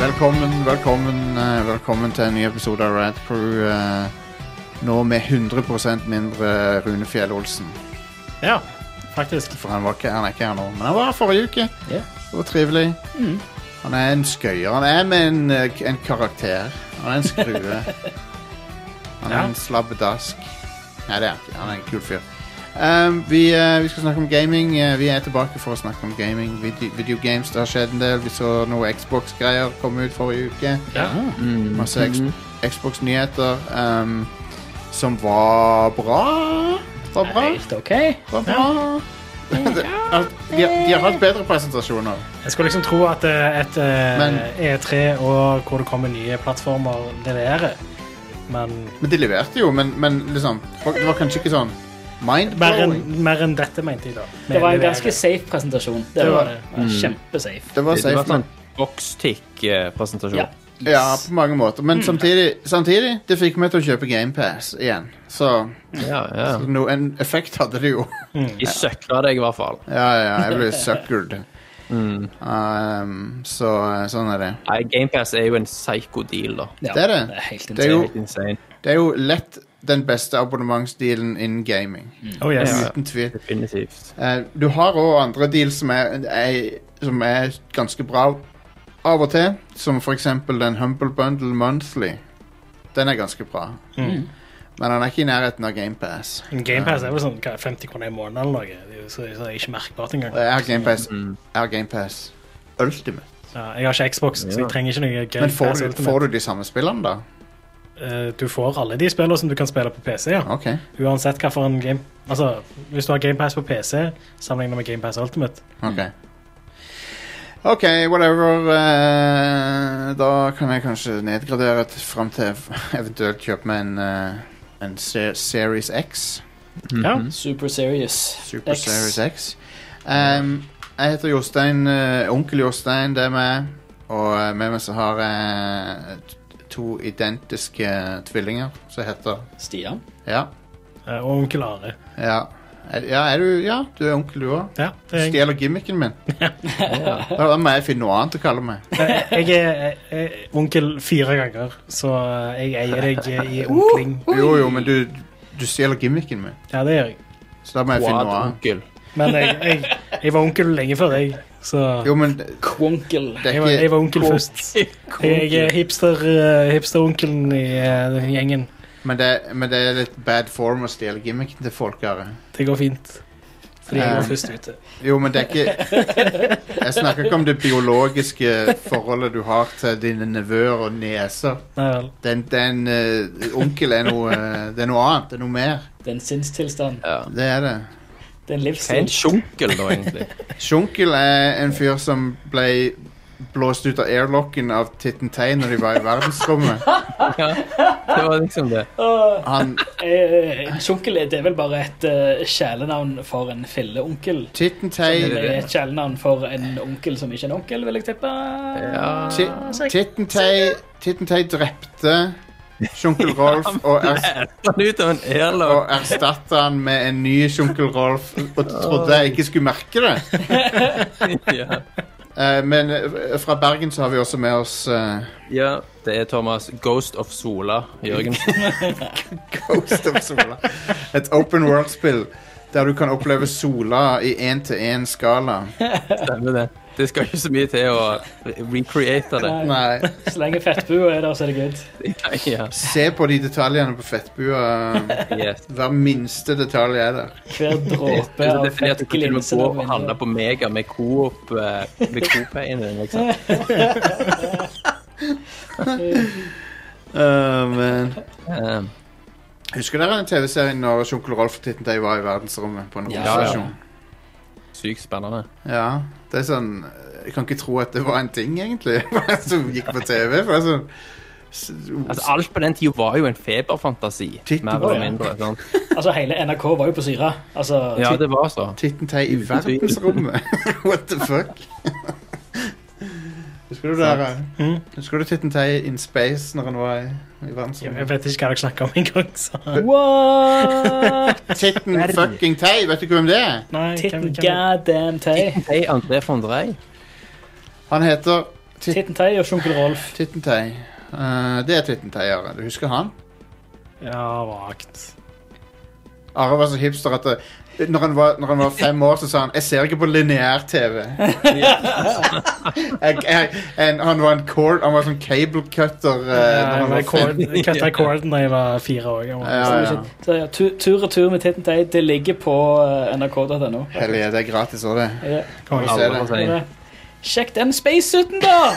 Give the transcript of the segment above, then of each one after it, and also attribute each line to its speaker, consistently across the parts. Speaker 1: Velkommen, velkommen, eh, velkommen til en ny episode av Rad Crew. eh, Nå med 100 mindre Rune Fjell Olsen.
Speaker 2: Ja, faktisk.
Speaker 1: For han, var ikke, han er ikke her nå, men han var her forrige uke.
Speaker 2: Ja.
Speaker 1: Det var trivelig. Han er en skøyer. Han er med en, eh, en karakter. Han er en skrue. Han er
Speaker 2: Ja.
Speaker 1: en slabbedask. Nei, det er han ikke. Han er en kul fyr. Ehm, vi, eh, vi skal snakke om gaming. Eh, vi er tilbake for å snakke om gaming. Video, videogames, det har skjedd en del. Vi så noe Xbox-greier komme ut forrige uke.
Speaker 2: Ja. Mm.
Speaker 1: Masse X-
Speaker 3: Mhm.
Speaker 1: Xbox-nyheter ehm, som var bra. Var bra.
Speaker 4: Helt ok.
Speaker 1: Var bra. Det- alt- de, de har hatt bedre presentasjoner.
Speaker 2: Jeg skulle liksom tro at eh, et eh,
Speaker 1: Men-
Speaker 2: E3 og hvor det kommer nye plattformer, leverer. Men
Speaker 1: Men de leverte jo, men, men liksom folk- Det var kanskje ikke sånn
Speaker 2: mer enn
Speaker 1: mind-blowing.
Speaker 2: mer enn dette, mente jeg da.
Speaker 4: Det var en
Speaker 2: Leverer.
Speaker 4: ganske safe presentasjon. Det
Speaker 2: Det var
Speaker 4: var
Speaker 2: det.
Speaker 3: Mm.
Speaker 4: ja, Kjempesafe.
Speaker 1: Det var
Speaker 3: Det
Speaker 1: safe.
Speaker 3: var sånn
Speaker 1: men-
Speaker 3: boxtick-presentasjon.
Speaker 4: Ja.
Speaker 1: Ja, på mange måter.
Speaker 3: Mm.
Speaker 1: Men samtidig, samtidig det fikk meg til å kjøpe GamePass igjen. Så
Speaker 3: ja, ja.
Speaker 1: no, en effekt hadde det jo.
Speaker 3: De søkla deg i hvert fall.
Speaker 1: Ja, ja, jeg ble suckered.
Speaker 3: Mm.
Speaker 1: Um, så sånn er det.
Speaker 3: Nei, GamePass er jo en psycho deal, da.
Speaker 4: Ja,
Speaker 1: Det er det.
Speaker 4: Det er helt
Speaker 1: Det er jo-
Speaker 4: insane.
Speaker 3: Helt insane.
Speaker 1: Det er jo lett den beste abonnementsdealen innen gaming.
Speaker 2: Oh, yes.
Speaker 3: Ja.
Speaker 1: Uten tvil.
Speaker 3: Definitivt.
Speaker 1: Eh, du har òg andre deals som er, er, som er ganske bra av og til. Som for eksempel den Humble Bundle Monthly. Den er ganske bra. Men den er ikke i nærheten av GamePass.
Speaker 2: Men GamePass er vel sånn hva, 50 kroner i måneden eller noe. Det er jo så, så er ikke merkbart engang.
Speaker 1: Eh, Jeg har GamePass. Jeg har GamePass Ultimate.
Speaker 2: Ja, jeg har ikke Xbox, så jeg trenger ikke noe
Speaker 1: Men får
Speaker 2: GamePass.
Speaker 1: du, får du de samme spillene, da?
Speaker 2: Eh, du får alle de spillene som du kan spille på PC, ja.
Speaker 1: OK.
Speaker 2: Uansett hva for en game... Altså, hvis du har GamePass på PC, sammenlignet med GamePass Ultimate,
Speaker 1: ok OK, whatever. eh, da kan jeg kanskje nedgradere t- fram til eventuelt kjøpe meg en, eh, en Se- Series X.
Speaker 2: ja.
Speaker 3: Mhm.
Speaker 4: Super serious.
Speaker 1: Super
Speaker 4: X.
Speaker 1: Series X. Ehm, jeg heter Jostein. eh, onkel Jostein, det er meg. Og eh, med meg så har jeg t- to identiske tvillinger som heter
Speaker 4: Stian.
Speaker 1: Ja.
Speaker 2: Eh, og Onkel Are.
Speaker 1: Ja, er, ja, er du, ja du er onkel, du òg.
Speaker 2: Ja,
Speaker 1: Du
Speaker 2: det er jeg.
Speaker 1: stjeler gimmicken min. Da da må jeg finne noe annet å kalle meg.
Speaker 2: Jeg er, er onkel fire ganger, så jeg eier deg i
Speaker 1: Uh!
Speaker 2: onkling.
Speaker 1: Jo, jo, men du, du stjeler gimmicken min.
Speaker 2: Ja, det gjør jeg.
Speaker 1: Så da må jeg finne noe annet.
Speaker 3: Quad-onkel.
Speaker 2: Men jeg, jeg, jeg var onkel lenge før deg, så
Speaker 1: Jo, men det
Speaker 4: Kwonkel.
Speaker 1: det
Speaker 2: jeg var,
Speaker 1: er
Speaker 2: jeg
Speaker 1: ikke,
Speaker 2: var onkel først. Jeg, jeg er hipster, eh, hipsteronkelen i eh, den gjengen.
Speaker 1: men, det, men det er litt bad form å stjele gimmicken til folk. Are.
Speaker 2: Det går fint. Fordi jeg
Speaker 1: Eh.
Speaker 2: var først ute.
Speaker 1: Jo, men det er ikke Jeg snakker ikke om det biologiske forholdet du har til dine nevøer og nieser.
Speaker 2: Nei vel.
Speaker 1: Den, den eh, onkel er noe, eh, det er noe annet. Det er noe mer.
Speaker 4: Det er en sinnstilstand.
Speaker 3: Ja.
Speaker 1: Det er det.
Speaker 4: Det er en
Speaker 3: Hva er en
Speaker 4: livsstil.
Speaker 3: sjunkel, da, egentlig?
Speaker 1: Sjunkel er en fyr som ble blåst ut av airlocken av Titten Tei når de var i verdensrommet.
Speaker 3: ja. Det var liksom det.
Speaker 4: Åh,
Speaker 1: Han
Speaker 4: eh, En sjunkel det er vel bare et eh, kjælenavn for en filleonkel.
Speaker 1: Titten
Speaker 4: Det
Speaker 1: Tei
Speaker 4: er et kjælenavn for en onkel som ikke er en onkel, vil jeg tippe.
Speaker 3: Ja.
Speaker 1: Ti- Titten Tei Titten Tei drepte Sjunkel Rolf og, er,
Speaker 3: Han ut av en airlock.
Speaker 1: og erstatta han med en ny Sjunkel Rolf og trodde jeg ikke skulle merke det.
Speaker 3: Ja.
Speaker 1: Eh, men eh, fra Bergen så har vi også med oss eh,
Speaker 3: ja. Det er Thomas Ghost of Sola Jørgensen.
Speaker 1: Ghost of Sola. Et open world-spill der du kan oppleve Sola i én-til-én-skala.
Speaker 3: Stemmer det. Det skal ikke så mye til å re- recreate det.
Speaker 1: Nei.
Speaker 4: Så lenge fettbua er der, så er det good.
Speaker 3: Ja.
Speaker 1: Se på de detaljene på fettbua.
Speaker 3: Yes.
Speaker 1: Hver minste detalj er der.
Speaker 4: Hver dråpe av
Speaker 3: altså definert at du til og med
Speaker 4: fettglinsen
Speaker 3: går
Speaker 4: av
Speaker 3: og handler
Speaker 4: vinduet.
Speaker 3: på Mega med Coop eh, med Coop-eien din, liksom.
Speaker 4: Eh,
Speaker 3: Um,
Speaker 1: Husker dere den TV-serien når Sjunkel Rolf og Titten Tei var i verdensrommet? på en
Speaker 4: Ja.
Speaker 1: romstasjon?
Speaker 3: Sykt spennende.
Speaker 1: Ja, det er sånn Jeg kan ikke tro at det var en ting, egentlig, som gikk på TV. For det er sånn
Speaker 3: Altså, alt på den tida var jo en feberfantasi,
Speaker 1: Titten
Speaker 3: mer
Speaker 1: var
Speaker 3: eller
Speaker 4: det.
Speaker 3: mindre. sant?
Speaker 4: Altså, hele NRK var jo på syre. Altså,
Speaker 3: Ja, det var så.
Speaker 1: Titten Tei i verdensrommet? What the fuck? Husker du det? her? Hm?
Speaker 2: Mm.
Speaker 1: Husker du Titten Tei in space når han var i, i
Speaker 2: Jeg
Speaker 1: verdensrommet?
Speaker 2: vet ikke hva dere snakker om engang, så
Speaker 4: What?
Speaker 1: Titten
Speaker 3: Verden.
Speaker 1: fucking Tei, vet du ikke hvem det er?
Speaker 2: Nei, hvem-
Speaker 4: Titten
Speaker 2: hvem-
Speaker 4: goddamn tei.
Speaker 3: Hei, André von Drey.
Speaker 1: Han heter Titt-
Speaker 4: Tittentei og Sjunkel Rolf.
Speaker 1: Tittentei. Eh, det er tittenteiere. Du husker han?
Speaker 2: Ja, vagt.
Speaker 1: Are var så hipster at det, når, han var, når han var fem år, så sa han 'Jeg ser ikke på lineær-TV'. Jeg- jeg- en- Han var en cord, han var sånn cable cutter eh, når han var fem.
Speaker 2: Jeg kutta cord da jeg var fire år. Jeg var
Speaker 1: Ja, ja.
Speaker 4: Så ja, tu- Tur og tur med Tittentei, det ligger på eh, nrk.no.
Speaker 1: Hellige, det er gratis òg, det.
Speaker 4: Ja.
Speaker 2: konge.
Speaker 1: Ser det.
Speaker 3: Nei.
Speaker 4: Men, eh, Sjekk den spacesuiten, da!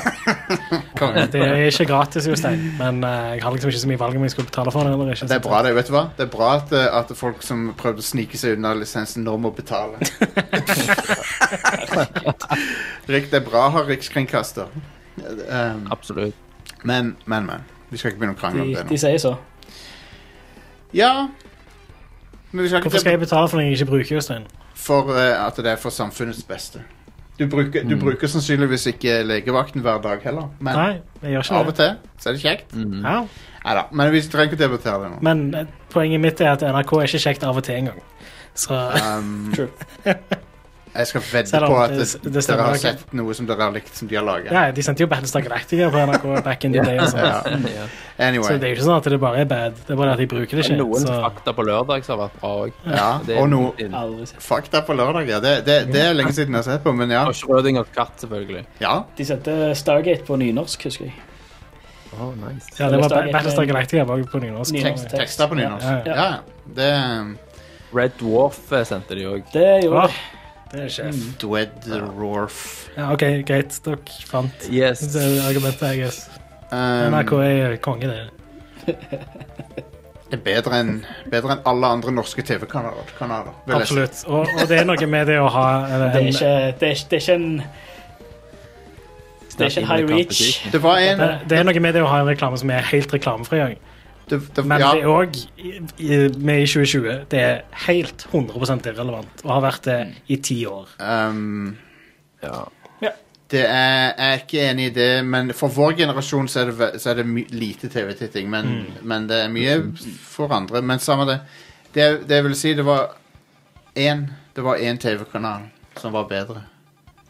Speaker 1: Konge.
Speaker 2: Det er ikke gratis, Jostein, men eh, jeg har liksom ikke så mye valg om jeg skulle betale for det eller ikke.
Speaker 1: Det er bra, det. vet du hva? Det er bra at, eh, at folk som prøvde å snike seg unna lisensen, nå må betale. Rik, det er bra å ha rikskringkaster. Um,
Speaker 3: Absolutt.
Speaker 1: men, men, men. Vi skal ikke begynne å krangle om
Speaker 4: De,
Speaker 1: det
Speaker 4: de
Speaker 1: nå.
Speaker 4: sier så.
Speaker 1: Ja Men vi skal
Speaker 2: Hvorfor
Speaker 1: ikke
Speaker 2: skal jeg betale for noe jeg ikke bruker, Jostein?
Speaker 1: for eh, at det er for samfunnets beste. Du bruker, du
Speaker 3: Mm.
Speaker 1: bruker sannsynligvis ikke legevakten hver dag heller, men
Speaker 2: Nei, jeg
Speaker 1: av
Speaker 2: gjør ikke
Speaker 1: og
Speaker 2: det.
Speaker 1: til så er det kjekt.
Speaker 3: Mm.
Speaker 2: Ja.
Speaker 1: Neida, men vi trenger ikke å debattere det nå.
Speaker 2: Men eh, poenget mitt er at NRK er ikke kjekt av og til engang. Så
Speaker 1: Um,
Speaker 4: True.
Speaker 1: jeg skal vedde
Speaker 2: Selv om
Speaker 1: på at
Speaker 2: det- det
Speaker 1: det,
Speaker 2: stemmer
Speaker 1: dere har
Speaker 2: nok.
Speaker 1: sett noe som dere har likt, som de har laga.
Speaker 2: ja, de sendte jo Battlestar Galactica på NRK back in the day. Og sånt.
Speaker 1: Ja.
Speaker 3: Ja.
Speaker 2: Så det
Speaker 1: Anyway.
Speaker 2: er jo ikke sånn at det bare er bad, det er bare at jeg bruker det
Speaker 3: Det er
Speaker 2: ikke.
Speaker 3: noen
Speaker 2: Så
Speaker 3: fakta på lørdag som har vært bra òg.
Speaker 1: Ja. Og noe
Speaker 4: Aldri sett.
Speaker 1: fakta på lørdag, ja. Det, det, det er lenge siden jeg har sett på, men ja.
Speaker 3: Og Schrødingers katt, selvfølgelig.
Speaker 1: ja.
Speaker 4: De sendte Stargate på nynorsk, husker jeg.
Speaker 3: Oh, nice.
Speaker 2: ja, det var
Speaker 4: Battlestar-
Speaker 2: Battlestar Galactica var jo på nynorsk.
Speaker 1: Tekst,
Speaker 4: Nynorsk.
Speaker 1: tekster på nynorsk.
Speaker 2: Ja,
Speaker 1: Ja,
Speaker 2: ja.
Speaker 1: ja. Det er
Speaker 3: Red Dwarf eh, sendte de òg.
Speaker 4: Det gjorde
Speaker 2: Ah,
Speaker 4: de. Mm.
Speaker 2: det er sjef.
Speaker 1: Dwed Rorf.
Speaker 2: Ja, OK, greit. Dere fant
Speaker 3: Yes.
Speaker 2: det er argumentet, I guess.
Speaker 1: Um,
Speaker 2: NRK er konge, det.
Speaker 1: det er bedre enn bedre enn alle andre norske TV-kanaler. kanaler, vil jeg si.
Speaker 2: Absolutt. Og, og det er noe med det å ha eller,
Speaker 4: Det er
Speaker 2: en-
Speaker 4: ikke, det er, ikke- det er ikke en Det er ikke en high reach.
Speaker 1: Det var en
Speaker 2: det, det er noe med det å ha en reklame som er helt reklamefri. også.
Speaker 1: det, det,
Speaker 2: Men
Speaker 1: ja,
Speaker 2: det er òg, med i 2020, det er helt 100 irrelevant og har vært det i ti år.
Speaker 1: um,
Speaker 3: Ja.
Speaker 1: det er, Jeg er ikke enig i det, men for vår generasjon så er det, ve- så er det my lite TV-titting. Men,
Speaker 2: Mm.
Speaker 1: men det er mye for andre. Men samme det. Det, det vil si, det var én Det var én TV-kanal som var bedre.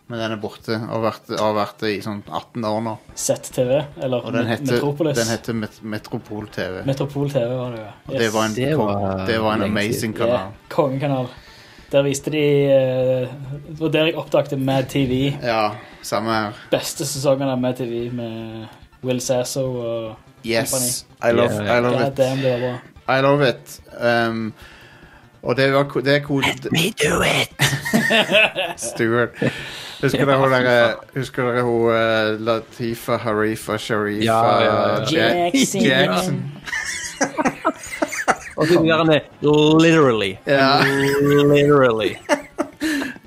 Speaker 1: Men den er borte og har vært, har vært det i sånn 18 år nå.
Speaker 4: ZTV, eller
Speaker 1: Og den
Speaker 4: Met-
Speaker 1: heter,
Speaker 4: Metropolis.
Speaker 1: den heter Met Metropol TV.
Speaker 4: Metropol TV var det jo.
Speaker 1: og det var en,
Speaker 3: Det var-
Speaker 1: det var en
Speaker 3: lenge
Speaker 1: amazing
Speaker 4: Yeah,
Speaker 1: kanal.
Speaker 4: kongekanal. Der viste de eh, Det var der jeg oppdagte Mad TV.
Speaker 1: Ja, samme her.
Speaker 4: Beste sesongen av Mad TV med Will Sasso og
Speaker 1: Yes. I love,
Speaker 3: Yeah.
Speaker 1: I love
Speaker 4: God
Speaker 1: it.
Speaker 4: damn, det var bra.
Speaker 1: I love it. Um, og det, var, ko- det er kode... Let me do it! Stuart. Husker dere hun der, Husker dere hun eh, Latifa Harifa Sharifa
Speaker 3: Ja, ja, ja.
Speaker 1: Jack-
Speaker 4: Jackson.
Speaker 1: Jackson.
Speaker 3: Og så gjør han det literally.
Speaker 1: Ja.
Speaker 3: Literally.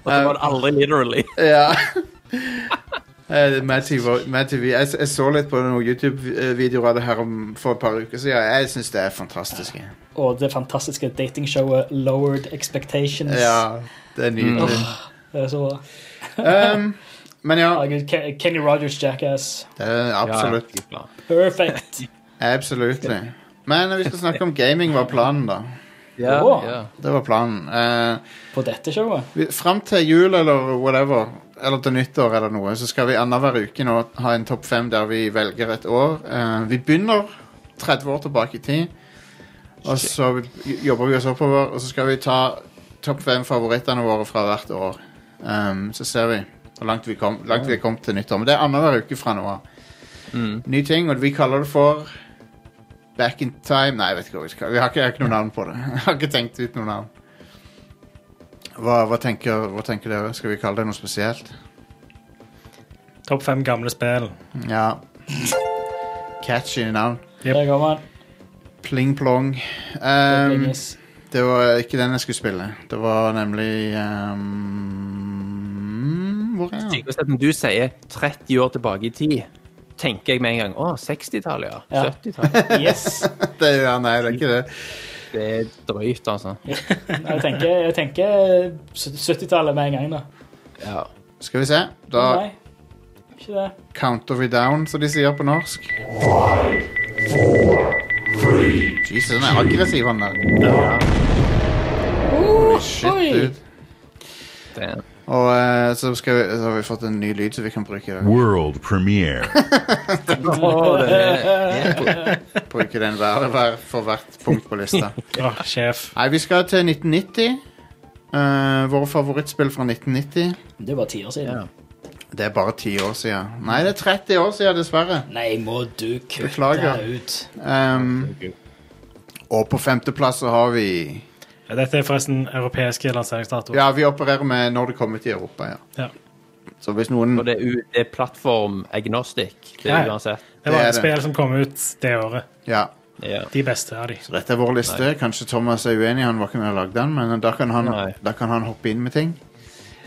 Speaker 3: Og så var det aldri literally.
Speaker 1: Ja. Eh, Mad TV, Mad TV. Jeg, s- jeg så litt på noen YouTube-videoer av det her om, for et par uker siden. Jeg syns det er fantastisk. jeg.
Speaker 4: Og det fantastiske datingshowet Lowered Expectations.
Speaker 1: Ja, det er nydelig.
Speaker 4: Det er så bra.
Speaker 1: Um, men ja,
Speaker 4: Herregud, Ke- Kenny Rogers, Jackass.
Speaker 1: det er absolutt.
Speaker 3: Ja, ja.
Speaker 4: Perfect.
Speaker 1: Absolutt. Men vi skal snakke om gaming, var planen, da.
Speaker 3: Ja,
Speaker 4: Åh.
Speaker 3: ja.
Speaker 1: Det var planen. Eh,
Speaker 4: På dette showet.
Speaker 1: vi- Fram til jul eller whatever, eller til nyttår eller noe, så skal vi annenhver uke nå ha en topp fem der vi velger et år. Eh, vi begynner 30 år tilbake i tid, og så vi- jobber vi oss oppover, og så skal vi ta topp fem favorittene våre fra hvert år. Ehm, så ser vi hvor langt vi, kom, langt vi er kommet til nyttår. Men det er annenhver uke fra nå av.
Speaker 3: Mm.
Speaker 1: Ny ting, og vi kaller det for Back in time Nei, jeg vet ikke hva vi skal Vi har ikke, jeg har ikke noe navn på det. Jeg har ikke tenkt ut noe navn. Hva, hva, tenker, hva tenker dere? Skal vi kalle det noe spesielt?
Speaker 2: Topp fem gamle spill.
Speaker 1: Ja. Catchy navn.
Speaker 2: Yep.
Speaker 4: Der kommer han.
Speaker 1: Um, Pling plong.
Speaker 4: Det
Speaker 1: Um,
Speaker 4: blinges.
Speaker 1: det var ikke den jeg skulle spille. Det var nemlig um, Hvor er den?
Speaker 3: Hvis at du sier 30 år tilbake i tid, tenker jeg med en gang å, 60-tallet, ja.
Speaker 4: Ja.
Speaker 3: 70-tallet.
Speaker 4: Yes.
Speaker 1: Det, ja, nei, det er ikke det.
Speaker 3: Det er drøyt, altså.
Speaker 4: Jeg tenker, jeg tenker 70-tallet med en gang, da.
Speaker 3: Ja.
Speaker 1: Skal vi se. Da
Speaker 4: Nei, ikke det.
Speaker 1: counter we down, som de sier på norsk. Jesus, den er aggressiv, han der. Holy shit,
Speaker 4: oi.
Speaker 1: dude.
Speaker 3: Det er
Speaker 1: Og eh, så, skal vi, så har vi fått en ny lyd som vi kan bruke i dag.
Speaker 5: World premiere.
Speaker 3: Åh, det er-
Speaker 1: Bruke den hver, hver, for hvert punkt på lista.
Speaker 2: Åh, sjef.
Speaker 1: Nei, vi skal til 1990. Eh, våre favorittspill fra 1990.
Speaker 4: Det var ti år siden.
Speaker 3: Ja.
Speaker 1: Det er bare 10 år siden. Nei, det er 30 år siden, dessverre.
Speaker 4: Nei, må du kutte
Speaker 1: Beklager.
Speaker 4: ut.
Speaker 1: Ehm, og på femteplass så har vi
Speaker 2: Dette er forresten europeiske lanseringsdato.
Speaker 1: Ja, vi opererer med når det kommer til Europa, ja.
Speaker 2: Ja.
Speaker 1: Så hvis noen
Speaker 3: Og det er, u- det er plattform agnostic. Det
Speaker 2: Ja,
Speaker 3: er
Speaker 2: ja.
Speaker 3: uansett.
Speaker 2: Det var
Speaker 1: det er
Speaker 2: et
Speaker 1: det.
Speaker 2: spill som kom ut det året.
Speaker 1: Ja.
Speaker 3: Ja.
Speaker 2: De beste av de.
Speaker 1: Så dette er vår liste. Kanskje Thomas er uenig, han var ikke med og lagde den, men da kan han,
Speaker 3: Nei.
Speaker 1: da kan han hoppe inn med ting.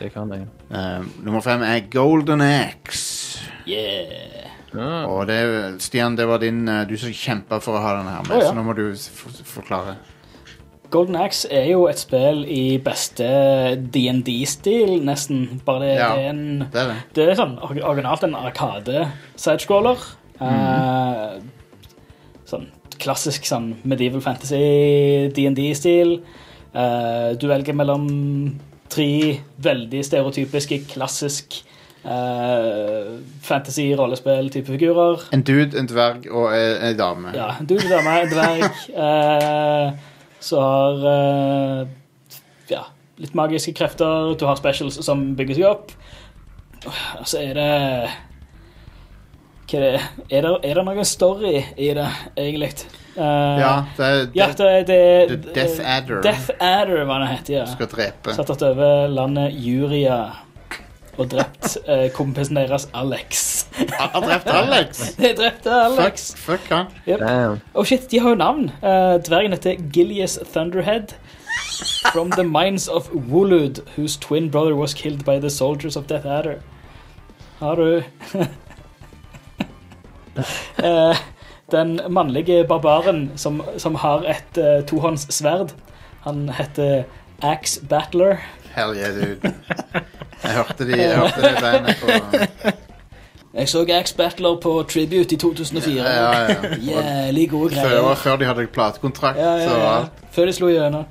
Speaker 3: Det kan jeg.
Speaker 1: Ehm, nummer fem er Golden Axe.
Speaker 4: Yeah.
Speaker 3: Ja.
Speaker 1: Og det, Stian, det var din eh, Du som kjempa for å ha den her med,
Speaker 4: Å, ja.
Speaker 1: så nå må du s- f- forklare.
Speaker 4: Golden Axe er jo et spill i beste DND-stil, nesten. Bare det,
Speaker 1: Ja.
Speaker 4: det er en
Speaker 1: Det er det.
Speaker 4: Det er sånn or- originalt en arkade-sidescroller. Eh, sånn klassisk sånn medieval fantasy, D&D-stil. Eh, du velger mellom tre veldig stereotypiske, klassisk eh, fantasy-rollespill-type figurer.
Speaker 1: En dude, en dverg og ei ei dame.
Speaker 4: Ja, du er dame, en dverg, eh, så har eh, ja, litt magiske krefter, du har specials som bygger seg opp. Og så er det Hva er det? Er det, er det noen story i det, egentlig? Eh,
Speaker 1: Ja, det er
Speaker 4: ja, det, det,
Speaker 1: The Death Adder.
Speaker 4: Death Adder, hva det heter, ja.
Speaker 1: du skal drepe.
Speaker 4: Satt tatt over landet Juria og drept eh, kompisen deres Alex.
Speaker 1: Han har drept Alex!
Speaker 4: De drepte Alex.
Speaker 1: Fuck, fuck han.
Speaker 3: Damn.
Speaker 4: Oh shit, de har jo navn. Eh, dvergen heter Gilius Thunderhead. From the mines of Wulud, whose twin brother was killed by the soldiers of Death Adder. Har du Eh, Den mannlige barbaren som, som har et uh, tohåndssverd. Han heter Axe Battler.
Speaker 1: Hell yeah, dude. Jeg hørte, de, jeg hørte det bandet på
Speaker 4: Jeg så Axe Battler på Tribute i
Speaker 1: Ja,
Speaker 4: 2004.
Speaker 1: ja, ja.
Speaker 4: Jævlig gode greier.
Speaker 1: Før, før de hadde platekontrakt.
Speaker 4: Ja, ja,
Speaker 1: så
Speaker 4: ja.
Speaker 1: alt.
Speaker 4: Før de slo gjennom.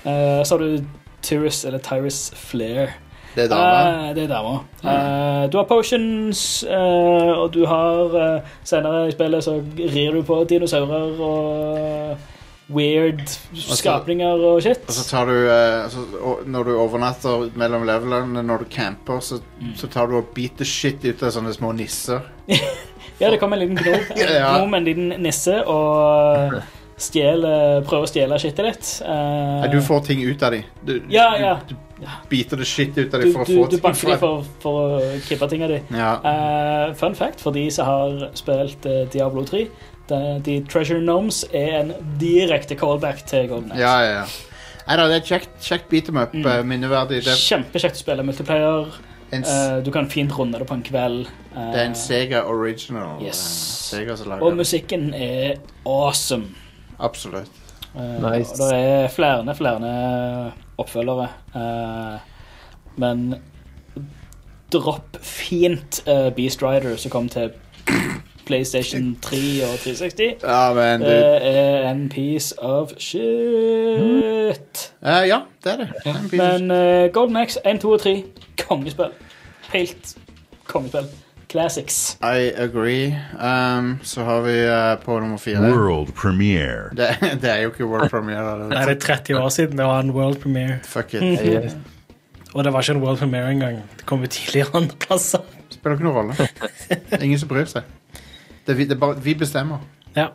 Speaker 4: Eh, så har du Tyrus, eller Tyrus Flair.
Speaker 1: Det er dama.
Speaker 4: Eh, det er dama. Eh, du har potions, eh, og du har eh, Senere i spillet så rir du på dinosaurer og weird skapninger og shit.
Speaker 1: Og så tar du eh, så, og, Når du overnatter mellom levelene, når du camper, så,
Speaker 4: Mm.
Speaker 1: så tar du og beater shit ut av sånne små nisser.
Speaker 4: Ja, det kom en liten gnom,
Speaker 1: Ja.
Speaker 4: gnom en liten nisse, og stjeler, prøver å stjele shitet ditt. Eh,
Speaker 1: Nei, du får ting ut av dem. Du,
Speaker 4: Ja, ja.
Speaker 1: du, du beater det shit ut av
Speaker 4: du,
Speaker 1: dem for å
Speaker 4: Eh, du,
Speaker 1: få
Speaker 4: du banker
Speaker 1: fra-
Speaker 4: dem for, for å kippe tinga di.
Speaker 1: ja.
Speaker 4: Eh, fun fact for de som har spilt eh, Diablo 3. De, de Treasure Gnomes er en direkte callback til Golden Axe.
Speaker 1: ja, ja, ja. Nei da, det er et kjekt, kjekt beat em up.
Speaker 4: Mm.
Speaker 1: eh, Minneverdig. Det,
Speaker 4: Kjempekjekt å spille multiplayer.
Speaker 1: er en, s-
Speaker 4: Eh, du kan fint runde det på en kveld. Eh,
Speaker 1: det er en Sega original.
Speaker 4: yes.
Speaker 1: eh, Sega som
Speaker 4: og
Speaker 1: lager det.
Speaker 4: musikken er awesome.
Speaker 1: Absolutt.
Speaker 4: Eh,
Speaker 3: Nice.
Speaker 4: Og det er flere, flere oppfølgere. Eh, men dropp fint eh, Beast Rider, som kom til PlayStation 3 og 360.
Speaker 1: Ja, men du
Speaker 4: Det er en piece of shit.
Speaker 1: Eh, Ja, det er det. det. er en piece of
Speaker 4: Men eh, Golden Axe 1, 2 og 3, kongespill. Helt kongespill. Classics.
Speaker 1: I agree. Um, så har vi eh, på nummer fire.
Speaker 5: World premiere.
Speaker 1: Det, det er jo ikke World Premiere. det
Speaker 2: Nei,
Speaker 1: er-
Speaker 2: det er 30 år siden det var en world premiere.
Speaker 1: Fuck it.
Speaker 3: Yes.
Speaker 2: Og det var ikke en world premiere engang. Det kom jo tidligere andre plasser.
Speaker 1: Spiller ikke noen rolle. Det er Ingen som bryr seg. Det, er vi- det er bare, vi bestemmer
Speaker 2: Ja.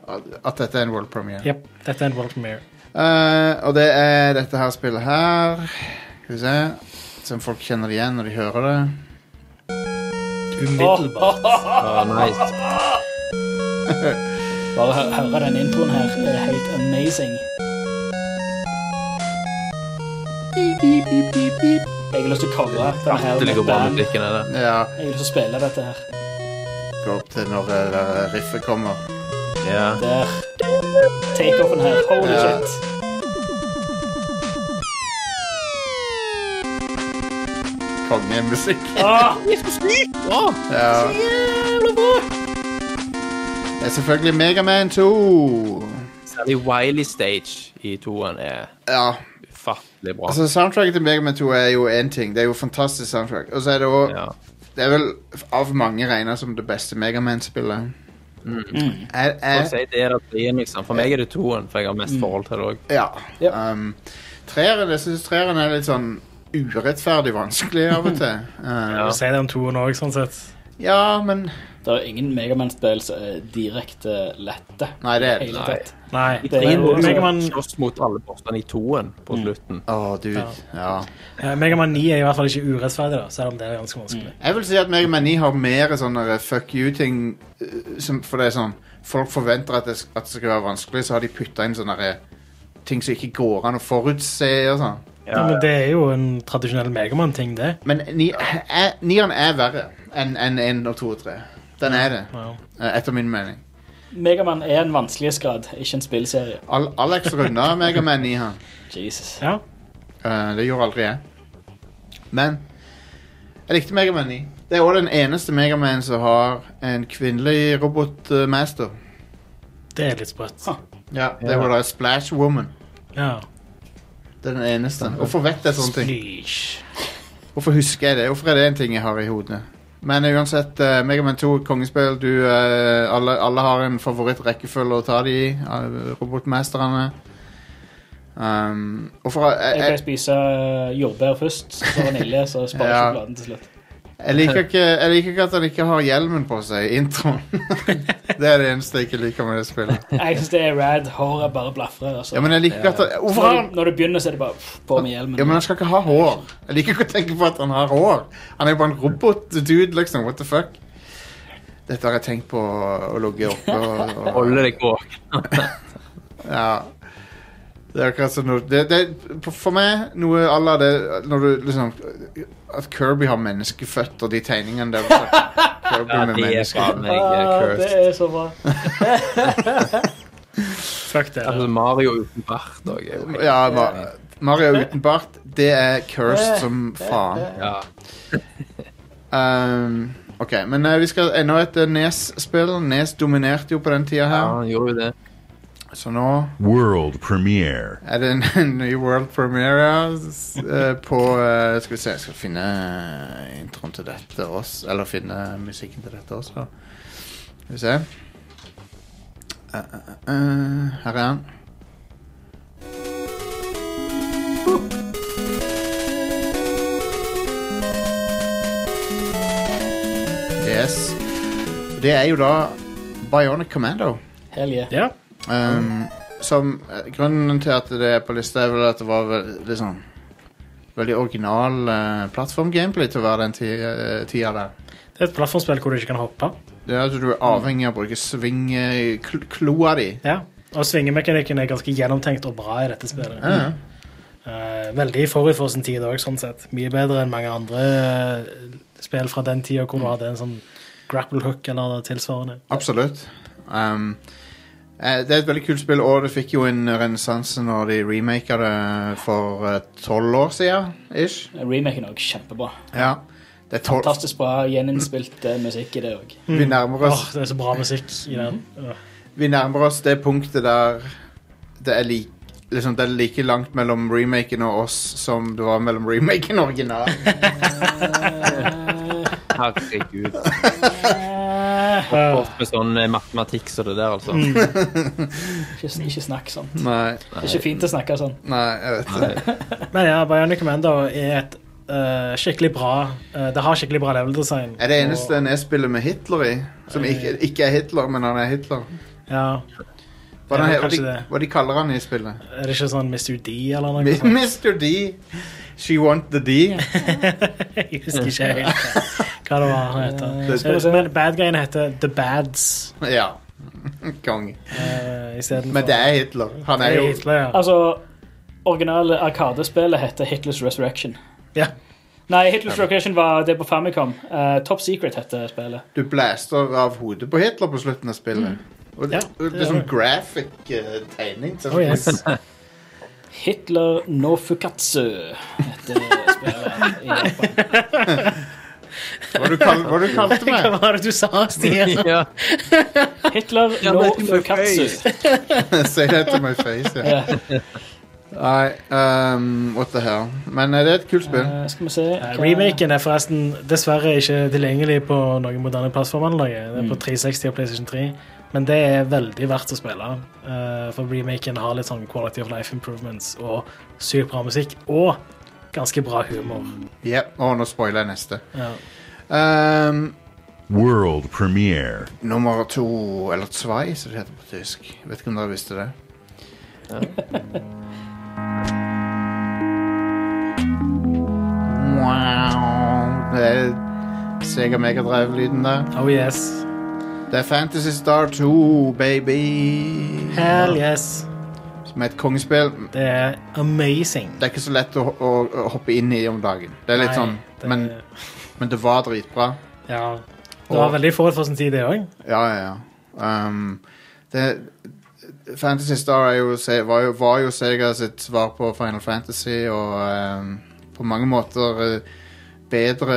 Speaker 1: at dette er en World Premiere.
Speaker 2: Jep, dette er en world premiere.
Speaker 1: Eh, og det er dette her spillet her. Skal vi se. Som folk kjenner det igjen når de hører det.
Speaker 2: Umiddelbart.
Speaker 3: Ah, nice.
Speaker 4: Bare hø høre den introen her er helt amazing. Jeg har lyst til å covre den her
Speaker 3: Det ligger
Speaker 4: med
Speaker 3: bra med
Speaker 4: band.
Speaker 3: blikkene der.
Speaker 1: Ja,
Speaker 4: Jeg har lyst til å spille dette her.
Speaker 1: Gå opp til når eh, riffet kommer.
Speaker 3: Ja.
Speaker 4: Der. Takeoffen her. Holy
Speaker 1: Ja.
Speaker 4: shit.
Speaker 1: Kongemusikk.
Speaker 4: Ah,
Speaker 1: Ja. Det er selvfølgelig Megaman 2.
Speaker 3: Særlig Wiley Stage i toeren er
Speaker 1: Ja.
Speaker 3: ufattelig bra.
Speaker 1: Altså, soundtracket til Megaman 2 er jo én ting. Det er jo fantastisk soundtrack. Og så er det òg
Speaker 3: ja.
Speaker 1: Det er vel av mange regna som det beste Megaman-spillet. Mm. Jeg- jeg-
Speaker 3: Så å si det er det treen, liksom. For meg er det toen, for jeg har
Speaker 1: Mm.
Speaker 3: mest forhold til det òg.
Speaker 1: Ja.
Speaker 4: Ja.
Speaker 1: Um, treeren, jeg synes treeren er litt sånn urettferdig vanskelig av og til. Uh,
Speaker 2: Du sier det om toen òg, sånn sett.
Speaker 1: ja, men
Speaker 4: Det er ingen Megaman-spill som er direkte lette.
Speaker 1: Nei, det er-
Speaker 4: Hele
Speaker 3: nei.
Speaker 4: tatt.
Speaker 2: Nei.
Speaker 3: I
Speaker 4: Det er
Speaker 3: treen
Speaker 4: jo-
Speaker 3: må
Speaker 2: Mega Man-
Speaker 3: du slåss mot alle bossene i toen
Speaker 1: Mm.
Speaker 3: på slutten.
Speaker 1: Å, dude. Ja.
Speaker 2: eh, Mega Man 9 er i hvert fall ikke urettferdig, da, selv om det er ganske vanskelig.
Speaker 1: Jeg vil si at Mega Man 9 har mer sånne der fuck you-ting eh, som- For det er sånn Folk forventer at det, at det skal være vanskelig, så har de putta inn sånne der eh, ting som ikke går an å forutse. og sånn.
Speaker 2: Ja, men det er jo en tradisjonell Mega Man-ting, det.
Speaker 1: Men ni- er- nieren er verre enn enn én og to og tre. Den er det,
Speaker 2: Ja.
Speaker 1: eh, etter min mening.
Speaker 4: Megaman er en vanskelighetsgrad, ikke en spillserie.
Speaker 1: Al Alex runda Mega Man 9 her.
Speaker 4: Jesus.
Speaker 2: ja.
Speaker 1: Eh, det gjorde aldri jeg. Men jeg likte Megaman 9. Det er òg den eneste Megaman som har en kvinnelig robotmaster.
Speaker 2: Det er litt sprøtt.
Speaker 1: Ja, det var da Splash Woman.
Speaker 2: Ja.
Speaker 1: Det er den eneste. Hvorfor vet jeg sånne ting?
Speaker 2: Splish.
Speaker 1: Hvorfor husker jeg det? Hvorfor er det en ting jeg har i hodet? Men uansett, eh, Mega Megaman 2, kongespill du, eh, alle, alle har en favorittrekkefølge å ta de i. eh, Robotmesterne. Um, hvorfor
Speaker 4: Jeg
Speaker 1: jeg,
Speaker 4: pleier å spise eh, jordbær først, så vanilje, så sparer jeg
Speaker 1: Ja.
Speaker 4: sjokoladen til slutt.
Speaker 1: Jeg liker, ikke, jeg liker ikke at han ikke har hjelmen på seg i introen. det er det eneste jeg ikke liker med det spillet.
Speaker 4: Jeg syns det er rad. Håret bare blafrer. Altså.
Speaker 1: Ja, men jeg liker ikke at han, hvorfor har
Speaker 4: når,
Speaker 1: han
Speaker 4: du, når du begynner, så er det bare pff, på med hjelmen.
Speaker 1: ja, men han skal ikke ha hår. Jeg liker ikke å tenke på at han har hår. Han er jo bare en robot-dude, liksom. What the fuck? Dette har jeg tenkt på å ligge oppe og, og
Speaker 3: Holde deg våken.
Speaker 1: Ja. Det er akkurat som noe det, det, For meg, noe à la det Når du liksom At Kirby har menneskeføtter, de tegningene der. Kirby
Speaker 3: Ja,
Speaker 1: med
Speaker 3: det er
Speaker 1: mennesker.
Speaker 3: faen meg eh,
Speaker 4: ah, det
Speaker 3: cursed.
Speaker 4: er så bra.
Speaker 2: Fuck det.
Speaker 3: Altså, Mario uten bart òg er jo helt-
Speaker 1: Ja, Ma Mario uten bart, det er cursed som faen.
Speaker 3: ja.
Speaker 1: Um, ok, men eh, vi skal enda et eh, Nes-spill. Nes dominerte jo på den tida
Speaker 3: ja,
Speaker 1: her,
Speaker 3: han gjorde jo det.
Speaker 1: så nå
Speaker 5: World premiere.
Speaker 1: er det en, en ny world premiere ja, s- eh, på eh, Skal vi se, jeg skal finne introen til dette også. Eller finne musikken til dette også. Skal vi se. Eh, eh, eh, her er han. Yes. Det er jo da Bionic Commando.
Speaker 4: Hell yeah.
Speaker 2: Ja.
Speaker 1: Um, som, eh, grunnen til at det er på lista, er vel at det var vel, liksom, veldig original eh, plattform-gameplay til å være den ti, eh, tida der.
Speaker 2: Det er et plattformspill hvor du ikke kan hoppe.
Speaker 1: Det er altså Du er avhengig av å bruke sving eh, kl kloa di.
Speaker 2: Ja. Og svingemekanikken er ganske gjennomtenkt og bra i dette spillet.
Speaker 1: Ja, ja.
Speaker 2: Eh, veldig forut for sin tid òg, sånn sett. Mye bedre enn mange andre eh, spill fra den tida hvor du hadde en sånn grapple hook eller tilsvarende.
Speaker 1: Absolutt. Um, eh, det er et veldig kult spill, og det fikk jo en renessanse når de remaka det for eh, tolv år siden. Ish.
Speaker 4: Remaken òg. Kjempebra.
Speaker 1: Ja. Det er 12,
Speaker 4: Fantastisk bra gjeninnspilt eh, musikk i det òg.
Speaker 1: vi nærmer
Speaker 2: Åh,
Speaker 1: oss
Speaker 2: Det er så bra musikk i den. Åh.
Speaker 1: vi nærmer oss det punktet der det er, lik- liksom, det er like langt mellom remaken og oss som det var mellom remaken og originalen.
Speaker 4: Eh,
Speaker 3: Herregud. Opp med sånn eh, matematikk som det der, altså.
Speaker 1: Mm.
Speaker 4: Ikke, ikke snakk sånn.
Speaker 1: Nei,
Speaker 4: Det er ikke fint å snakke sånn.
Speaker 1: nei, jeg vet det.
Speaker 2: Men ja, Bionic Commando er et eh, skikkelig bra eh, Det har skikkelig bra level design.
Speaker 1: Er det eneste en spiller med Hitler i? Som
Speaker 2: Eh.
Speaker 1: ikke, ikke er Hitler, men han er Hitler.
Speaker 2: Og, ja,
Speaker 1: Hva,
Speaker 2: Ja,
Speaker 1: den, hva,
Speaker 2: kanskje
Speaker 1: de,
Speaker 2: det.
Speaker 1: hva de kaller han i spillet?
Speaker 2: Er det ikke sånn Mr. D eller noe? sånt?
Speaker 1: Mr. D. She want the D.
Speaker 2: Jeg husker ikke helt hva det var han
Speaker 1: Det-
Speaker 2: heter. Men bad guyen heter The Bads
Speaker 1: Ja. Konge.
Speaker 2: uh, istedenfor.
Speaker 1: Men det er Hitler. Han er jo
Speaker 2: Hitler, ja.
Speaker 4: Altså, originale Arkadespillet heter Hitler's Resurrection.
Speaker 2: ja.
Speaker 4: Nei, Hitler's Resurrection var det på Famicom. Eh, Top Secret heter spillet.
Speaker 1: Du blaster av hodet på Hitler på slutten av spillet. Og det,
Speaker 2: Mm. Ja,
Speaker 1: og det
Speaker 2: det
Speaker 1: er
Speaker 2: er
Speaker 1: sånn
Speaker 2: det.
Speaker 1: graphic eh, tegning.
Speaker 2: Oh, yes.
Speaker 4: Hitler no fukatsu heter spillet i Japan.
Speaker 1: Hva du kall- hva du kalte du meg?
Speaker 2: Hva var det du sa, Stian?
Speaker 3: Ja.
Speaker 4: Hitler
Speaker 3: Ja,
Speaker 4: no
Speaker 3: men-
Speaker 4: fukatsu. Eh,
Speaker 1: Say that to my face, ja.
Speaker 4: Ja.
Speaker 1: Nei, ehm, what the hell. Men eh, det er et kult spill.
Speaker 4: Eh, skal vi se
Speaker 2: Eh,
Speaker 4: hva-
Speaker 2: Remaken er forresten dessverre ikke tilgjengelig på noen moderne plattformer. eller noe. Det er på 360 og PlayStation 3, men det er veldig verdt å spille. eh, For remaken har litt sånn quality of life improvements og sykt bra musikk og ganske bra humor.
Speaker 1: Ja, Å, nå spoiler jeg neste.
Speaker 2: Ja.
Speaker 1: Ehm,
Speaker 5: World premiere.
Speaker 1: nummer to, eller zwei, som det heter på tysk. Vet ikke om dere visste det. wow. Det er Sega Megadrive-lyden der.
Speaker 2: Oh yes.
Speaker 1: Det er Fantasy Star 2, baby.
Speaker 2: Hell yes.
Speaker 1: Som er et kongespill.
Speaker 2: Det er amazing.
Speaker 1: Det er ikke så lett å, å, å hoppe inn i om dagen. Det er litt sånn,
Speaker 2: Nei, det-
Speaker 1: men, men det var dritbra.
Speaker 2: Ja. Det var
Speaker 1: Og-
Speaker 2: veldig forut for sin tid, det òg.
Speaker 1: Ja, ja, ja. Um, det, Fantasy Star er jo, se- var, jo, var jo Sega sitt svar på Final Fantasy, og um, på mange måter eh, bedre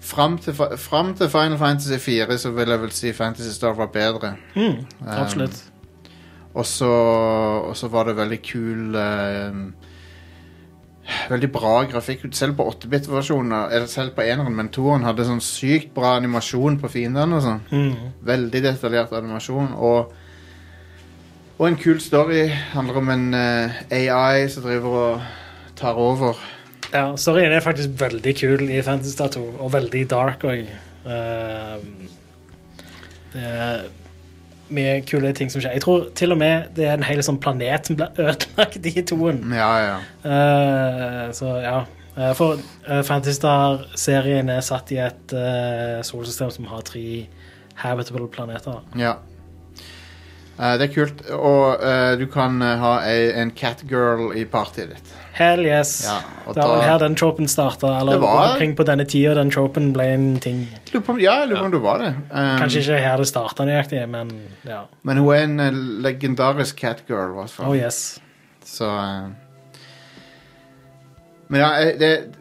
Speaker 1: Fram til, fa- fram til Final Fantasy 4 så vil jeg vel si Fantasy Star var bedre.
Speaker 2: Mm,
Speaker 1: Um,
Speaker 2: absolutt.
Speaker 1: Og så, og så var det veldig kul ehm, Veldig bra grafikk. Selv på 8-bit-versjoner, eller selv på eneren, men toeren hadde sånn sykt bra animasjon på fiendene. og sånn.
Speaker 2: Mm.
Speaker 1: Veldig detaljert animasjon. Og, og en kul story. Handler om en eh, AI som driver og tar over.
Speaker 2: Ja, Storyen er faktisk veldig kul i Fantasy Star 2, og veldig dark òg. det er mye kule ting som skjer. Jeg tror til og med det er en hel sånn planet som blir ødelagt i toen.
Speaker 1: Ja, ja.
Speaker 2: Eh, så ja. Eh, for eh, Fantasy Star-serien er satt i et eh, solsystem som har tre habitable planeter.
Speaker 1: ja. Eh, det er kult. Og eh, du kan eh, ha ei, en catgirl i partyet ditt.
Speaker 2: Hell yes.
Speaker 1: Ja, og
Speaker 2: det var vel
Speaker 1: da-
Speaker 2: her den tropen starta. Eller
Speaker 1: Det var-
Speaker 2: omkring på denne tida den tropen ble en ting.
Speaker 1: Lurer på om- Ja, jeg lurer på om du var det. Um,
Speaker 2: Kanskje ikke her det starta nøyaktig, men ja.
Speaker 1: Men hun er en eh, legendarisk catgirl, i hvert fall.
Speaker 2: Oh yes.
Speaker 1: Så eh, Men ja, eh, det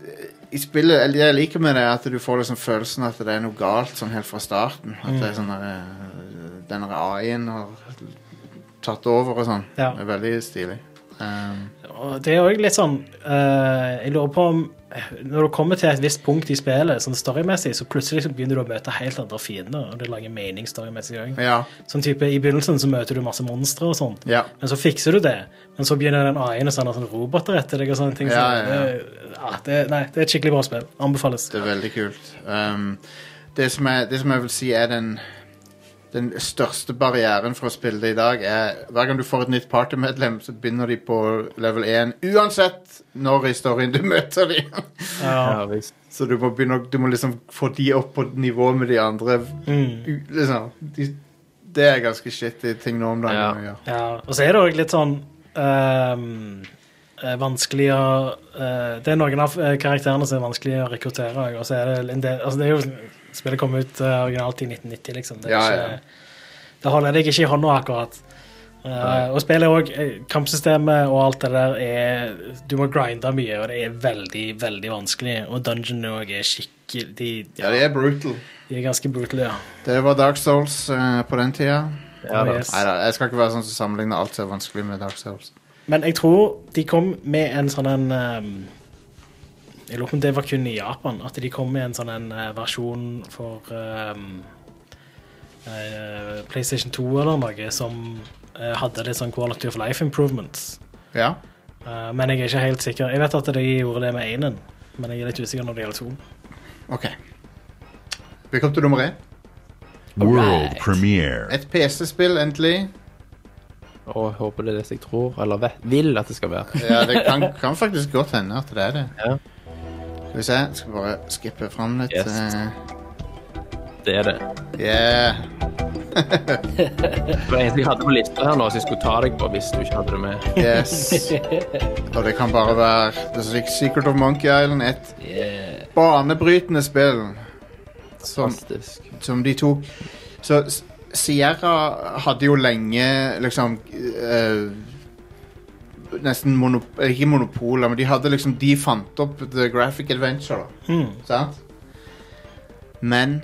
Speaker 1: i spillet, eller Det jeg liker med det, er at du får liksom følelsen at det er noe galt sånn helt fra starten. At det er sånn eh, den der AI-en har tatt over og sånn.
Speaker 2: Ja.
Speaker 1: Det er veldig stilig. Um,
Speaker 2: Og det er òg litt sånn eh, Jeg lurer på om Når du kommer til et visst punkt i spillet, sånn storymessig, så plutselig så begynner du å møte helt andre fiender, og det lager mening storymessig òg.
Speaker 1: ja.
Speaker 2: Sånn type, I begynnelsen så møter du masse monstre og sånn,
Speaker 1: ja.
Speaker 2: men så fikser du det. Men så begynner den AI-en å sende sånne roboter etter deg og sånne ting. Så
Speaker 1: Ja, ja, ja.
Speaker 2: Det, ja, det, nei, det er et skikkelig bra spill. Anbefales.
Speaker 1: Det er veldig kult. Um, det, som jeg, det som jeg vil si er den den største barrieren for å spille det i dag er hver gang du får et nytt partymedlem, så begynner de på level 1 uansett når i storyen du møter dem.
Speaker 2: Ja.
Speaker 3: Ja, visst.
Speaker 1: Så du må, begynne, å- du må liksom få de opp på nivå med de andre.
Speaker 2: Mm.
Speaker 1: U- Liksom, de, det er ganske shitty ting nå om dagen
Speaker 3: Ja.
Speaker 1: å gjøre.
Speaker 2: Ja, og så er det òg litt sånn ehm, eh, vanskelig å eh, Det er noen av eh, karakterene som er vanskelig å rekruttere. Og så er det en del altså det er jo, Spillet kom ut eh, originalt i 1990, liksom. Det, er
Speaker 1: Ja, ja.
Speaker 2: ikke, det holder deg ikke i hånda akkurat. Eh, og spillet er også, eh, Kampsystemet og alt det der er Du må grinde mye, og det er veldig, veldig vanskelig. Og dungeon òg er skikkelig de,
Speaker 1: Ja, det er brutal.
Speaker 2: de er ganske brutale, ja.
Speaker 1: Det var Dark Souls eh, på den tida.
Speaker 3: Ja, da.
Speaker 2: yes.
Speaker 1: Neida, jeg skal ikke være sånn som sammenligner alt som er vanskelig med Dark Souls.
Speaker 2: Men jeg tror de kom med en sånn en ehm, Jeg lurer på om det var kun i Japan, at de kom med en sånn en eh, versjon for ehm, eh, PlayStation 2 eller noe som eh, hadde litt sånn quality of life improvements.
Speaker 1: Ja.
Speaker 2: Eh, men jeg er ikke helt sikker. Jeg vet at de gjorde det med Einen, men jeg er litt usikker når det gjelder to.
Speaker 1: OK. Vi kom til nummer én.
Speaker 5: World
Speaker 3: Alright.
Speaker 5: premiere.
Speaker 1: Et PC-spill, endelig.
Speaker 3: Og jeg håper det er det jeg tror, eller vet, vil at det skal være.
Speaker 1: Ja, det kan, kan faktisk godt hende at det er det.
Speaker 3: Ja.
Speaker 1: Skal vi se, skal bare skippe fram litt.
Speaker 3: Yes.
Speaker 1: eh,
Speaker 3: Det er det.
Speaker 1: yeah.
Speaker 3: Det var eneste jeg hadde på lista her nå, så jeg skulle ta deg på hvis du ikke hadde det med.
Speaker 1: Yes. Og det kan bare være The Sec- Secret of Monkey Island. Et
Speaker 4: Yeah.
Speaker 1: banebrytende spill som,
Speaker 3: Fantastisk.
Speaker 1: som de tok. Så S- Sierra hadde jo lenge liksom eh, Nesten monop ikke monopoler, men de hadde liksom De
Speaker 2: Hmm,
Speaker 1: fant opp The Graphic Adventure. da. Sant? Men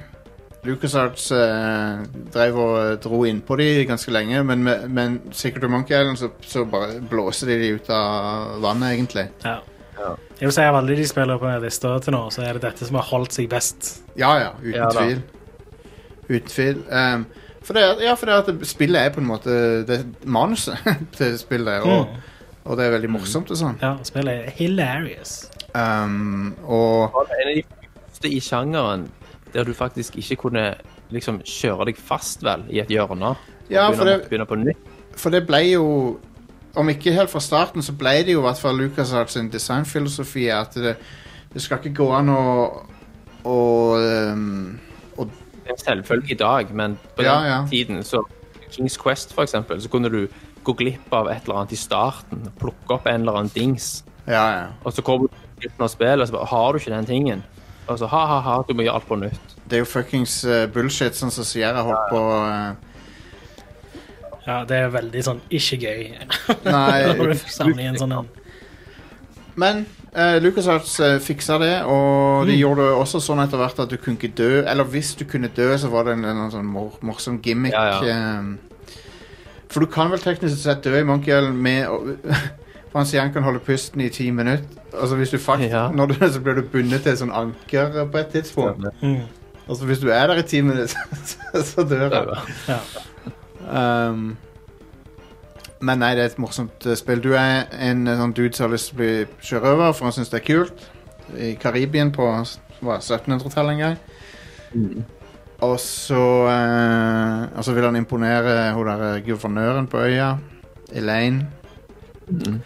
Speaker 1: LucasArts eh, drev og eh, dro innpå de ganske lenge, men, med- men Secret of Monkey Island så, så bare blåser de de ut av vannet, egentlig.
Speaker 2: Ja.
Speaker 3: Ja.
Speaker 2: Jeg vil si av alle de spiller på denne lista til nå, så er det dette som har holdt seg best.
Speaker 1: Ja, ja, uten
Speaker 3: Ja da.
Speaker 1: tvil. Uten tvil. Ehm, for det, er- ja, for det er at det- spillet er på en måte det er manuset til spillet, og,
Speaker 2: Mm.
Speaker 1: og det er veldig morsomt og sånn.
Speaker 2: Ja, spillet er hilarious.
Speaker 1: Ehm, og
Speaker 3: var det en av de første i sjangeren der du faktisk ikke kunne liksom kjøre deg fast vel i et hjørne.
Speaker 1: Ja,
Speaker 3: Begynne-
Speaker 1: for det-
Speaker 3: Begynne på nytt.
Speaker 1: For det ble jo Om ikke helt fra starten, så ble det jo i hvert fall Lucas Arts sin designfilosofi at det, det skal ikke gå an å å ehm,
Speaker 3: Det er en selvfølge i dag, men på
Speaker 1: Ja,
Speaker 3: den
Speaker 1: ja.
Speaker 3: tiden så Kings Quest for eksempel, så kunne du gå glipp av et eller annet i starten, plukke opp en eller annen dings,
Speaker 1: Ja, ja.
Speaker 3: og så kommer du til slutten av spillet, og så bare, har du ikke den tingen? Og så, ha, ha, ha, du må gjøre alt på nytt.
Speaker 1: Det er jo fuckings eh, bullshit, sånn som Sierra holdt på eh,
Speaker 2: Ja, det er veldig sånn ikke gøy. Når
Speaker 1: Nei.
Speaker 2: du samler i en sånn en
Speaker 1: Men uh, Lucas Arts fiksa det, og de gjorde det også sånn etter hvert at du kunne ikke dø. Eller hvis du kunne dø, så var det en, en sånn mor morsom gimmick.
Speaker 3: Ja,
Speaker 1: ehm. for du kan vel teknisk sett dø i Monkey Island med å- For han sier han kan holde pusten i ti minutter. Altså hvis du fakt,
Speaker 3: Ja.
Speaker 1: når du, Så blir du bundet til et sånn anker på et tidspunkt.
Speaker 2: Mm.
Speaker 1: Altså hvis du er der i ti minutter, så, så dør han.
Speaker 2: Ja.
Speaker 1: Ehm, men nei, det er et morsomt eh, spill. Du er en eh, sånn dude som har lyst til å bli sjørøver, for han syns det er kult. I Karibien på hva, 1700-tallet en gang.
Speaker 3: Mm,
Speaker 1: Og så eh, Og så vil han imponere hun der eh, guvernøren på øya, Elaine.
Speaker 3: Mm.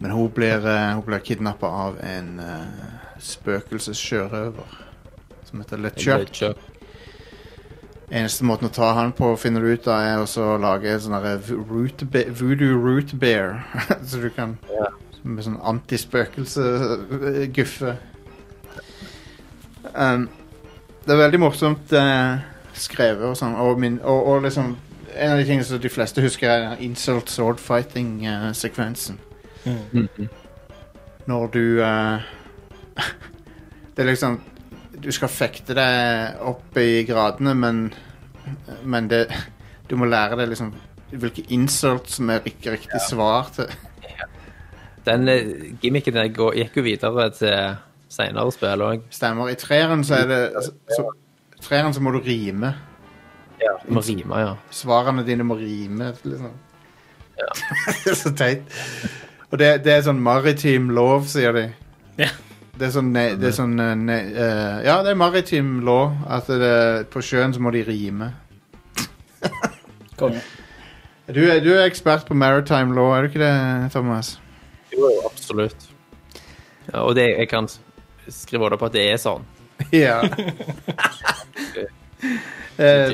Speaker 1: Men hun blir, eh, hun blir kidnappa av en uh, spøkelsessjørøver som heter LeChuck.
Speaker 3: Kjøp.
Speaker 1: Eneste måten å ta han på, finner du ut av, er også å lage en sånn derre root be- voodoo root bear. så du kan
Speaker 3: Ja.
Speaker 1: Med sånn antispøkelse-guffe. Um, det er veldig morsomt eh, skrevet og sånn, og, min, og, og liksom En av de tingene som de fleste husker, er den insult sword eh, fighting-sekvensen.
Speaker 2: Mm.
Speaker 1: Når du eh, Det er liksom Du skal fekte deg opp i gradene, men men det, du må lære deg liksom hvilke insults som er riktig, riktig svar til.
Speaker 3: Den eh, gimmicken der går, gikk jo videre til senere spill òg.
Speaker 1: Stemmer. I treeren så er det så, Treeren så må du rime.
Speaker 3: Ja. Må rime, ja.
Speaker 1: Svarene dine må rime, liksom. det er så teit. Og det, det er sånn maritim lov, sier de.
Speaker 2: Ja.
Speaker 1: Det er sånn, ne, det er sånn eh, ne, eh, Ja, det er maritim lov. At det, på sjøen så må de rime.
Speaker 4: Eh, Konge.
Speaker 1: Du er, du er ekspert på maritime law, er du ikke det, Thomas?
Speaker 3: Jo, jo, absolutt. Ja, og det, jeg kan s- skrive under på at det er sånn.
Speaker 1: Ja. Eh,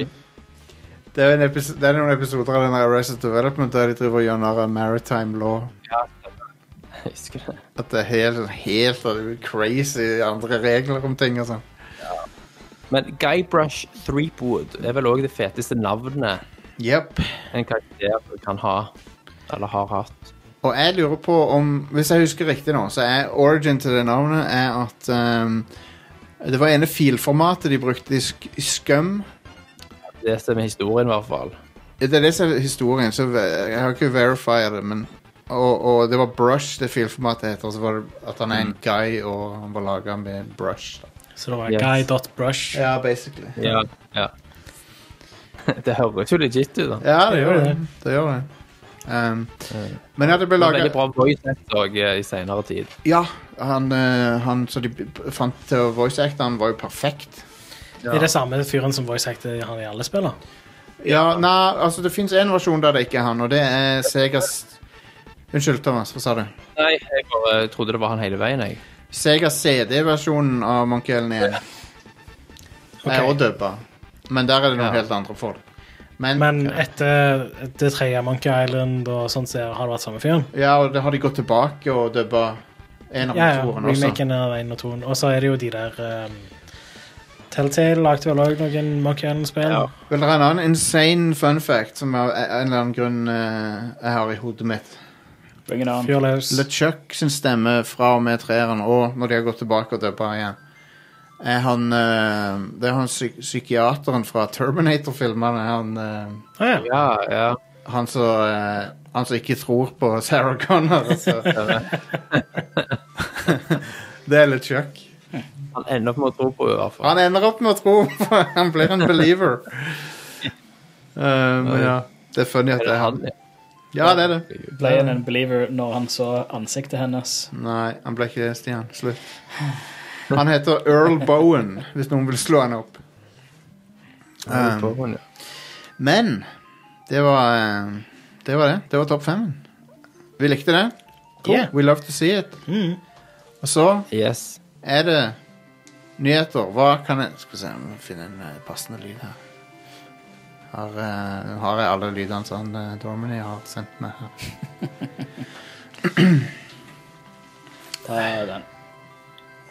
Speaker 1: det, er en episo- det er noen episoder av den der Arrested Development der de driver og gjør narr av maritime law.
Speaker 3: Jeg husker det.
Speaker 1: At det er helt, helt crazy andre regler om ting og sånn.
Speaker 3: Men Guybrush Threepwood er vel òg det feteste navnet
Speaker 1: Jepp.
Speaker 3: en karakter kan ha. Eller har hatt.
Speaker 1: Og jeg lurer på om Hvis jeg husker riktig nå, så er origin til det navnet er at ehm, Det var ene filformatet de brukte i sk Scum.
Speaker 3: Det som er historien, i hvert fall.
Speaker 1: Det er det som er historien, så ve- jeg har ikke verified det, men og, og det var Brush det filformatet heter, og så var det at han er en guy, og han var laga med brush. da.
Speaker 2: Så det var
Speaker 3: Yes.
Speaker 2: guy.brush.
Speaker 1: Ja, basically.
Speaker 3: Ja. ja. Det høres jo legit ut, da.
Speaker 1: Ja, det gjør det. Det gjør det. Um, men ja, det ble
Speaker 3: Det var veldig
Speaker 1: laga
Speaker 3: bra voice òg i senere tid.
Speaker 1: Ja, han, eh, han som de b- b- fant til å voice acte, han var jo perfekt.
Speaker 2: Det er det samme fyren som voice acted han i alle spiller.
Speaker 1: Ja, nei, altså det fins én versjon der det ikke er han, og det er Segas Unnskyld, Thomas, hva sa du?
Speaker 3: Nei, jeg bare trodde det var han hele veien, jeg.
Speaker 1: Sega CD-versjonen av Monkey Island 1 er
Speaker 2: Ok.
Speaker 1: også dubba. Men der er det noen
Speaker 3: Ja.
Speaker 1: helt andre folk. Men,
Speaker 2: Men etter det tredje Monkey Island og sånt, så har det vært samme fyren.
Speaker 1: Ja, og det har de gått tilbake og dubba en av
Speaker 2: Ja, ja.
Speaker 1: motorene også.
Speaker 2: Remaken av 1 og 2. Og så er det jo de der um, Telltale lagde vel òg noen Monkey Island-spill.
Speaker 3: Ja.
Speaker 1: Vil dere ha en annen insane fun fact som av en eller annen grunn eh, jeg har i hodet mitt?
Speaker 4: Bring it on.
Speaker 2: Fyr løs.
Speaker 1: LeChuck sin stemme fra og med treeren, og når de har gått tilbake og dubba igjen, Er han eh, Det er han psy psykiateren fra Terminator-filmene. Han, eh,
Speaker 2: Ah, ja.
Speaker 3: Ja, ja.
Speaker 1: han som eh, Han som ikke tror på Sarah Connor. Altså. det er litt kjøkk.
Speaker 3: Han ender opp med å tro på henne, i hvert fall.
Speaker 1: Han ender opp med å tro, for han blir en believer. Eh, men ja, det er funny at
Speaker 3: Er
Speaker 1: det
Speaker 3: det
Speaker 1: er han.
Speaker 3: han? ja?
Speaker 1: Ja, det er det.
Speaker 4: Ble han en believer når han så ansiktet hennes?
Speaker 1: Nei, han ble ikke det, Stian. Slutt. Han heter Earl Bowen, hvis noen vil slå han opp. Um,
Speaker 3: Han tror på henne, ja.
Speaker 1: Men det var eh, Det var det. Det var topp fem. Vi likte det.
Speaker 2: Yeah.
Speaker 1: We love to see it. Og så
Speaker 3: Yes.
Speaker 1: er det nyheter. Hva kan jeg Skal vi se om jeg finner en eh, passende lyd her. Har, eh, nå har jeg alle lydene som uh, Dormany har sendt meg her.
Speaker 4: Da er den.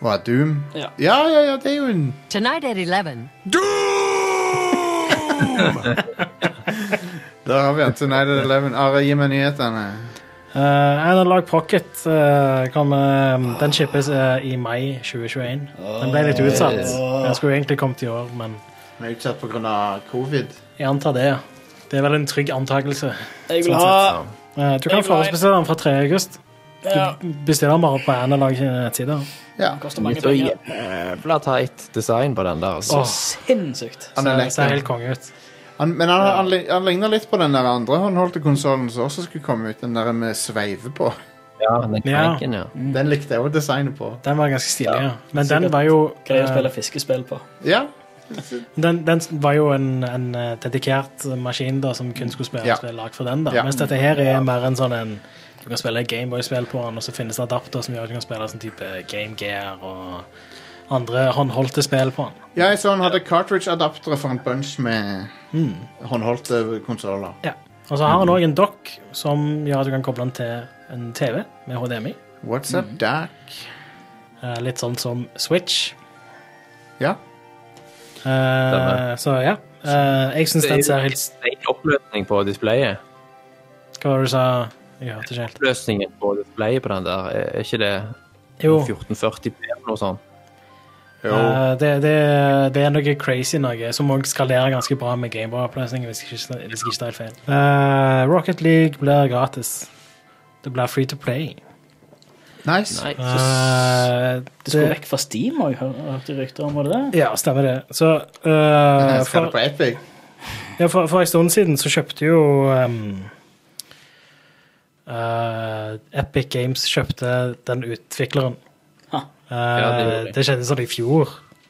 Speaker 1: Hva, Doom?
Speaker 4: Ja.
Speaker 1: ja, ja, ja, det er jo en
Speaker 6: Tonight at 11.
Speaker 1: Der har vi den. Tonight at 11. Are, gi meg nyhetene.
Speaker 2: Eh, Analog Pocket eh, kom, eh, Den shippes eh, i mai 2021. Den ble litt utsatt. Den skulle egentlig kommet i år, men
Speaker 1: Vi er utsatt pga. covid.
Speaker 2: jeg antar det. ja. Det er vel en trygg antakelse. Sånn
Speaker 4: Jeg vil ha
Speaker 2: Eh, du kan
Speaker 4: Jeg er glad i-
Speaker 2: forhåndsbestille den fra 3. august.
Speaker 4: ja.
Speaker 2: Du bestiller den bare på analog sine nettsider.
Speaker 1: Ja.
Speaker 4: Koster mange
Speaker 3: Så
Speaker 4: penger.
Speaker 3: jævla teit design på den der. Altså.
Speaker 2: Åh,
Speaker 4: Sinnssykt.
Speaker 1: Han er
Speaker 2: det ser
Speaker 1: lekker.
Speaker 2: helt konge ut.
Speaker 1: Han, men han, han, li- han ligner litt på den der andre håndholdte konsollen som også skulle komme ut. Den der med sveive på.
Speaker 3: Ja, den krenken, ja.
Speaker 1: Mm. Den likte jeg òg designet på.
Speaker 2: Den var ganske stilig, ja. Men den
Speaker 4: sikkert
Speaker 2: var jo
Speaker 4: Greier å
Speaker 2: eh,
Speaker 4: spille fiskespill på.
Speaker 1: Ja.
Speaker 2: Den, den var jo en, en eh, dedikert maskin da, som kun skulle spille
Speaker 1: Ja.
Speaker 2: spill lag for den. da.
Speaker 1: Ja.
Speaker 2: Mens dette her er mer en sånn en Du kan spille Gameboy-spill på den, og så finnes det adapter som gjør at du kan spille sånn type Game Gear og andre håndholdte spill på den.
Speaker 1: ja, jeg så han hadde cartridge-adaptere for en bunch med håndholdte konsoller.
Speaker 2: Ja. Og så har han òg en dock som gjør at du kan koble den til en TV med HDMI.
Speaker 1: What's up,
Speaker 2: Mm.
Speaker 1: Dak?
Speaker 2: Eh, Litt sånn som Switch.
Speaker 1: Ja.
Speaker 2: Eh, så ja. Eh, jeg syns
Speaker 3: Det er
Speaker 2: den
Speaker 3: jo
Speaker 2: ser
Speaker 3: helt
Speaker 2: helt
Speaker 3: steik oppløsning på displayet.
Speaker 2: Hva var det du sa? Jeg hørte ikke helt.
Speaker 3: Oppløsningen på displayet på den der, er er ikke det
Speaker 2: Jo.
Speaker 3: 1440p eller noe sånt?
Speaker 1: Jo.
Speaker 2: Eh, det, det, det er noe crazy noe, som òg skalerer ganske bra med Gameboy-oppløsning. Hvis jeg ikke hvis jeg ikke tar helt feil. Eh, Rocket League blir gratis. Det blir free to play.
Speaker 1: Nice.
Speaker 3: Nei, så
Speaker 2: Eh,
Speaker 4: Det skulle
Speaker 2: det-
Speaker 4: vekk fra Steam òg, hørte rykter om. var det det?
Speaker 2: Ja, stemmer det. Så eh,
Speaker 1: Jeg skal det
Speaker 2: for,
Speaker 1: på Epic.
Speaker 2: ja, for, for en stund siden så kjøpte jo ehm, eh, Epic Games kjøpte den utvikleren.
Speaker 4: Ha.
Speaker 2: Eh,
Speaker 3: det gjorde
Speaker 2: det,
Speaker 3: de.
Speaker 2: skjedde sånn i fjor.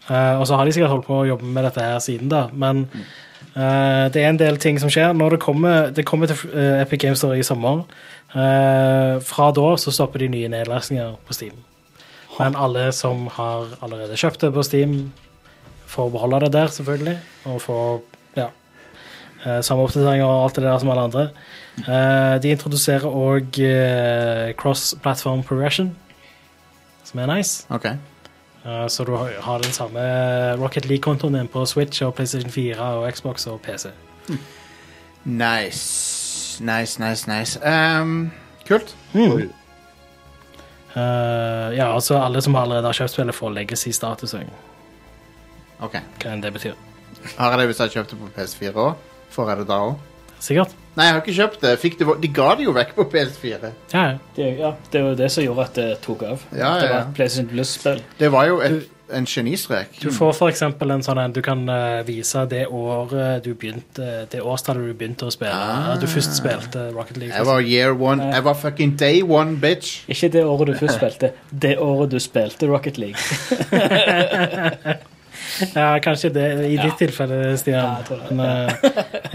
Speaker 2: Eh, og så har de sikkert holdt på å jobbe med dette her siden da, men eh, det er en del ting som skjer. Når det kommer, det kommer til eh, Epic Games Store i sommer, eh, fra da så stopper de nye nedlastninger på Steam. Men alle som har allerede kjøpt det på Steam, får beholde det der, selvfølgelig. Og får ja, eh, samme oppdateringer og alt det der som alle andre. Eh, de introduserer òg cross-platform progression, som er nice.
Speaker 1: OK.
Speaker 2: Eh, Så du har- har den samme Rocket League-kontoen din på Switch og PlayStation 4 og Xbox og PC.
Speaker 1: Nice. Nice, nice, nice. Ehm, kult.
Speaker 2: Eh, ja, altså alle som allerede har kjøpt spillet, får legacy-status òg,
Speaker 1: OK.
Speaker 2: hva enn det betyr.
Speaker 1: Har jeg det hvis jeg kjøpte på PS4 òg? Får jeg det da òg?
Speaker 2: Sikkert.
Speaker 1: Nei, jeg har ikke kjøpt det. Jeg Fikk det. De ga det jo vekk på PS4.
Speaker 2: Ja, ja.
Speaker 4: Det, ja, det var jo det som gjorde at det tok av.
Speaker 1: Ja,
Speaker 4: Det
Speaker 1: ja,
Speaker 4: var
Speaker 1: ja.
Speaker 4: et PlayStation Plus-spill.
Speaker 1: Det var jo et, en genistrek.
Speaker 2: Du får for eksempel en sånn en du kan eh, vise det året du begynte Det årstallet du begynte å spille.
Speaker 1: Ah.
Speaker 2: Du først spilte Rocket League.
Speaker 1: Jeg var year one. Jeg var fucking day one, bitch.
Speaker 4: Ikke det året du først spilte, det året du spilte Rocket League.
Speaker 2: Ja, kanskje det i ditt tilfelle, Stian.
Speaker 4: Ja, jeg tror det.
Speaker 2: Men eh,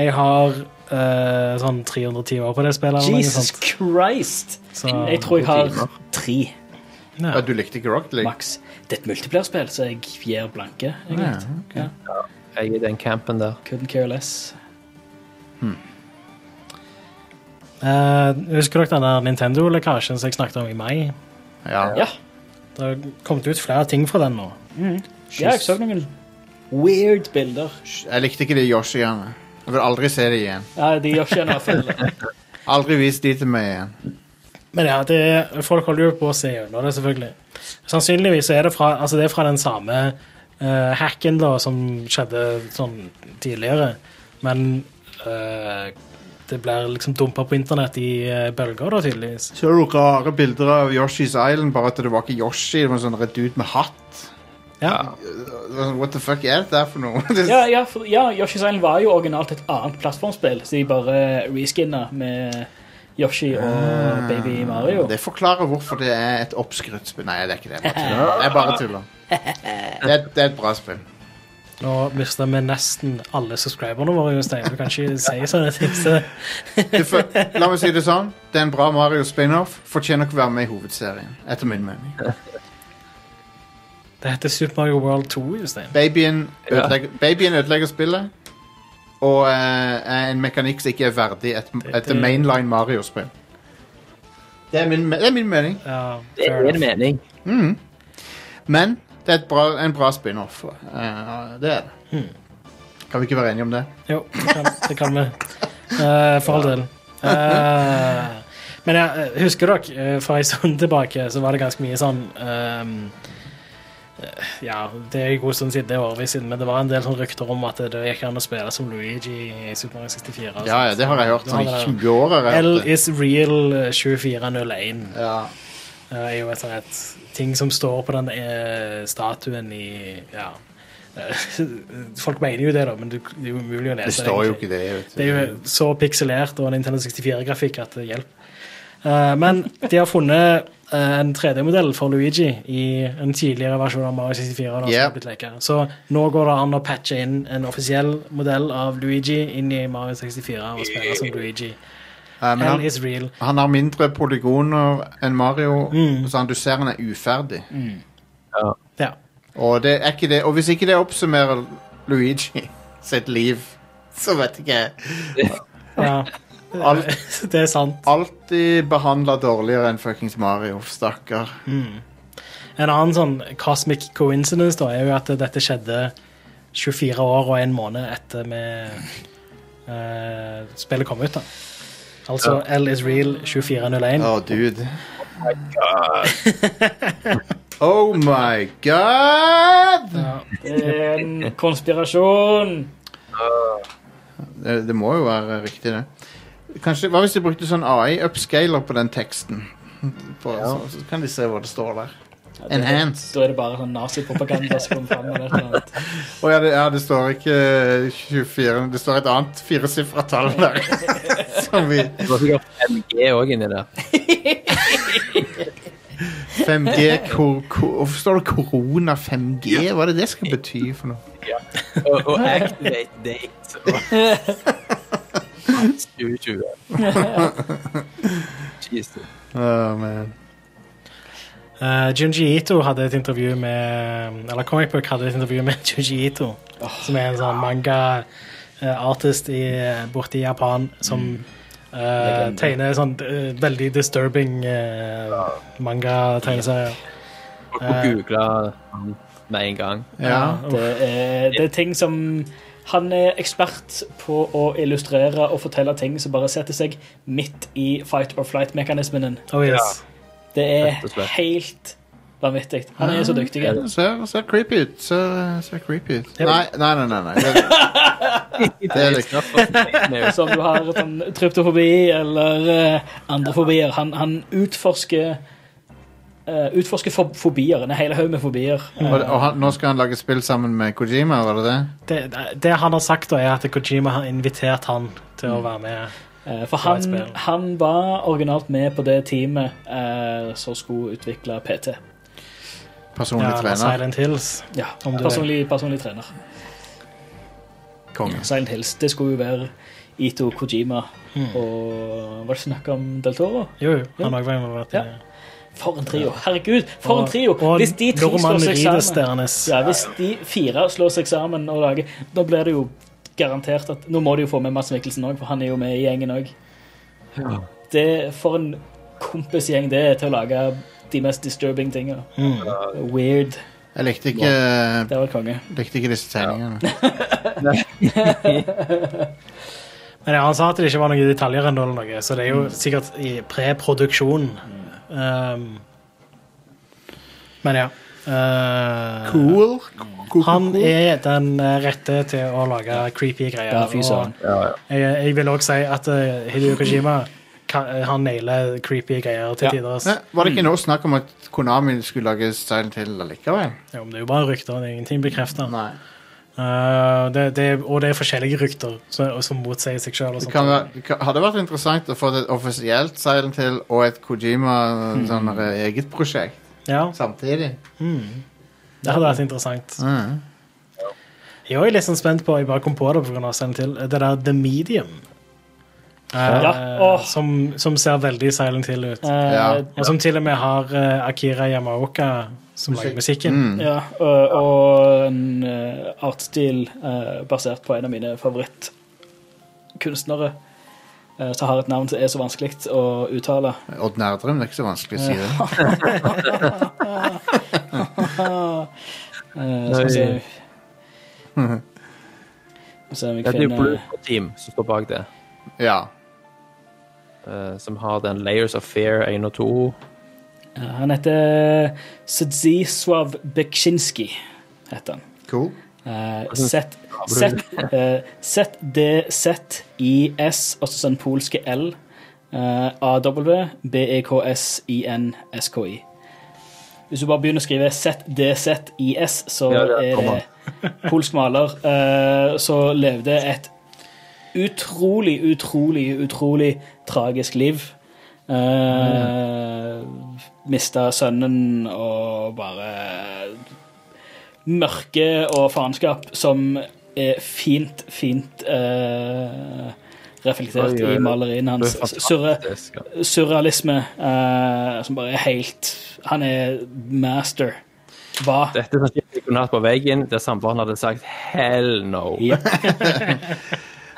Speaker 2: jeg har eh, sånn 300 timer på det spillet. eller noe
Speaker 4: Jesus
Speaker 2: sånt.
Speaker 4: Christ!
Speaker 2: Så-
Speaker 4: Jeg tror jeg har tre,
Speaker 2: Ja.
Speaker 1: Ja, du likte ikke Rocket League?
Speaker 4: maks. Det er et multiplierspill, så jeg gir blanke.
Speaker 1: Ja,
Speaker 4: egentlig. Ja.
Speaker 3: jeg er i den campen der.
Speaker 4: Couldn't care less.
Speaker 2: Eh, husker dere den der Nintendo-lekkasjen som jeg snakket om i mai?
Speaker 1: Ja.
Speaker 4: Ja,
Speaker 2: Det har kommet ut flere ting fra den nå.
Speaker 4: ja jeg så noen weird bilder.
Speaker 1: Jeg likte ikke de Yoshiene. Jeg vil aldri se de igjen.
Speaker 4: Ja, de gjør ikke noe feil.
Speaker 1: Aldri vis de til meg igjen.
Speaker 2: Men ja, det, folk holder jo på å se gjennom det, selvfølgelig. Sannsynligvis så er det fra, altså det er fra den samme eh, hacken da, som skjedde sånn tidligere. Men eh, det blir liksom dumpa på internett i eh, bølger, da, tydeligvis.
Speaker 1: Så noen rare bilder av Yoshi's Island, bare at det var ikke Yoshi, det var en sånn redd ut med hatt.
Speaker 2: Ja.
Speaker 1: Det var sånn, What the fuck er det der for noe? Det-
Speaker 4: Ja, ja, for, ja, Yoshi's Island var jo originalt et annet plattformspill, så de bare reskinna med Yoshi og
Speaker 3: Ah.
Speaker 4: baby Mario.
Speaker 1: Det forklarer hvorfor det er et oppskrytt spill. Nei, det er ikke det. Jeg bare tuller. Jeg bare tuller. Det, er, det er et bra spill.
Speaker 2: Nå mister vi nesten alle subscriberne våre, Jostein. Du kan ikke si sånne ting. Så.
Speaker 1: Det fø- La meg si det sånn. Det er en bra Mario spin-off. Fortjener ikke å være med i hovedserien, etter min mening.
Speaker 2: Det heter Super Mario World 2, Jostein.
Speaker 1: Babyen ødelegger, babyen ødelegger spillet. Og eh, er en mekanikk som ikke er verdig et, et
Speaker 2: det-
Speaker 1: mainline Mario-spill. Det, er min me- det er min mening.
Speaker 2: Ja,
Speaker 3: Det
Speaker 2: fair
Speaker 3: er en
Speaker 2: enough.
Speaker 3: mening.
Speaker 1: Men det er et bra, en bra spin-off. Eh, det er det.
Speaker 2: Hmm.
Speaker 1: Kan vi ikke være enige om det?
Speaker 2: Jo, det kan, det kan vi. Eh, for all del. Eh, men jeg husker dere, eh, for en stund tilbake, så var det ganske mye sånn ehm, eh, Ja, det er en god stund siden, det er årevis siden, men det var en del sånn rykter om at det gikk an å spille som Luigi i Super Mario 64.
Speaker 1: Ja,
Speaker 2: og
Speaker 1: ja,
Speaker 2: sånt.
Speaker 1: det har jeg hørt
Speaker 2: Du
Speaker 1: sånn i
Speaker 2: det.
Speaker 1: 20 år. har jeg
Speaker 2: L
Speaker 1: hørt det.
Speaker 2: is real eh, 2401
Speaker 1: Ja.
Speaker 2: eh, er jo et sånt et ting som står på den eh, statuen i Ja. Eh, Folk mener jo det, da, men du- det er jo umulig å lese
Speaker 1: Det står jo
Speaker 2: egentlig.
Speaker 1: ikke det. Vet
Speaker 2: Altså, Det er jo så pikselert og Nintendo 64-grafikk at det hjelper. Eh, men de har funnet eh, en 3D-modell for Luigi i en tidligere versjon av Mario 64. og den som
Speaker 1: Yep.
Speaker 2: har blitt leket. Så nå går det an å patche inn en offisiell modell av Luigi inn i Mario 64 og spille som Luigi.
Speaker 1: Eh, men
Speaker 2: Hell
Speaker 1: han,
Speaker 2: is real.
Speaker 1: han har mindre polygoner enn Mario,
Speaker 2: Mm.
Speaker 1: så han, du ser han er uferdig.
Speaker 2: Ja.
Speaker 1: Og, det er ikke det. og hvis ikke det oppsummerer Luigi sitt liv, så vet ikke jeg.
Speaker 2: ja.
Speaker 1: Alt,
Speaker 2: Det er sant.
Speaker 1: alltid behandla dårligere enn fuckings Mario, stakkar.
Speaker 2: Mm. En annen sånn cosmic coincidence da, er jo at dette skjedde 24 år og en måned etter vi eh, spillet kom ut. da. Altså L is real 2401.
Speaker 1: Å, dude. Oh my god!
Speaker 4: Det er en konspirasjon.
Speaker 1: Eh, Det, det må jo være riktig, det. Kanskje, hva hvis de brukte sånn AI-upscaler på den teksten? På, så, så kan de se hva det står der.
Speaker 4: Ja, det-
Speaker 1: Enhance.
Speaker 4: Da er det bare sånn nazipropaganda som kommer fram. eller et eller annet.
Speaker 1: Å ja, det, ja, det står ikke 24 Det står et annet firesifra tall der. Som vi
Speaker 3: Det var sikkert MG òg inni der.
Speaker 1: 5G kor, kor, Hvorfor står det korona 5G? Hva er det det skal bety for noe?
Speaker 3: Og, og activate date. og- 2020. Jesus.
Speaker 1: Å, man.
Speaker 2: Eh, Junji Ito hadde et intervju med Eller Comic Book hadde et intervju med Junji Ito,
Speaker 4: Ah.
Speaker 2: som er en sånn manga-artist borte i Japan som eh,
Speaker 4: Mm. Legende.
Speaker 2: tegner sånn eh, veldig disturbing eh, manga-tegneserier.
Speaker 3: Folk
Speaker 4: Eh,
Speaker 3: må google han med en gang.
Speaker 1: Ja.
Speaker 4: Det er, det er ting som Han er ekspert på å illustrere og fortelle ting som bare setter seg midt i fight or flight-mekanismen.
Speaker 2: Oh, yes.
Speaker 4: Det
Speaker 3: Rett og
Speaker 4: er
Speaker 3: slett.
Speaker 4: helt vanvittig. Han er så dyktig.
Speaker 1: Det Ser, ser creepy ut. eh, Ser, ser creepy ut.
Speaker 2: Ja.
Speaker 1: Nei, nei, nei. nei, nei. Det, det er liksom
Speaker 3: Med
Speaker 4: Så om du har sånn tryptofobi eller eh, andre fobier Han, han utforsker eh, Utforsker fo- fobier. En hel haug med fobier.
Speaker 1: Og, og han, nå skal han lage spill sammen med Kojima, var det det?
Speaker 2: det, det han har sagt, da, er at Kojima har invitert han til
Speaker 4: Mm.
Speaker 2: å være med.
Speaker 4: Eh, For
Speaker 2: et
Speaker 4: han,
Speaker 2: spill.
Speaker 4: han var originalt med på det teamet eh, som skulle utvikle PT.
Speaker 1: Personlig
Speaker 2: Ja, med
Speaker 1: trener.
Speaker 2: Silent Hills.
Speaker 4: Ja,
Speaker 2: Om du-
Speaker 4: personlig, personlig trener.
Speaker 1: Konge.
Speaker 4: Silent Hills. Det skulle jo være Ito Kojima
Speaker 2: Hmm.
Speaker 4: og Var det snakk om Del Toro?
Speaker 2: Jo, jo, han òg var involvert i
Speaker 4: Ja.
Speaker 2: det.
Speaker 4: For en trio! Herregud, for en trio!
Speaker 2: Og- og
Speaker 4: Hvis de tre
Speaker 2: Norman
Speaker 4: slår seg
Speaker 2: Reedus
Speaker 4: sammen
Speaker 2: deres.
Speaker 4: Ja, hvis de fire slår seg sammen og lager Da blir det jo garantert at Nå må de jo få med Mads Mikkelsen òg, for han er jo med i gjengen òg. Det For en kompisgjeng det er til å lage de mest disturbing tinga.
Speaker 2: Mm.
Speaker 4: Weird.
Speaker 1: Jeg likte ikke,
Speaker 4: Det var konge.
Speaker 1: likte ikke disse tegningene.
Speaker 2: Men ja, han sa at det ikke var noen detaljer ennå, eller noe, så det er jo
Speaker 1: Mm.
Speaker 2: sikkert i preproduksjon. Um, men ja. Eh,
Speaker 1: Cool.
Speaker 2: Han er den eh, rette til å lage creepy greier.
Speaker 4: Ja, fy søren.
Speaker 2: og Jeg, jeg vil også si at eh, Hideo Kojima kan, han nailer creepy greier til
Speaker 4: Ja.
Speaker 2: tider. ass.
Speaker 1: Ja, var det ikke noe snakk om at Konami skulle lage Silent Hill allikevel?
Speaker 2: Jo, men det er jo bare rykter. Det er ingenting bekrefta.
Speaker 1: Nei.
Speaker 2: det, det, og det er forskjellige rykter så, og som motsier seg sjøl.
Speaker 1: Det kan være, det kan- hadde vært interessant å få et offisielt Silent Hill og et Kojima sånn der, eget prosjekt
Speaker 2: Ja,
Speaker 1: samtidig.
Speaker 2: det hadde vært interessant.
Speaker 1: Mm.
Speaker 2: Jeg er også litt sånn spent på, jeg bare kom på det på grunn av Silent Hill, det der The Medium. Eh,
Speaker 4: Ja, åh.
Speaker 2: som, som ser veldig Silent Hill ut.
Speaker 4: Eh,
Speaker 1: Ja.
Speaker 2: Og som til og med har eh, Akira Yamaoka som lager musikken.
Speaker 1: Mm.
Speaker 4: Ja, og, og en eh, artstil eh, basert på en av mine favorittkunstnere. eh, Som har et navn som er så vanskelig å uttale.
Speaker 1: Odd Nerdrum, det er ikke så vanskelig å si det.
Speaker 4: Eh, Skal vi se
Speaker 3: Nei.
Speaker 4: Skal vi se om
Speaker 3: Ja,
Speaker 4: jeg
Speaker 3: det er jo
Speaker 4: finner
Speaker 3: Blue Team som står bak det,
Speaker 1: Ja.
Speaker 3: eh, som har den Layers of Fear 1 og 2.
Speaker 4: Ja, Han heter Sedzisław Bekshinski. Heter han.
Speaker 1: Cool.
Speaker 4: Eh, Zet- Zet- eh, Z-D-Z-I-S, altså sånn polske L. eh, E, A-W-B-E-K-S-I-N-S-K-I. Hvis du bare begynner å skrive Z-D-Z-I-S, så
Speaker 3: Ja, det er
Speaker 4: er
Speaker 3: komma.
Speaker 4: det polsk maler eh, som levde et utrolig, utrolig, utrolig tragisk liv. Uh, Mista sønnen og bare mørke og faenskap som er fint, fint eh, reflektert
Speaker 3: Oi, oi, oi.
Speaker 4: i maleriene
Speaker 3: Det
Speaker 4: hans.
Speaker 3: er fantastisk,
Speaker 4: Surre,
Speaker 3: ja.
Speaker 4: surrealisme eh, som bare er helt Han er master. Hva?
Speaker 3: Dette er sånn shit jeg kunne hatt på veggen der samboeren hadde sagt 'hell no'.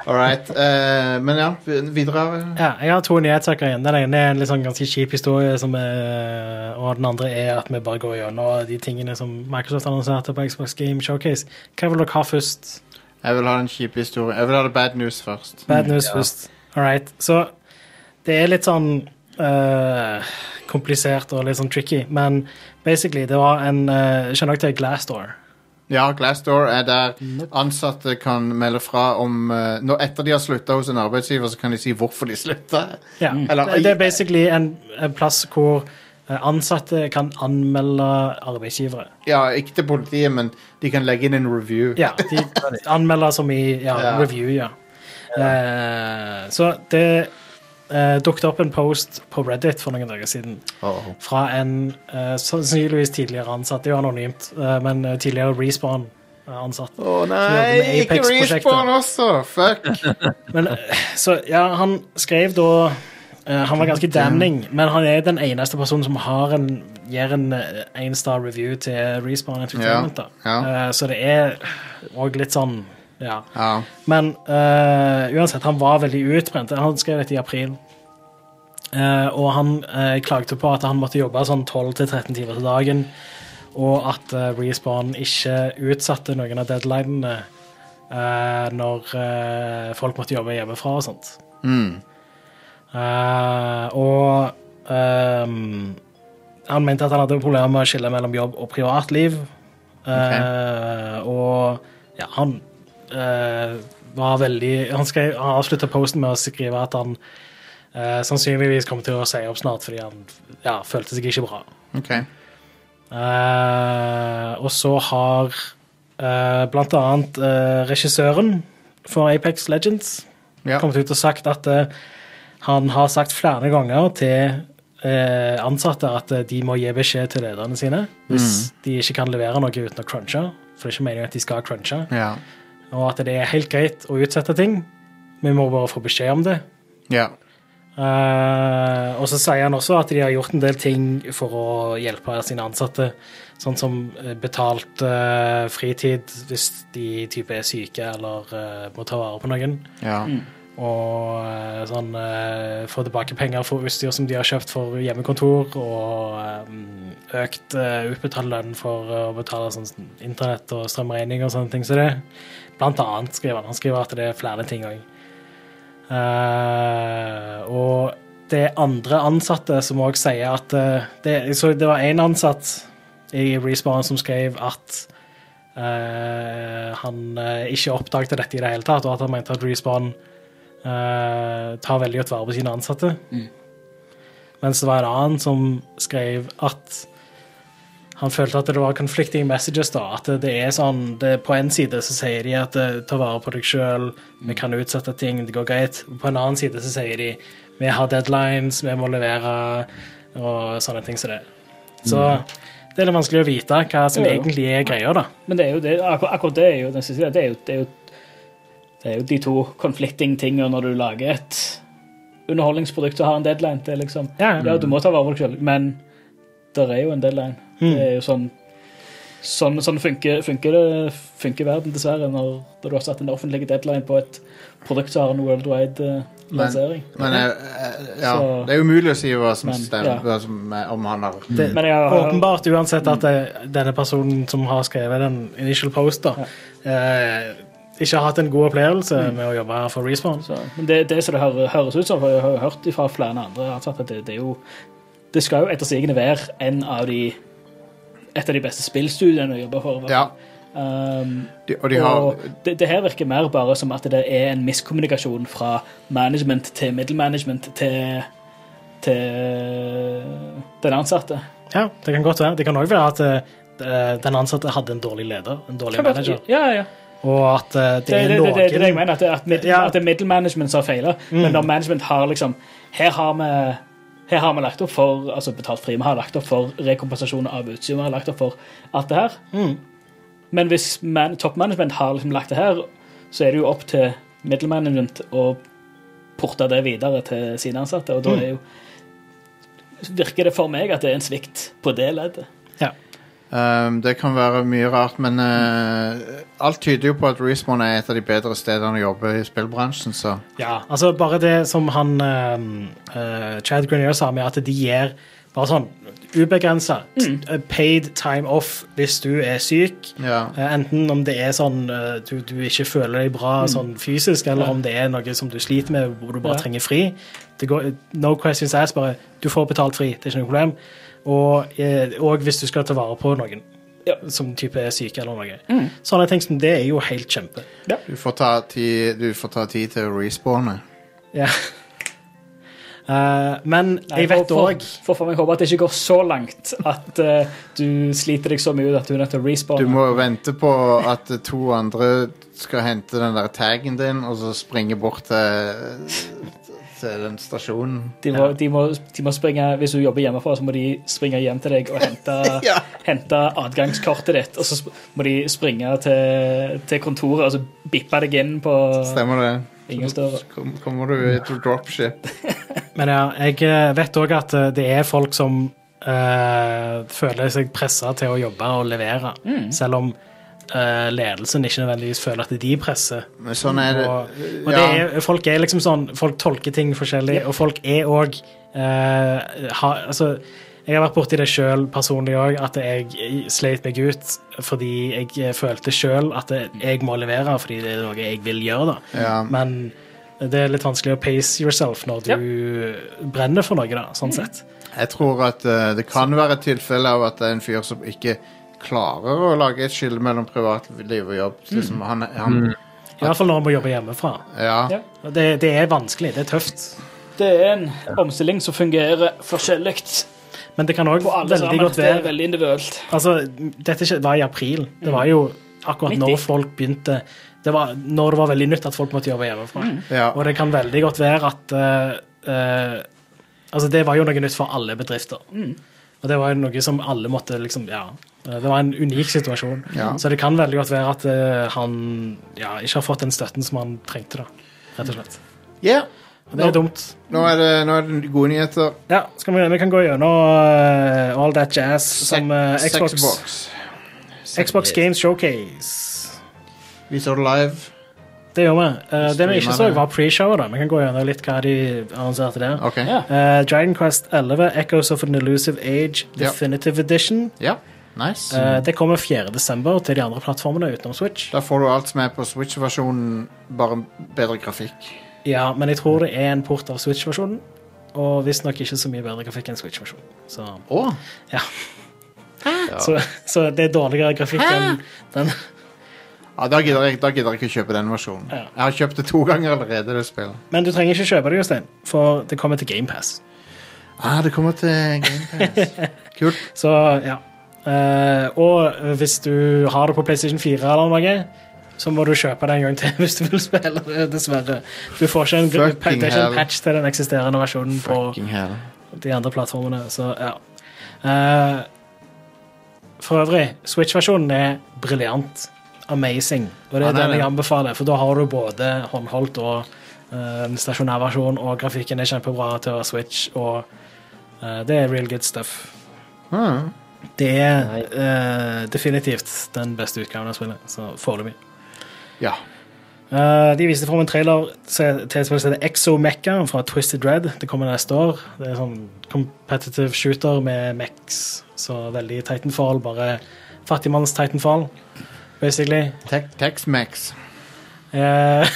Speaker 4: Ja.
Speaker 1: All right. eh, men ja, vi- videre.
Speaker 2: Ja, jeg har to nyhetssaker igjen. Den ene er en litt sånn ganske kjip historie, som er, og den andre er at vi bare går gjennom de tingene som Microsoft annonserte på Xbox Game Showcase. Hva vil dere ha først?
Speaker 1: Jeg vil ha den kjipe historien. Jeg vil ha det bad news først.
Speaker 2: Bad news først. All right. Så det er litt sånn eh, komplisert og litt sånn tricky, men basically, det var en eh, Skjønner dere det er Glassdoor?
Speaker 1: Ja, Glassdoor er der ansatte kan melde fra om eh, når, Etter de har slutta hos en arbeidsgiver, så kan de si hvorfor de slutta.
Speaker 2: Ja.
Speaker 1: Eller-
Speaker 2: Det- Det er basically en, en plass hvor eh, ansatte kan anmelde arbeidsgivere.
Speaker 1: Ja, ikke til politiet, men de kan legge inn en review.
Speaker 2: Ja, de anmelder som i ja,
Speaker 1: Ja.
Speaker 2: review, ja. Eh, så det uh, dukket opp en post på Reddit for noen dager siden
Speaker 1: Åh.
Speaker 2: fra en eh, sannsynligvis tidligere ansatt, det er jo anonymt, eh, men eh, tidligere eh, Respawn-ansatt.
Speaker 1: Å
Speaker 2: Så jobber
Speaker 1: nei,
Speaker 2: med
Speaker 1: ikke
Speaker 2: Apex-prosjektet.
Speaker 1: Respawn også! Fuck!
Speaker 2: Men, eh, så ja, han skrev da eh, Han var ganske damning, men han er den eneste personen som har en, gir en eh, en star review til Respawn Entertainment. Da.
Speaker 1: Ja, ja.
Speaker 2: Eh, så det er òg litt sånn Ja.
Speaker 1: Ja.
Speaker 2: Men eh, uansett, han var veldig utbrent. Han skrev dette i april. Eh, og han eh, klagde på at han måtte jobbe sånn 12-13 timer til dagen, og at eh, Respawn ikke utsatte noen av deadlinene eh, når eh, folk måtte jobbe hjemmefra og sånt.
Speaker 1: Mm.
Speaker 2: Eh, og ehm, han mente at han hadde problemer med å skille mellom jobb og privatliv. Eh, Og ja, han eh, var veldig Han, skrev- han avslutta posten med å skrive at han eh, sannsynligvis kom til å si opp snart fordi han ja, følte seg ikke bra.
Speaker 1: OK.
Speaker 2: Eh, og så har eh, blant annet eh, regissøren for Apex Legends
Speaker 1: Ja.
Speaker 2: kommet ut og sagt at eh, han har sagt flere ganger til eh, ansatte at eh, de må gi beskjed til lederne sine hvis de ikke kan levere noe uten å crunche. For det er ikke meningen at de skal crunche.
Speaker 1: ja.
Speaker 2: Og at det er helt greit å utsette ting. Vi må bare få beskjed om det.
Speaker 1: ja.
Speaker 2: Eh, og så sier han også at de har gjort en del ting for å hjelpe sine ansatte. Sånn som eh, betalt eh, fritid hvis de type er syke eller eh, må ta vare på noen.
Speaker 1: ja.
Speaker 2: Mm. Og eh, sånn eh, få tilbake penger for utstyr som de har kjøpt for hjemmekontor, og eh, økt eh, utbetalt lønn for eh, å betale sånn som internett og strømregning og sånne ting. Så det, blant annet skriver han. Han skriver at det er flere ting òg. og eh, det er andre ansatte som òg sier at eh, det, så det var én ansatt i Respawn som skrev at eh, han eh, ikke oppdaget dette i det hele tatt, og at han mente at Respawn eh, tar veldig godt vare på sine ansatte. Mens det var en annen som skrev at han følte at det var conflicting messages. da, At det er sånn det, På en side så sier de at eh, ta vare på deg sjøl, vi kan utsette ting, det går greit. På en annen side så sier de vi har deadlines, vi må levere, og sånne ting som det. Så det er litt vanskelig å vite hva som
Speaker 4: Jo, jo.
Speaker 2: egentlig er greia, da.
Speaker 4: Men det er jo det, akkur akkurat det er jo den siste, det er jo, det er jo, det er jo de to conflicting tingene når du lager et underholdningsprodukt og har en deadline. Det er liksom,
Speaker 2: Ja,
Speaker 4: ja, du må ta vare på deg selv, men det er jo en deadline.
Speaker 2: Mm.
Speaker 4: Det er jo sånn, sånn, sånn funker, funker, det, funker verden dessverre når, når du har satt en offentlig deadline på et produkt som har en worldwide eh, lansering.
Speaker 1: Men jeg, jeg, ja,
Speaker 4: Så-
Speaker 1: det er umulig å si hva som
Speaker 4: Men,
Speaker 1: stemmer,
Speaker 4: ja.
Speaker 1: hva som, er- om han har
Speaker 2: Det,
Speaker 4: Men jeg har-
Speaker 2: åpenbart uansett at eh, denne personen som har skrevet den initial post, da, eh, ikke har hatt en god opplevelse
Speaker 4: Mm.
Speaker 2: med å jobbe for Respawn.
Speaker 4: Så, men det, det som det hø- høres ut som, for jeg har jo hørt fra flere andre ansatte, at det, det er jo Det skal jo etter sigende være en av de et av de beste spillstudiene å jobbe for.
Speaker 1: Ja,
Speaker 4: Um,
Speaker 1: de, og de
Speaker 4: og
Speaker 1: har
Speaker 4: det, det her virker mer bare som at det er en miskommunikasjon fra management til middelmanagement til til den ansatte.
Speaker 2: Ja, det kan godt være. Det kan òg være at eh, den ansatte hadde en dårlig leder, en dårlig manager,
Speaker 4: Ja, ja.
Speaker 2: og at eh, det,
Speaker 4: Det, det,
Speaker 2: er
Speaker 4: det, det,
Speaker 2: noen
Speaker 4: det er det jeg mener, at det, at middel,
Speaker 2: Ja. Mm.
Speaker 4: at det er middelmanagement som har feila. Men når management har liksom Her har vi her har vi lagt opp for altså betalt fri, vi har lagt opp for rekompensasjon av utstyr, vi har lagt opp for alt det her.
Speaker 2: Mm.
Speaker 4: Men hvis man, toppmanagement har liksom lagt det her, så er det jo opp til middelmanagement å porte det videre til sine ansatte,
Speaker 2: Mm.
Speaker 4: og da er jo virker det for meg at det er en svikt på det leddet.
Speaker 2: Ja.
Speaker 1: ehm, Det kan være mye rart, men eh, alt tyder jo på at Respawn er et av de bedre stedene å jobbe i spillbransjen, så
Speaker 2: ja, altså bare det som han eh, eh, Chad Grenier sa med at de gir bare sånn ubegrensa
Speaker 4: Mm.
Speaker 2: paid time off hvis du er syk.
Speaker 1: ja.
Speaker 2: Eh, Enten om det er sånn eh, du, du ikke føler deg bra sånn fysisk, eller om det er noe som du sliter med hvor du bare
Speaker 4: Mm. Ja.
Speaker 2: trenger fri. Det går, no questions asked, bare du får betalt fri. Det er ikke noe problem. Og, eh, og hvis du skal ta vare på noen
Speaker 4: Ja. Mm.
Speaker 2: som type er syke eller noe. Sånne ting som det er jo helt kjempe.
Speaker 1: Du får ta tid, du får ta tid til å respawne.
Speaker 2: Ja. Eh, men jeg vet
Speaker 4: for,
Speaker 2: òg
Speaker 4: for, for meg håpe at det ikke går så langt at eh, du sliter deg så mye ut at du er nødt til å
Speaker 1: Du
Speaker 4: respawne.
Speaker 1: må jo vente på at to andre skal hente den der taggen din, og så springe bort til, til den stasjonen.
Speaker 4: De, må, de, må, de må springe, Hvis du jobber hjemmefra, så må de springe hjem til deg og hente,
Speaker 1: Ja.
Speaker 4: hente adgangskortet ditt. Og så sp- må de springe til, til kontoret og så bippe deg inn på
Speaker 1: Stemmer det?
Speaker 4: ingen større.
Speaker 1: Så kom- kommer du i to dropship.
Speaker 2: Men ja, jeg eh, vet òg at eh, det er folk som eh, føler seg pressa til å jobbe og levere, selv om eh, ledelsen ikke nødvendigvis føler at de presser.
Speaker 1: Men sånn er det.
Speaker 2: Og, og det
Speaker 1: Ja,
Speaker 2: er, folk er liksom sånn Folk tolker ting forskjellig, og folk er òg Altså, jeg har vært borti det sjøl personlig òg, at jeg sleit meg ut fordi jeg eh, følte sjøl at jeg må levere fordi det er noe jeg vil gjøre, da.
Speaker 1: ja.
Speaker 2: Men det er litt vanskelig å pace yourself når du brenner for noe, da,
Speaker 4: Mm.
Speaker 2: sånn sett.
Speaker 1: Jeg tror at eh, det kan være et tilfelle av at det er en fyr som ikke klarer å lage et skille mellom privatliv og jobb.
Speaker 2: Mm.
Speaker 1: Liksom, han, han,
Speaker 2: I hvert fall når man må jobbe hjemmefra.
Speaker 1: ja.
Speaker 4: Ja.
Speaker 2: Og Det, det er vanskelig, det er tøft.
Speaker 4: Det er en omstilling som fungerer forskjellig
Speaker 2: Men det kan òg
Speaker 4: på alle
Speaker 2: veldig
Speaker 4: sammen.
Speaker 2: godt
Speaker 4: Det er
Speaker 2: være
Speaker 4: veldig individuelt.
Speaker 2: Altså, dette skje- var i april. Det var jo akkurat
Speaker 4: Mm. Midt i.
Speaker 2: når folk begynte det var, Når det var veldig nytt at folk måtte jobbe hjemmefra.
Speaker 4: Mm.
Speaker 1: Ja.
Speaker 2: Og det kan veldig godt være at eh, eh, Altså, det var jo noe nytt for alle bedrifter.
Speaker 4: Mm.
Speaker 2: Og det var jo noe som alle måtte liksom Ja. eh, Det var en unik situasjon.
Speaker 1: Ja.
Speaker 2: Så det kan veldig godt være at eh, han ja, ikke har fått den støtten som han trengte, da. Rett og slett.
Speaker 1: Ja.
Speaker 2: Og det er dumt.
Speaker 1: Nå er det, nå er det gode nyheter.
Speaker 2: Ja, skal vi, vi kan gå gjennom eh, all that jazz som eh,
Speaker 1: Sex-
Speaker 2: Xbox,
Speaker 1: Xbox.
Speaker 2: Xbox Games Showcase.
Speaker 1: Vi så det live.
Speaker 2: Det gjør vi. Eh, det vi ikke så,
Speaker 1: Streamer det.
Speaker 2: var pre-showet. da. Vi kan gå gjennom litt hva de annonserte der.
Speaker 1: Ok.
Speaker 4: Ja.
Speaker 2: Eh, Dragon Quest 11, Echoes of an Illusive Age,
Speaker 1: Ja. Mm.
Speaker 2: Definitive Edition.
Speaker 1: Ja. Nice.
Speaker 2: Eh, det kommer 4. desember til de andre plattformene utenom Switch.
Speaker 1: Da får du alt som er på Switch-versjonen, bare bedre grafikk.
Speaker 2: Ja, Men jeg tror det er en port av Switch-versjonen. Og visstnok ikke så mye bedre grafikk enn Switch-versjonen. Så
Speaker 1: Å,
Speaker 2: ja. Så, så det er dårligere grafikk enn den.
Speaker 1: Ja, da gidder, jeg, da gidder jeg ikke kjøpe den versjonen.
Speaker 2: Ja.
Speaker 1: Jeg har kjøpt det to ganger allerede, det spillet.
Speaker 2: Men du trenger ikke kjøpe det, Jostein, for det kommer til GamePass.
Speaker 1: Ah, det kommer til Game Pass. Kult.
Speaker 2: Så ja. Eh, og hvis du har det på PlayStation 4 eller noe, så må du kjøpe det en gang til hvis du vil spille det, dessverre. Du får ikke en, gr-
Speaker 1: Fucking
Speaker 2: pa- det er ikke
Speaker 1: hell.
Speaker 2: en patch til den eksisterende versjonen
Speaker 1: Fucking hell.
Speaker 2: på de andre plattformene, så ja. Eh, for øvrig, Switch-versjonen er briljant. Amazing. Og det
Speaker 1: Ja,
Speaker 2: er
Speaker 1: det er
Speaker 2: den jeg
Speaker 1: det.
Speaker 2: anbefaler, for da har du både håndholdt og eh, en stasjonær versjon, og grafikken er kjempebra til å være Switch, og eh, det er real good stuff.
Speaker 1: Ah.
Speaker 2: Det er
Speaker 3: Nei.
Speaker 2: eh, definitivt den beste utgaven av spillet, så foreløpig.
Speaker 1: Ja.
Speaker 2: Eh, de viste fram en trailer se- til et spill som heter Exo Mecca fra Twisted Red. Det kommer neste år. Det er sånn competitive shooter med Mex, så veldig Titanfall, bare fattigmanns Titanfall, basically.
Speaker 1: Tex- Tex-Mex.
Speaker 2: Eh,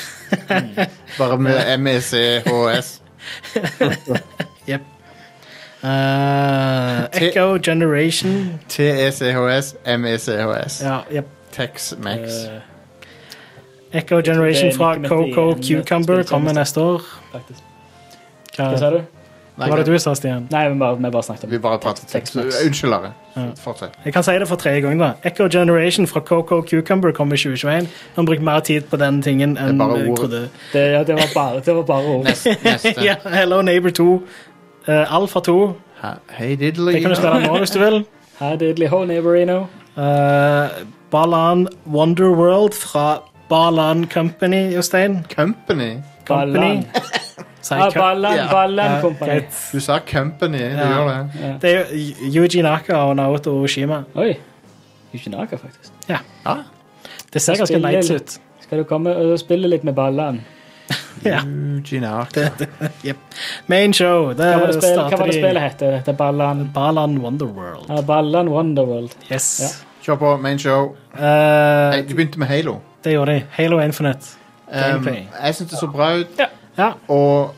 Speaker 1: Bare med E MECHS.
Speaker 2: Jepp. Eh, Echo Generation.
Speaker 1: E TECHS, MECHS.
Speaker 2: Ja, jepp.
Speaker 1: Tex-Mex.
Speaker 2: Eh, Echo Generation
Speaker 4: Det er
Speaker 2: fra
Speaker 4: like midt i
Speaker 2: Coco
Speaker 4: en
Speaker 2: Cucumber
Speaker 4: spilltjeneste.
Speaker 2: kommer neste år.
Speaker 4: faktisk.
Speaker 2: Hva,
Speaker 4: Eh, Hva sa du?
Speaker 1: Nei,
Speaker 2: Hva var det du sa, Stian?
Speaker 4: Nei, vi bare, vi bare snakket om
Speaker 1: Vi bare prater
Speaker 4: Tex-
Speaker 1: Tex.
Speaker 4: Tex-Mex.
Speaker 1: Unnskyld, Are.
Speaker 2: Ja.
Speaker 1: Fortsett.
Speaker 2: Jeg kan si det for tredje gang. da. Echo Generation fra Coco Cucumber kom i 2021. Han brukte mer tid på den tingen
Speaker 1: Det er
Speaker 2: enn
Speaker 1: bare
Speaker 2: jeg
Speaker 1: ord.
Speaker 2: trodde.
Speaker 4: Det, ja, det var bare, det var bare ord.
Speaker 1: Neste. neste.
Speaker 2: ja, Hello Neighbor 2. eh, Alpha 2.
Speaker 1: Ha- Hei, diddly.
Speaker 2: Det kan du spille nå hvis du vil.
Speaker 4: Hi, diddly ho, neighborino.
Speaker 2: Eh, Balan Wonderworld fra Balan Company, Jostein.
Speaker 1: Company.
Speaker 2: Company.
Speaker 4: Ballan.
Speaker 2: Sa
Speaker 4: Ah,
Speaker 2: jeg kø-
Speaker 4: ballan,
Speaker 1: Ja.
Speaker 4: ballan,
Speaker 2: Ja,
Speaker 4: company.
Speaker 2: greit.
Speaker 1: Du sa Company. Du
Speaker 2: Ja.
Speaker 1: gjør det.
Speaker 4: Ja.
Speaker 2: Det er jo Yuji Naka og Naoto Oshima.
Speaker 4: Oi. Yushinaka, faktisk.
Speaker 1: Ja.
Speaker 2: Det ser ganske
Speaker 4: Spiller
Speaker 2: nice
Speaker 4: litt.
Speaker 2: ut.
Speaker 4: Skal du komme og spille litt med ballan?
Speaker 2: Ja.
Speaker 1: Eugenarka.
Speaker 2: Main show. Eh, Det
Speaker 4: Hva var det, spillet- hva
Speaker 2: starter
Speaker 4: var det
Speaker 2: de
Speaker 4: spillet hette? Det er ballan.
Speaker 2: Balan Wonderworld.
Speaker 4: Ja, ballan Wonderworld.
Speaker 2: Yes.
Speaker 4: Ja.
Speaker 1: Kjør på. Main show.
Speaker 2: Eh,
Speaker 1: Nei, du begynte med Halo.
Speaker 2: det gjorde de. Halo Infinite.
Speaker 1: Um,
Speaker 2: Gameplay.
Speaker 1: jeg syns det så bra ut,
Speaker 2: Ja,
Speaker 1: og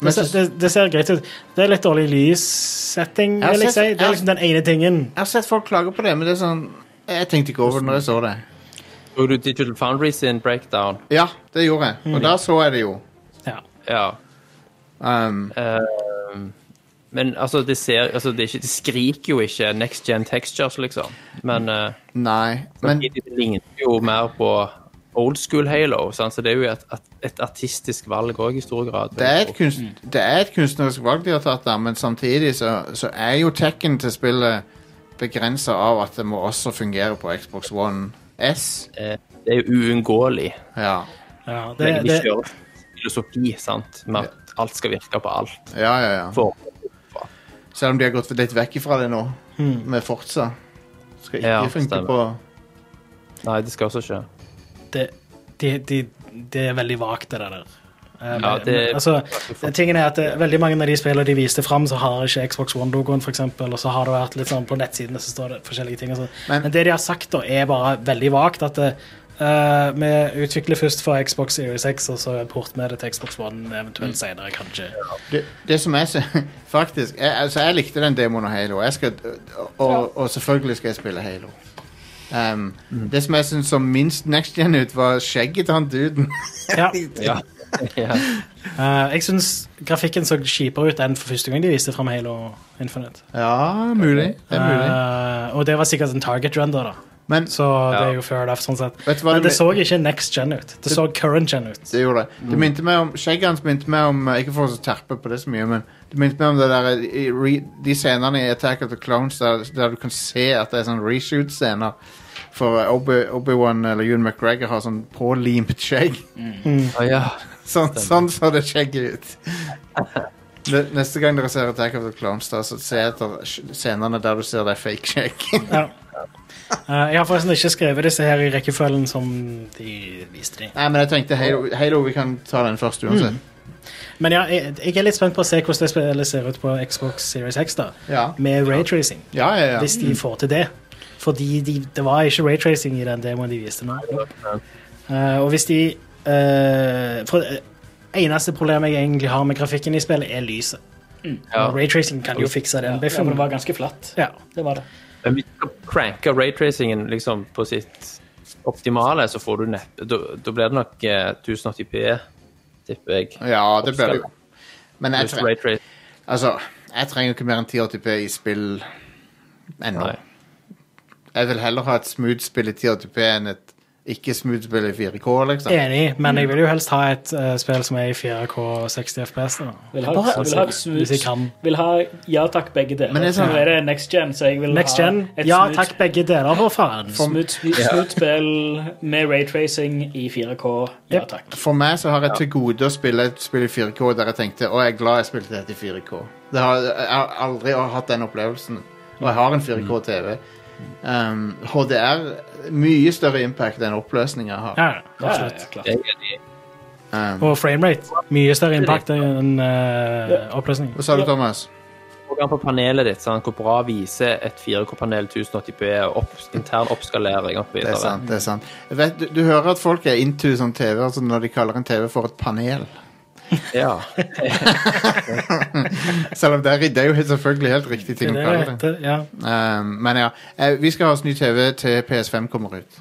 Speaker 1: men
Speaker 2: det, ser-
Speaker 1: så-
Speaker 2: det, det ser greit ut. Det er litt dårlig lyssetting,
Speaker 1: Jeg har
Speaker 2: vil jeg
Speaker 1: sett-
Speaker 2: si. Det
Speaker 1: jeg-
Speaker 2: er liksom den ene tingen.
Speaker 1: Jeg har sett folk klage på det, men det er sånn jeg tenkte ikke over det når jeg så det.
Speaker 3: Tok du Digital Foundry sin breakdown?
Speaker 1: Ja, det gjorde jeg. Og da så jeg det jo.
Speaker 2: Ja.
Speaker 3: Ja.
Speaker 1: Um,
Speaker 3: Ehm, men altså, det ser altså, det, er ikke, det skriker jo ikke next gen textures, liksom. Men, eh,
Speaker 1: nei, men
Speaker 3: samtidig det ligner jo mer på old school Halo, sant? så det er jo et, et, et artistisk valg òg i stor grad.
Speaker 1: det er, et kunst,
Speaker 3: Mm.
Speaker 1: det er et kunstnerisk valg de har tatt der, men samtidig så, så er jo tekken til spillet begrensa av at det må også fungere på Xbox One S.
Speaker 3: Eh, det er jo uunngåelig.
Speaker 1: Ja,
Speaker 2: Ja, det,
Speaker 3: Men
Speaker 2: det,
Speaker 3: de kjører filosofi, sant, med at alt skal virke på alt.
Speaker 1: ja, ja. ja.
Speaker 3: For,
Speaker 1: Selv om de har gått litt vekk ifra det nå, med Forza. Skal ikke
Speaker 3: Ja,
Speaker 1: funke
Speaker 3: stemmer.
Speaker 1: på
Speaker 3: nei, det skal også ikke.
Speaker 2: det, de, de, det er veldig vagt, det der. Eh,
Speaker 3: Ja,
Speaker 2: men-
Speaker 3: det-
Speaker 2: men, altså, det- tingen er at eh, Veldig mange av de spillene de viste fram, så har ikke Xbox One-logoen, for eksempel, og så har det vært litt sånn på nettsidene så står det forskjellige ting. Og sånn.
Speaker 1: Men-
Speaker 2: men det de har sagt, da, er bare veldig vagt. At eh, eh, vi utvikler først for Xbox Series X, og så port med det til Xbox One
Speaker 1: Mm.
Speaker 2: eventuelt senere, kanskje.
Speaker 1: det, det som jeg sy- Faktisk, jeg, altså jeg likte den demoen av Halo. Jeg skal, og, og, og selvfølgelig skal jeg spille Halo. Um, Det som jeg syns så minst next gen ut, var skjegget til han duden.
Speaker 2: Ja.
Speaker 3: Ja. ja.
Speaker 2: Eh, jeg syns grafikken så kjipere ut enn for første gang de viste fram Halo Infinite.
Speaker 1: ja, mulig. Det er mulig.
Speaker 2: Eh, og det var sikkert en target render, da.
Speaker 1: Men
Speaker 2: Så det
Speaker 3: Ja.
Speaker 2: er jo fair enough, sånn sett.
Speaker 1: vet du hva det,
Speaker 2: Men det
Speaker 1: min-
Speaker 2: så ikke next gen ut. Det så current gen ut.
Speaker 1: det gjorde? Det, det minte meg om Skjegget hans minte meg om øh, Ikke for å terpe på det så mye, men det minte meg om det der, i, re, de scenene i Attack of the Clones der, der du kan se at det er sånn reshoot-scener. For Obi- Obi-Wan eller Ewan McGregor har sånn pålimt skjegg.
Speaker 3: Å, Ah, ja.
Speaker 1: Sånn, sånn så det skjegget ut. Ne- Neste gang dere ser Attack of the Clones, da, så se etter sj- scenene der du ser det er fake skjegg.
Speaker 2: Ja. Eh, jeg har forresten ikke skrevet disse her i rekkefølgen som de viste de.
Speaker 1: Nei, men jeg tenkte Halo, Halo vi kan ta den først uansett.
Speaker 2: Men ja, jeg, jeg er litt spent på å se hvordan det spillet ser ut på Xbox Series X, da.
Speaker 1: Ja,
Speaker 2: Med raytracing,
Speaker 1: ja, ja. ja.
Speaker 2: hvis de får til det. Fordi de, det var ikke raytracing i den demoen de viste nå. Eh, og hvis de eh, For eh, eneste problemet jeg egentlig har med grafikken i spillet, er lyset.
Speaker 3: Ja.
Speaker 2: Og Raytracing kan jo fikse
Speaker 4: Ja,
Speaker 2: den
Speaker 4: ja, men
Speaker 2: biffen.
Speaker 4: det var ganske flatt.
Speaker 2: Ja.
Speaker 4: Det var det.
Speaker 3: Men hvis du cranker raytracingen liksom, på sitt optimale, så får du neppe Da da blir det nok eh, 1080p, tipper jeg.
Speaker 1: Ja, det blir det jo. Men jeg,
Speaker 3: Hvis
Speaker 1: tre,
Speaker 3: raytracing
Speaker 1: altså, jeg trenger jo ikke mer enn 1080P i spill ennå.
Speaker 3: Nei.
Speaker 1: Jeg vil heller ha et smooth spill i 1080P enn et ikke smooth spill i 4K, liksom.
Speaker 2: Enig, men jeg vil jo helst ha et eh, spill som er i 4K 60 FPS. da.
Speaker 4: Vil ha,
Speaker 2: Bare-
Speaker 4: vil ha,
Speaker 2: Hvis jeg
Speaker 4: smooth,
Speaker 2: kan.
Speaker 4: vil ha ja takk, begge deler.
Speaker 1: Men det er sånn-
Speaker 4: Nå er det next gen, så jeg vil
Speaker 2: Next
Speaker 4: ha
Speaker 2: gen.
Speaker 4: et
Speaker 2: Ja
Speaker 4: smooth-
Speaker 2: takk, begge deler, for faen.
Speaker 4: smooth, smooth, smooth spill med raytracing i 4K. Ja
Speaker 2: Yep.
Speaker 4: takk.
Speaker 1: For meg så har jeg til gode å spille et spill i 4K der jeg tenkte å, jeg er glad jeg spilte dette i 4K. Det har, jeg har aldri hatt den opplevelsen. Og jeg har en 4K-TV. Um, HDR mye større impact enn oppløsninga har.
Speaker 2: Ja,
Speaker 4: Ja, ja,
Speaker 2: absolutt.
Speaker 4: ja, klart.
Speaker 3: Jeg er enig.
Speaker 1: Um,
Speaker 2: Og framerate. Mye større impact enn eh, oppløsning.
Speaker 1: hva sa du, Thomas?
Speaker 3: Program på panelet ditt, sant? hvor bra viser et 4K-panel 1080p og opp, intern oppskalering opp
Speaker 1: Det er
Speaker 3: videre.
Speaker 1: sant. det er sant Jeg vet, du, du hører at folk er into sånn TV altså når de kaller en TV for et panel.
Speaker 3: Ja.
Speaker 1: Selv om det er, det er jo helt- selvfølgelig helt riktig ting å
Speaker 2: Det er det
Speaker 1: kalle
Speaker 2: det
Speaker 1: det.
Speaker 2: heter, ja.
Speaker 1: Um, men ja, eh, vi skal ha oss ny TV til PS5 kommer ut.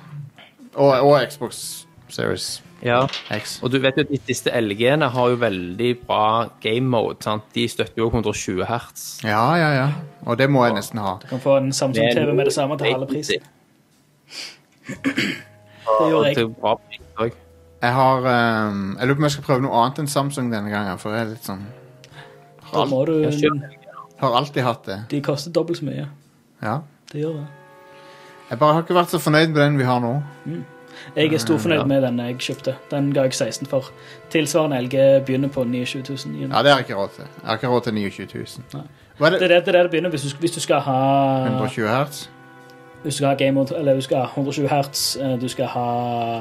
Speaker 1: Og, og Xbox Series
Speaker 3: ja.
Speaker 1: X.
Speaker 3: Og du vet jo at de siste LG-ene har jo veldig bra game mode. sant? De støtter jo 120 hertz.
Speaker 1: Ja, ja, ja. Og det må jeg nesten ha.
Speaker 4: Du kan få en Samsung-TV med det samme til halve pris. Det gjorde jeg.
Speaker 3: Og til bra pris også.
Speaker 1: Jeg har ehm, Jeg lurer på om jeg skal prøve noe annet enn Samsung denne gangen. For jeg er litt sånn
Speaker 4: Da må du,
Speaker 3: Jeg kjøper
Speaker 1: Har alltid hatt det.
Speaker 4: de koster dobbelt så mye.
Speaker 1: Ja.
Speaker 4: Det gjør det.
Speaker 1: Jeg bare har ikke vært så fornøyd med den vi har nå.
Speaker 4: Jeg er storfornøyd
Speaker 3: Ja.
Speaker 4: med den jeg kjøpte. Den ga jeg 16 for. Tilsvarende LG begynner på 29 000. igjen.
Speaker 1: Ja, det har jeg ikke råd til. Jeg har ikke råd til 29 000. Hva er
Speaker 4: Det
Speaker 1: det?
Speaker 4: er det det, er det det begynner hvis du, hvis du skal ha
Speaker 1: 120 hertz?
Speaker 4: Hvis du skal ha game mode, eller du skal ha 120 hertz, eh, du skal ha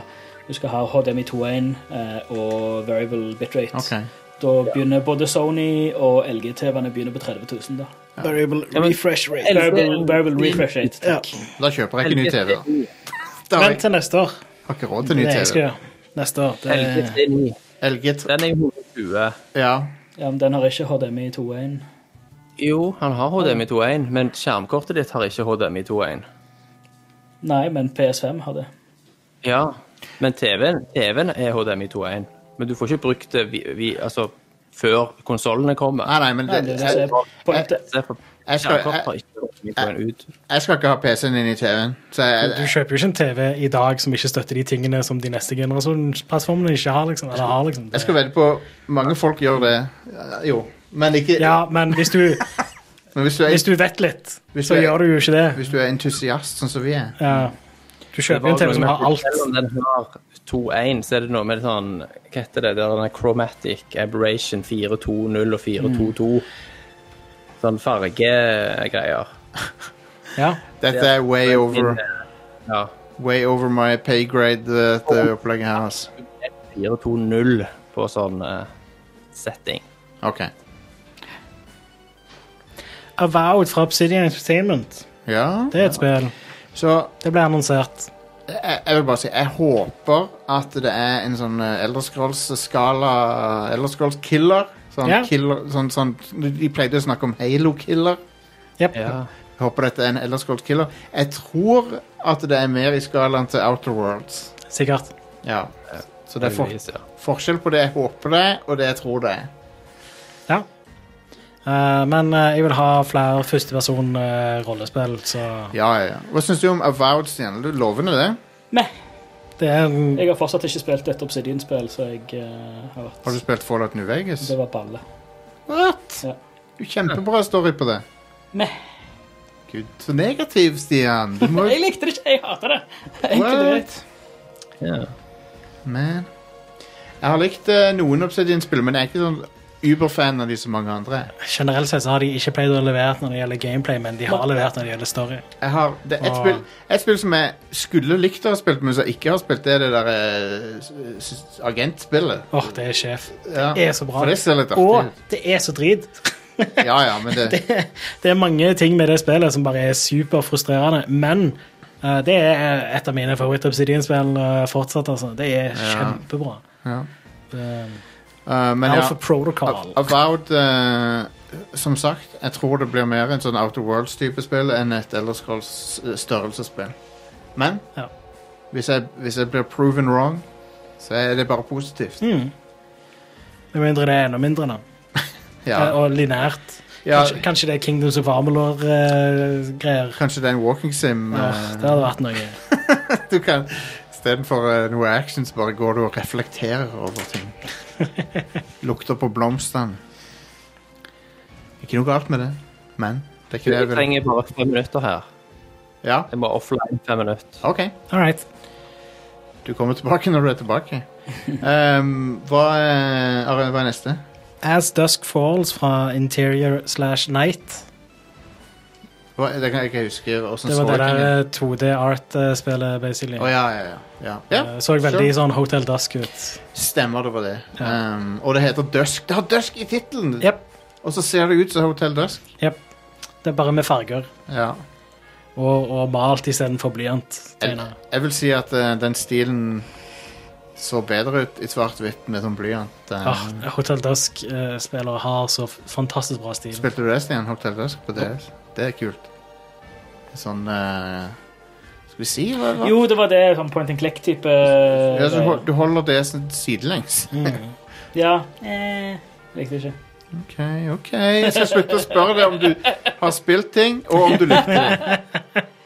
Speaker 4: du skal ha HDMI 2.1 eh, og variable bitrate.
Speaker 1: OK.
Speaker 4: Da begynner både Sony og LG-TV-ene begynner på 30 000. Da.
Speaker 2: Variable
Speaker 3: men-
Speaker 2: refresh rate.
Speaker 4: Variable, variable refresh rate.
Speaker 2: Ja.
Speaker 4: Takk.
Speaker 1: Da kjøper jeg ikke ny TV. da. Da har
Speaker 2: Vent
Speaker 1: jeg
Speaker 2: til neste år.
Speaker 1: jeg har ikke råd til
Speaker 2: Det
Speaker 1: ny
Speaker 2: er det jeg skal
Speaker 1: TV.
Speaker 2: gjøre. Neste år. Det
Speaker 3: LG
Speaker 2: er
Speaker 3: T9.
Speaker 1: LG t-
Speaker 3: Den er jo 120.
Speaker 1: Ja.
Speaker 4: Ja, men den har ikke HDMI 2.1.
Speaker 3: Jo, han har HDMI 2.1, men skjermkortet ditt har ikke HDMI 2.1.
Speaker 4: Nei, men PS5 har det.
Speaker 3: Ja, men TV-en TV er HDMI 2.1. Men du får ikke brukt det vi, vi, altså, før konsollene kommer.
Speaker 1: Nei, nei, men
Speaker 4: Nei,
Speaker 1: det,
Speaker 4: det, er det, som
Speaker 1: jeg,
Speaker 4: er poenget.
Speaker 3: Se på-
Speaker 1: Jeg skal-
Speaker 3: Skjermkort har ikke HDMI 2.1 ut.
Speaker 1: jeg skal ikke ha PC-en inn i TV-en. Så jeg,
Speaker 2: du kjøper jo ikke en TV i dag som ikke støtter de tingene som de neste generasjonsplattformene ikke har. liksom, eller har liksom.
Speaker 1: jeg skal vedde på Mange folk gjør det. Ja, Jo. Men ikke
Speaker 2: Ja, men hvis du,
Speaker 1: Men hvis du er
Speaker 2: hvis du vet litt,
Speaker 1: Hvis
Speaker 2: så
Speaker 1: du er-
Speaker 2: gjør du jo ikke det.
Speaker 1: Hvis du er entusiast, sånn som vi er.
Speaker 2: Ja. Du kjøper jo en TV som har alt.
Speaker 3: Selv om den har 2.1, så er det noe med sånn Hva heter det? Det er denne Chromatic Aberration 4.2.0 og 4.2.2. Sånn fargegreier.
Speaker 2: Ja.
Speaker 1: Dette er way over,
Speaker 3: Ja.
Speaker 1: way over my pay grade, eh, dette opplegget her. Altså.
Speaker 3: 4.2.0 på sånn eh, setting.
Speaker 1: OK.
Speaker 2: Avowed fra Obsidian Entertainment.
Speaker 1: Ja.
Speaker 2: Det er et spill.
Speaker 1: Så
Speaker 2: Det ble annonsert.
Speaker 1: jeg, jeg vil bare si jeg håper at det er en sånn Elderscrolls-skala Elderscrolls-killer. Sånn,
Speaker 2: Ja.
Speaker 1: killer, sånn, sånn De pleide å snakke om Halo-killer.
Speaker 2: Yep.
Speaker 3: Ja.
Speaker 1: Jeg håper dette er en Elderscrolls-killer. Jeg tror at det er mer i skalaen til Outer Worlds.
Speaker 2: Sikkert.
Speaker 1: Ja. Så det er for,
Speaker 3: heldigvis, ja.
Speaker 1: forskjell på det jeg håper det er, og det jeg tror det er.
Speaker 2: Ja. Eh, men eh, jeg vil ha flere førsteversjon eh, rollespill, så
Speaker 1: Ja, ja, ja. Hva syns du om Avowed, Stian? Er du Lovende, det?
Speaker 4: Nei,
Speaker 2: det er en
Speaker 4: jeg har fortsatt ikke spilt et Obsidian-spill, så jeg eh, har
Speaker 1: Har du
Speaker 4: vært
Speaker 1: spilt Fallout New Vegas?
Speaker 4: Det var balle.
Speaker 1: What?
Speaker 4: Ja.
Speaker 1: Du Kjempebra story på det.
Speaker 4: Meh.
Speaker 1: Gud, så negativ, Stian. Du må
Speaker 4: Jeg likte det ikke. Jeg hater det. Enkelt og greit.
Speaker 3: Ja.
Speaker 1: Man. Jeg har likt eh, noen Obsidian-spill, men jeg er ikke sånn uberfan av de som mange andre. er.
Speaker 2: Generelt sett så har de ikke pleid å levere når det gjelder gameplay, men de har levert når det gjelder story.
Speaker 1: Jeg har, det er et,
Speaker 2: Ah.
Speaker 1: spill, et spill som jeg skulle likt å ha spilt, men som jeg ikke har spilt, det er det der eh, s- s- agentspillet.
Speaker 2: Åh, det er sjef.
Speaker 1: Ja.
Speaker 2: Det er så bra.
Speaker 1: For det ser litt artig
Speaker 2: Og
Speaker 1: ut.
Speaker 2: det er så drit.
Speaker 1: Ja, ja, men det,
Speaker 2: Det er mange ting med det spillet som bare er superfrustrerende, men eh, det er et av mine favoritt-Obsidian-spill eh, fortsatt, altså. Det er kjempebra.
Speaker 1: ja.
Speaker 2: Det-
Speaker 1: Eh, men ja.
Speaker 2: Alpha Protocol.
Speaker 1: Avowed eh, som sagt, jeg tror det blir mer en sånn Outer Worlds-type spill enn et Elder Scrolls eh, størrelsesspill. Men
Speaker 2: Ja.
Speaker 1: hvis, jeg, hvis jeg blir proven wrong, så er det bare positivt.
Speaker 2: Mm. Med mindre det er enda mindre, da. Eh,
Speaker 1: Ja,
Speaker 2: Og lineært.
Speaker 1: ja
Speaker 2: Kanskje, kanskje det er Kingdoms of Amelor-greier.
Speaker 1: kanskje det er en walking sim. eh,
Speaker 2: det hadde vært noe.
Speaker 1: du kan Istedenfor uh, noe action, så bare går du og reflekterer over ting. Lukter på blomstene. Ikke noe galt med det, men det er ikke det
Speaker 3: Jeg
Speaker 1: jeg vil.
Speaker 3: trenger bare fem minutter her.
Speaker 1: Ja,
Speaker 3: Jeg må offline fem minutter.
Speaker 1: OK.
Speaker 2: All right.
Speaker 1: Du kommer tilbake når du er tilbake. Ehm, hva, er, Are, hva er neste?
Speaker 2: As Dusk Falls fra Interior slash Night.
Speaker 1: Hva, det kan jeg ikke huske. hvordan
Speaker 2: Det var det
Speaker 1: så jeg ikke-
Speaker 2: der 2D-art-spillet, eh, basically.
Speaker 1: Å ja, ja, ja. ja. ja
Speaker 2: Eh, Så veldig sånn Hotel Dusk ut.
Speaker 1: Stemmer, det var det.
Speaker 2: Ja.
Speaker 1: Ehm, og det heter Dusk. Det har Dusk i tittelen!
Speaker 2: Jep.
Speaker 1: Og så ser det ut som Hotell Dusk.
Speaker 2: Det er bare med farger.
Speaker 1: Ja.
Speaker 2: Og, og malt istedenfor blyant.
Speaker 1: Jeg,
Speaker 2: tegner.
Speaker 1: jeg vil si at eh, den stilen så bedre ut i svart-hvitt med sånn blyant. eh.
Speaker 2: Ah, Hotel Dusk-spillere har så f- fantastisk bra stil.
Speaker 1: Spilte du det, Stian? Hotell Dusk på DS? Det er kult. Sånn eh, Skal vi si hva det var?
Speaker 4: Jo, det var det. Sånn point and click-type.
Speaker 1: Ja, så
Speaker 4: eh,
Speaker 1: hol- du holder DS-en sidelengs.
Speaker 2: Mm.
Speaker 4: Ja. Eh, likte ikke.
Speaker 1: OK, OK. Jeg skal slutte å spørre deg om du har spilt ting, og om du likte det.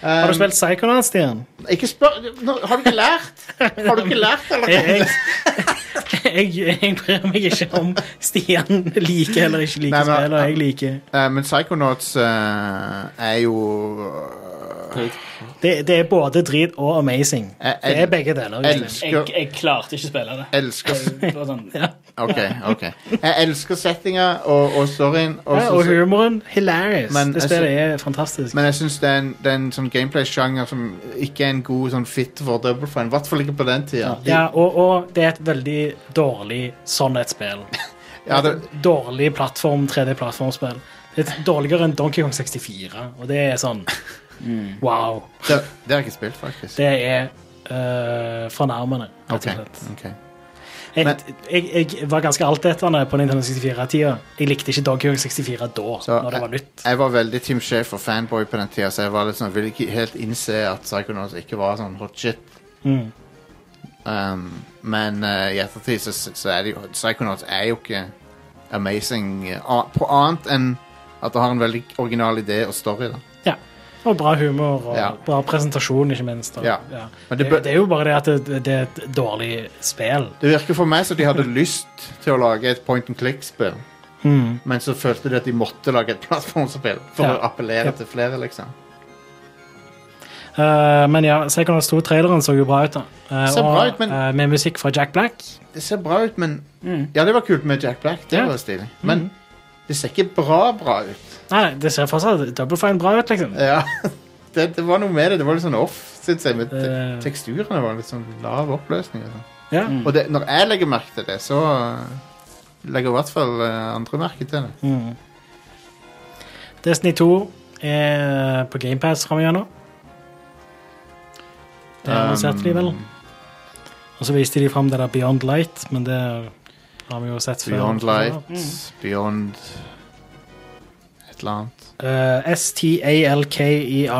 Speaker 2: Har du spilt Psychonauts, Stian?
Speaker 1: Um, Ikke spør nå, Har du ikke lært? Har du ikke lært, eller?
Speaker 2: jeg, jeg, jeg bryr meg ikke om Stian liker eller ikke
Speaker 1: Nei,
Speaker 2: liker
Speaker 1: men-
Speaker 2: spill, og jeg liker
Speaker 1: Eh, men Psychonauts eh, er jo eh,
Speaker 4: Drit.
Speaker 2: det, det er både drit og amazing.
Speaker 1: Jeg-
Speaker 2: Det
Speaker 1: jeg-
Speaker 2: er begge deler.
Speaker 1: jeg-
Speaker 2: egentlig.
Speaker 4: Jeg, jeg klarte ikke å spille det.
Speaker 1: elsker
Speaker 4: Det var sånn,
Speaker 1: Ok, ok. Jeg elsker settinga og, og storyen, og
Speaker 2: Ja,
Speaker 1: så-
Speaker 2: og humoren hilarious.
Speaker 1: Men
Speaker 2: det
Speaker 1: jeg
Speaker 2: spillet er fantastisk.
Speaker 1: men jeg syns det er en, det er en sånn gameplay-sjanger som ikke er en god sånn fit for Double Fine. I hvert fall ikke på den tida. De,
Speaker 2: ja, og, og det er et veldig dårlig sånn et spill.
Speaker 1: ja, det,
Speaker 2: Et Eh, Dårlig plattform, 3D-plattformspill. Det er Dårligere enn Donkey Kong 64, og det er sånn
Speaker 1: Mm.
Speaker 2: Wow.
Speaker 1: det, det har jeg ikke spilt, faktisk.
Speaker 2: Det er øh, fornærmende,
Speaker 1: Ok,
Speaker 2: rett og slett.
Speaker 1: ok.
Speaker 2: Jeg, jeg, jeg var ganske altetende på Nintendo 64-tida. Jeg likte ikke Donkey Kong 64 da,
Speaker 1: Så, eh,
Speaker 2: når det var nytt.
Speaker 1: Jeg var veldig Team Shafer-fanboy på den tida, så jeg var litt sånn, ville ikke helt innse at Psychonauts ikke var sånn hot shit.
Speaker 2: Mm.
Speaker 1: Um, men eh, i ettertid så, så er det jo Psychonauts er jo ikke amazing eh, a- på annet enn at det har en veldig original idé og story. da
Speaker 2: Ja. Og bra humor og
Speaker 1: Ja.
Speaker 2: bra presentasjon, ikke minst. Og,
Speaker 1: Ja. Men
Speaker 2: Det,
Speaker 1: det bør-
Speaker 2: det, er jo bare det at det, det er et dårlig spill.
Speaker 1: Det virker for meg som de hadde lyst til å lage et point and click-spill, men så følte de at de måtte lage et plattformspill for
Speaker 2: Mm. Ja.
Speaker 1: å appellere
Speaker 2: Ja.
Speaker 1: til flere, liksom.
Speaker 2: Eh, men ja, Psychonauts 2-traileren så jo bra ut, da. Eh,
Speaker 1: Ser
Speaker 2: og,
Speaker 1: bra ut, men-
Speaker 2: eh, med musikk fra Jack Black.
Speaker 1: Det ser bra ut, men
Speaker 4: Mm.
Speaker 1: Ja, det var kult med Jack Black, det
Speaker 2: Ja. Mm.
Speaker 1: var stilig, men det ser ikke bra bra ut.
Speaker 2: Nei, nei, det ser fortsatt double fine bra ut, liksom.
Speaker 1: Ja, det, det var noe med det. Det var litt sånn off, syns jeg. Med te
Speaker 2: Eh. Mm.
Speaker 1: teksturene var litt sånn lav oppløsning. Og, sånn.
Speaker 2: Ja.
Speaker 1: og det, når jeg legger merke til det, så eh, legger i hvert fall eh, andre merke til det.
Speaker 2: Mm. Destiny 2 er på GamePass framover nå. Det
Speaker 1: Um,
Speaker 2: annonserte de vel. Og så viste de fram det der Beyond Light, men det har vi jo sett før.
Speaker 1: Beyond Light,
Speaker 2: Mm.
Speaker 1: Beyond et eller annet.
Speaker 2: Eh, STALKER2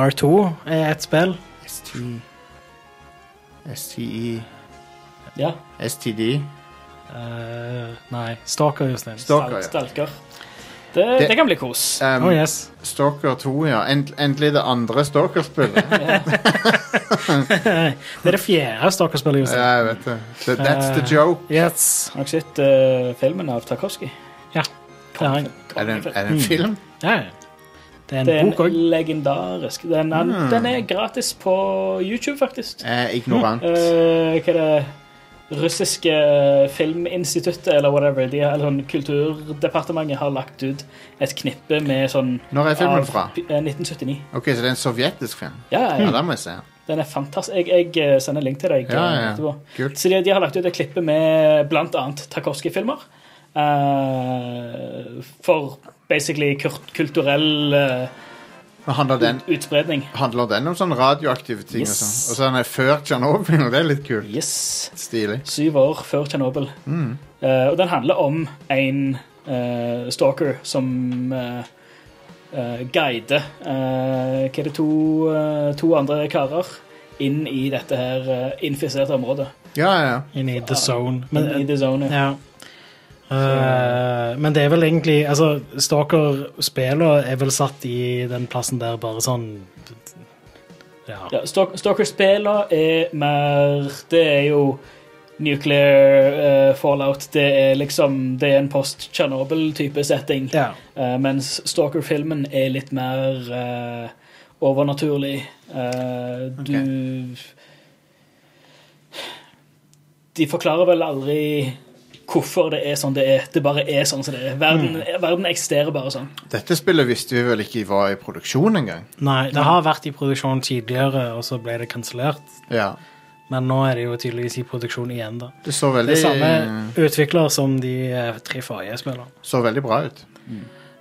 Speaker 2: E er et spill.
Speaker 1: ST...
Speaker 2: E.
Speaker 1: STI
Speaker 4: ja.
Speaker 1: STD.
Speaker 2: Eh, nei, Stalker, Jostein.
Speaker 1: Stalker, ja.
Speaker 4: Stalker. Det, det, kan bli kos.
Speaker 1: Um,
Speaker 2: Oh yes.
Speaker 1: Stalker 2, ja. End, endelig det andre Stalker-spillet.
Speaker 2: det er det fjerde Stalker-spillet,
Speaker 1: ja,
Speaker 2: Jostein.
Speaker 1: jeg vet det. That- That's the joke.
Speaker 2: Yes.
Speaker 4: Har dere sett eh, filmen av Tarkovskij?
Speaker 2: Ja. Det er, en,
Speaker 1: Er det, en- er
Speaker 4: Hmm.
Speaker 1: det en film?
Speaker 2: ja, ja. Det er en
Speaker 4: Det er
Speaker 2: bok òg.
Speaker 4: en legendarisk den, er-
Speaker 1: Mm.
Speaker 4: den er gratis på YouTube, faktisk.
Speaker 1: Eh, ignorant.
Speaker 4: Eh, hva er det russiske filminstituttet eller whatever, de, eller sånn kulturdepartementet har lagt ut et knippe med sånn
Speaker 1: Når er filmen
Speaker 4: av-
Speaker 1: fra? Hmm.
Speaker 4: eh, 1979.
Speaker 1: Ok, så det er en sovjetisk film?
Speaker 4: Ja, ja,
Speaker 1: Ja,
Speaker 4: ja.
Speaker 1: den må jeg se.
Speaker 4: Den er fantastisk. Jeg, jeg eh, sender link til deg.
Speaker 1: Ja,
Speaker 4: eh,
Speaker 1: ja.
Speaker 4: etterpå.
Speaker 1: Kult.
Speaker 4: Så de, de har lagt ut et klippe med blant annet Tarkovskij-filmer. eh, for basically kurt, kulturell eh,
Speaker 1: Men handler den,
Speaker 4: utspredning.
Speaker 1: handler den om sånne radioaktive ting?
Speaker 4: Yes.
Speaker 1: Og sånn? Og så er den er før Tsjernobyl, og det er litt kult.
Speaker 4: Yes.
Speaker 1: Stilig. Mm.
Speaker 4: Syv år før Tsjernobyl. Eh, og den handler om en eh, stalker som eh, eh, guider eh, Hva er det to, eh, to andre karer inn i dette her eh, infiserte området?
Speaker 1: Ja, ja, ja.
Speaker 2: Inn i the zone.
Speaker 4: Men,
Speaker 2: Men,
Speaker 4: I the zone.
Speaker 2: ja. Eh, men det er vel egentlig altså, Stalker-spillene er vel satt i den plassen der bare sånn Ja.
Speaker 4: Ja, Stalk- Stalker-spillene er mer Det er jo nuclear eh, fallout. Det er liksom Det er en post-Tsjernobyl-type setting.
Speaker 2: ja.
Speaker 4: Eh, mens Stalker-filmen er litt mer eh, overnaturlig. Eh, du De forklarer vel aldri hvorfor det er sånn det er. Det bare er sånn som det er. Verden, verden eksisterer bare sånn.
Speaker 1: Dette spillet visste vi vel ikke var i produksjon engang.
Speaker 2: Nei, det har vært i produksjon tidligere, og så ble det kansellert.
Speaker 1: Ja.
Speaker 2: Men nå er det jo tydeligvis i produksjon igjen, da.
Speaker 1: Det så
Speaker 2: Det
Speaker 1: veldig,
Speaker 2: er samme utvikler som de eh, tre forrige spillerne.
Speaker 1: så veldig bra ut.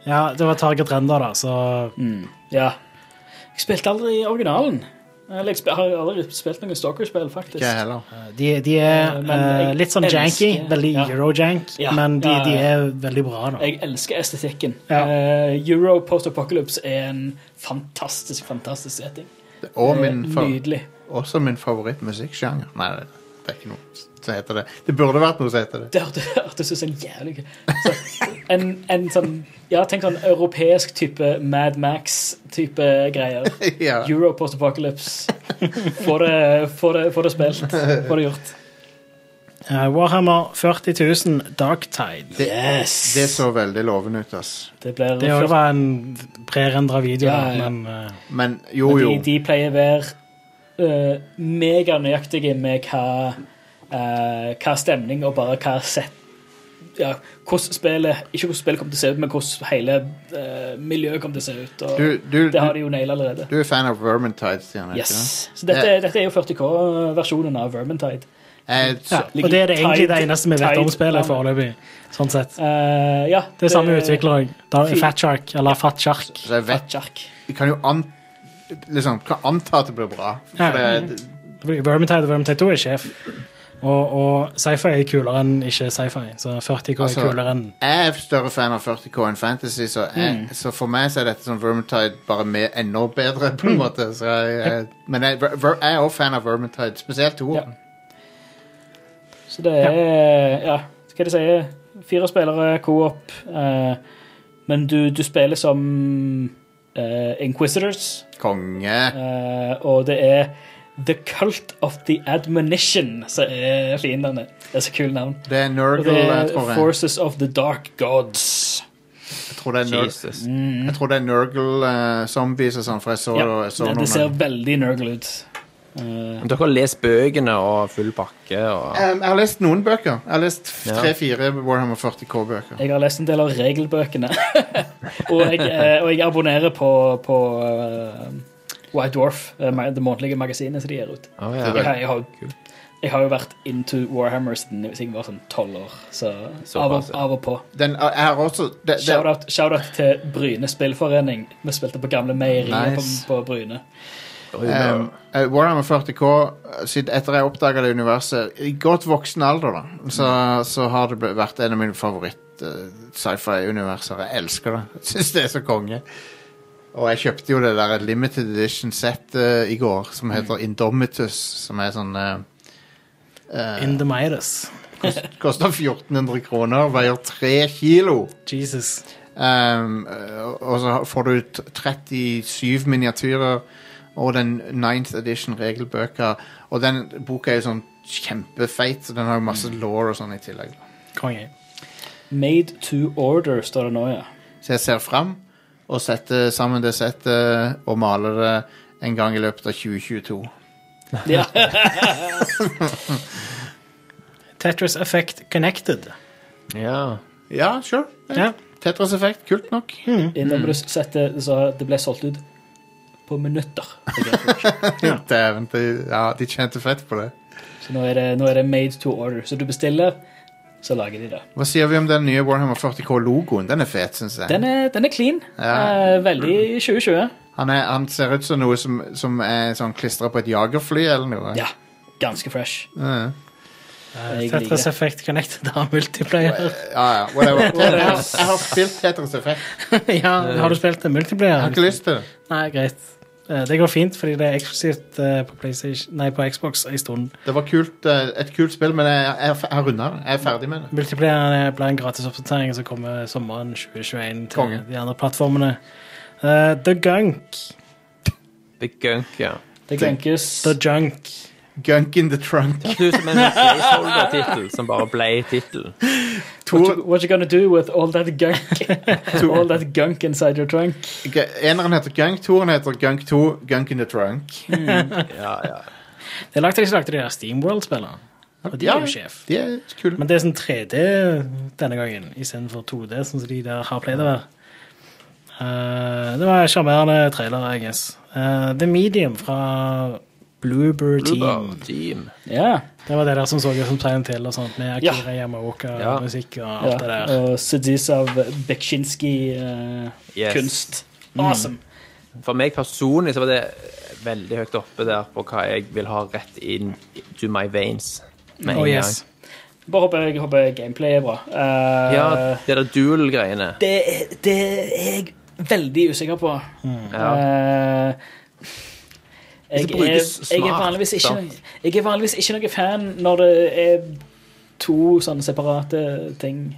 Speaker 2: Ja, det var Target Render, da, så
Speaker 4: Mm. Ja. Jeg spilte aldri originalen. Eller jeg sp- har aldri spilt noen Stalker-spill, faktisk.
Speaker 1: Ikke jeg heller.
Speaker 2: eh, de, de er
Speaker 4: Eh, men jeg
Speaker 2: eh, litt sånn janky,
Speaker 4: elsker-
Speaker 2: veldig
Speaker 4: ja.
Speaker 2: euro-jank,
Speaker 4: Ja,
Speaker 2: men de,
Speaker 4: ja, ja.
Speaker 2: de er veldig bra, da.
Speaker 4: Jeg elsker estetikken.
Speaker 2: Ja.
Speaker 4: Eh, Euro Post Apocalypse er en fantastisk, fantastisk setting.
Speaker 1: Det- Og min
Speaker 4: Eh,
Speaker 1: fa
Speaker 4: Nydelig.
Speaker 1: også min favorittmusikksjanger. Nei, det- det er ikke noe som heter det. Det burde vært noe som heter det.
Speaker 4: Det hørte- hørtes ut som en jævlig så, en, en sånn Ja, tenk sånn europeisk type Mad Max-type greier.
Speaker 1: ja.
Speaker 4: Euro Post Apocalypse. Få det, få det, få det spilt. Få det gjort.
Speaker 2: Eh, Warhammer 40 000 Darktide.
Speaker 1: Det,
Speaker 4: Yes!
Speaker 1: det så veldig lovende ut, ass.
Speaker 4: Det blir
Speaker 2: Det også var en prerendra video,
Speaker 4: Ja, ja.
Speaker 2: men eh,
Speaker 1: Men jo,
Speaker 4: Men
Speaker 1: jo.
Speaker 4: De, de pleier å være eh, meganøyaktige med hva, eh, hva stemning og bare hva sett ja, hvordan spillet, Ikke hvordan spillet kommer til å se ut, men hvordan hele eh, miljøet kommer til å se ut. Og
Speaker 1: Du, du,
Speaker 4: det har
Speaker 1: du,
Speaker 4: de jo naila allerede.
Speaker 1: du er fan av Vermintide, Stian? er du ikke det?
Speaker 4: Yes. Så dette, dette er jo 40K-versjonen av Vermintide.
Speaker 1: Jeg,
Speaker 2: ja.
Speaker 1: så,
Speaker 2: Og det er det egentlig det eneste vi vet om
Speaker 4: Tide-
Speaker 2: spillet
Speaker 4: Tide-
Speaker 2: foreløpig. Sånn sett.
Speaker 4: Eh, ja,
Speaker 2: Det er samme utvikler òg.
Speaker 4: Fy-
Speaker 2: Fat Shark, eller Fat Shark.
Speaker 1: så jeg vet
Speaker 4: Fatjark.
Speaker 1: Vi kan jo an, liksom, kan anta at det blir bra. For
Speaker 2: Ja.
Speaker 1: det,
Speaker 2: Fordi Vermintide og Vermintide 2 er sjef. Og, og sci-fi er kulere enn ikke sci-fi. Så 40K er
Speaker 1: Altså-
Speaker 2: kulere enn
Speaker 1: jeg er større fan av 40K enn Fantasy, så, jeg,
Speaker 4: Mm.
Speaker 1: så for meg så er dette som Vermintide bare med enda bedre, på
Speaker 4: Mm.
Speaker 1: en måte. Så jeg, jeg, men jeg, Ver- Ver- jeg er også fan av Vermintide, spesielt to.
Speaker 4: Ja. Så det er Ja, hva er det jeg sier? Fire spillere, co-op. eh, men du, du spiller som eh, Inquisitors,
Speaker 1: Konge.
Speaker 4: eh, og det er The Cult of the Admonition som er fiendene. Det er så kult navn.
Speaker 1: Det er
Speaker 4: Og
Speaker 1: Nurgle,
Speaker 4: det
Speaker 1: jeg
Speaker 4: er
Speaker 1: tror jeg.
Speaker 4: Forces of the Dark Gods. Mm.
Speaker 1: Jeg tror det er, Nur
Speaker 3: Jesus.
Speaker 1: jeg tror det er Nurgle eh, zombies og sånn, for jeg så,
Speaker 4: Ja,
Speaker 1: jeg så
Speaker 4: det, det
Speaker 1: noen
Speaker 4: ser
Speaker 1: av-
Speaker 4: veldig nurgle ut. Eh,
Speaker 3: Dere har lest bøkene og full pakke og
Speaker 1: Um, jeg har lest noen bøker. Jeg har lest f-
Speaker 3: Ja.
Speaker 1: tre-fire Warhammer 40K-bøker.
Speaker 4: Jeg har lest en del av regelbøkene. og, jeg, eh, og jeg abonnerer på, på eh, White Dwarf, eh, ma- det månedlige magasinet som de gir ut.
Speaker 3: Å,
Speaker 1: Det
Speaker 3: ja.
Speaker 1: er
Speaker 4: Jeg, har- jeg,
Speaker 3: Kult.
Speaker 4: har, jeg har jo vært into Warhammer siden jeg var sånn tolv år. Så av
Speaker 3: Såpass,
Speaker 4: og,
Speaker 3: ja.
Speaker 4: av og på.
Speaker 1: Den, jeg har også det, det,
Speaker 4: Shout-out shout-out til Bryne spillforening. Vi spilte på gamle meieriet
Speaker 1: Nice.
Speaker 4: på, på Bryne.
Speaker 1: um, eh, Warhammer 40K, eh, siden- etter jeg oppdaga det universet I godt voksen alder, da, så, så har det ble- vært en av mine favoritt-sci-fi-universer. Jeg elsker det. Jeg syns det er så konge. Og jeg kjøpte jo det der limited edition set eh, i går, som heter Indomitus, som er sånn eh, eh,
Speaker 2: In the Midas.
Speaker 1: Koster 1400 kroner, veier 3 kilo.
Speaker 2: Jesus.
Speaker 1: Um, og- og så får du t- 37 miniatyrer og den 9th edition regelbøker. Og den boka er jo sånn kjempefeit, så den har jo masse law og sånn i tillegg.
Speaker 2: Konge.
Speaker 4: Made to order, står det nå, ja.
Speaker 1: Så jeg ser fram og setter sammen det settet og maler det en gang i løpet av 2022.
Speaker 4: ja.
Speaker 2: Tetris Effect Connected.
Speaker 3: ja.
Speaker 1: Ja, sure.
Speaker 2: Ja.
Speaker 1: Tetras effekt, kult nok.
Speaker 4: Innombrus setter så det ble solgt ut på minutter.
Speaker 2: Ja.
Speaker 1: Dæven, de, ja, de tjente fett på det.
Speaker 4: Så nå er, det, nå er det made to order. Så du bestiller, så lager de det.
Speaker 1: Hva sier vi om den nye Warhammer 40K-logoen? Den er fet, syns jeg.
Speaker 4: Den er, den er clean.
Speaker 1: Ja.
Speaker 4: Eh, veldig 2020.
Speaker 1: Han, er, han ser ut som noe som, som er sånn klistra på et jagerfly eller noe.
Speaker 4: Ja, ganske fresh.
Speaker 1: Ja.
Speaker 4: Jeg
Speaker 2: Tetris
Speaker 4: liker.
Speaker 2: Effect Connected har multiplayer.
Speaker 1: Ja, ja, whatever. Jeg har, jeg har spilt Tetris Effect.
Speaker 2: ja, har du spilt en multiplayer?
Speaker 1: Jeg har ikke lyst til det.
Speaker 2: Nei, greit. Eh, Det går fint, fordi det er eksklusivt eh, på, PlayStation- nei, på Xbox en stund.
Speaker 1: Det var kult, eh, et kult spill, men jeg, jeg, jeg har runda det. Jeg er ferdig med det.
Speaker 2: Multiplieren blir en gratis oppdatering som kommer sommeren 2021 til
Speaker 1: Konge.
Speaker 2: de andre plattformene. Eh, The Gunk.
Speaker 3: The Gunk, ja.
Speaker 4: Det krenkes.
Speaker 2: The Junk.
Speaker 1: Gunk in the trunk.
Speaker 3: Det ser ut som en placeholder-tittel som bare ble tittel.
Speaker 4: What
Speaker 1: To,
Speaker 4: you, what you gonna do with all that gunk? all that gunk inside your trunk?
Speaker 1: g- eneren heter Gunk, toeren heter Gunk 2, Gunk in the trunk.
Speaker 3: Ja, ja.
Speaker 2: Det er lagt de som lagde de der Steamworld-spillene. Og de
Speaker 1: Ja.
Speaker 2: er jo sjef.
Speaker 1: De er kule.
Speaker 2: Men det er sånn 3D denne gangen, istedenfor 2D, sånn som de der har pleid å være. Eh, det var en sjarmerende trailer, I guess. Eh, The Medium fra Bloober Team.
Speaker 3: Bluebird Team.
Speaker 4: Ja.
Speaker 2: Det var det der som så ut som Silent Hill og sånt, med Akira
Speaker 3: Ja.
Speaker 2: Yamaoka-musikk og alt det
Speaker 4: ja.
Speaker 2: der.
Speaker 4: Og seduce av Bekshinski-kunst.
Speaker 3: Yes. Mm.
Speaker 4: Awesome.
Speaker 3: For meg personlig så var det veldig høyt oppe der på hva jeg vil ha rett inn to my veins. Med en
Speaker 2: Oh, yes.
Speaker 3: gang.
Speaker 4: Bare håper, jeg håper gameplay er bra. Eh,
Speaker 3: Ja, det der duel-greiene.
Speaker 4: det, det er jeg veldig usikker på.
Speaker 2: Mm.
Speaker 3: Ja.
Speaker 4: Eh, jeg,
Speaker 3: Hvis det
Speaker 4: er,
Speaker 3: brukes
Speaker 4: jeg, er
Speaker 3: smart,
Speaker 4: vanligvis ikke,
Speaker 3: da.
Speaker 4: noe- jeg er vanligvis ikke noe fan når det er to sånne separate ting.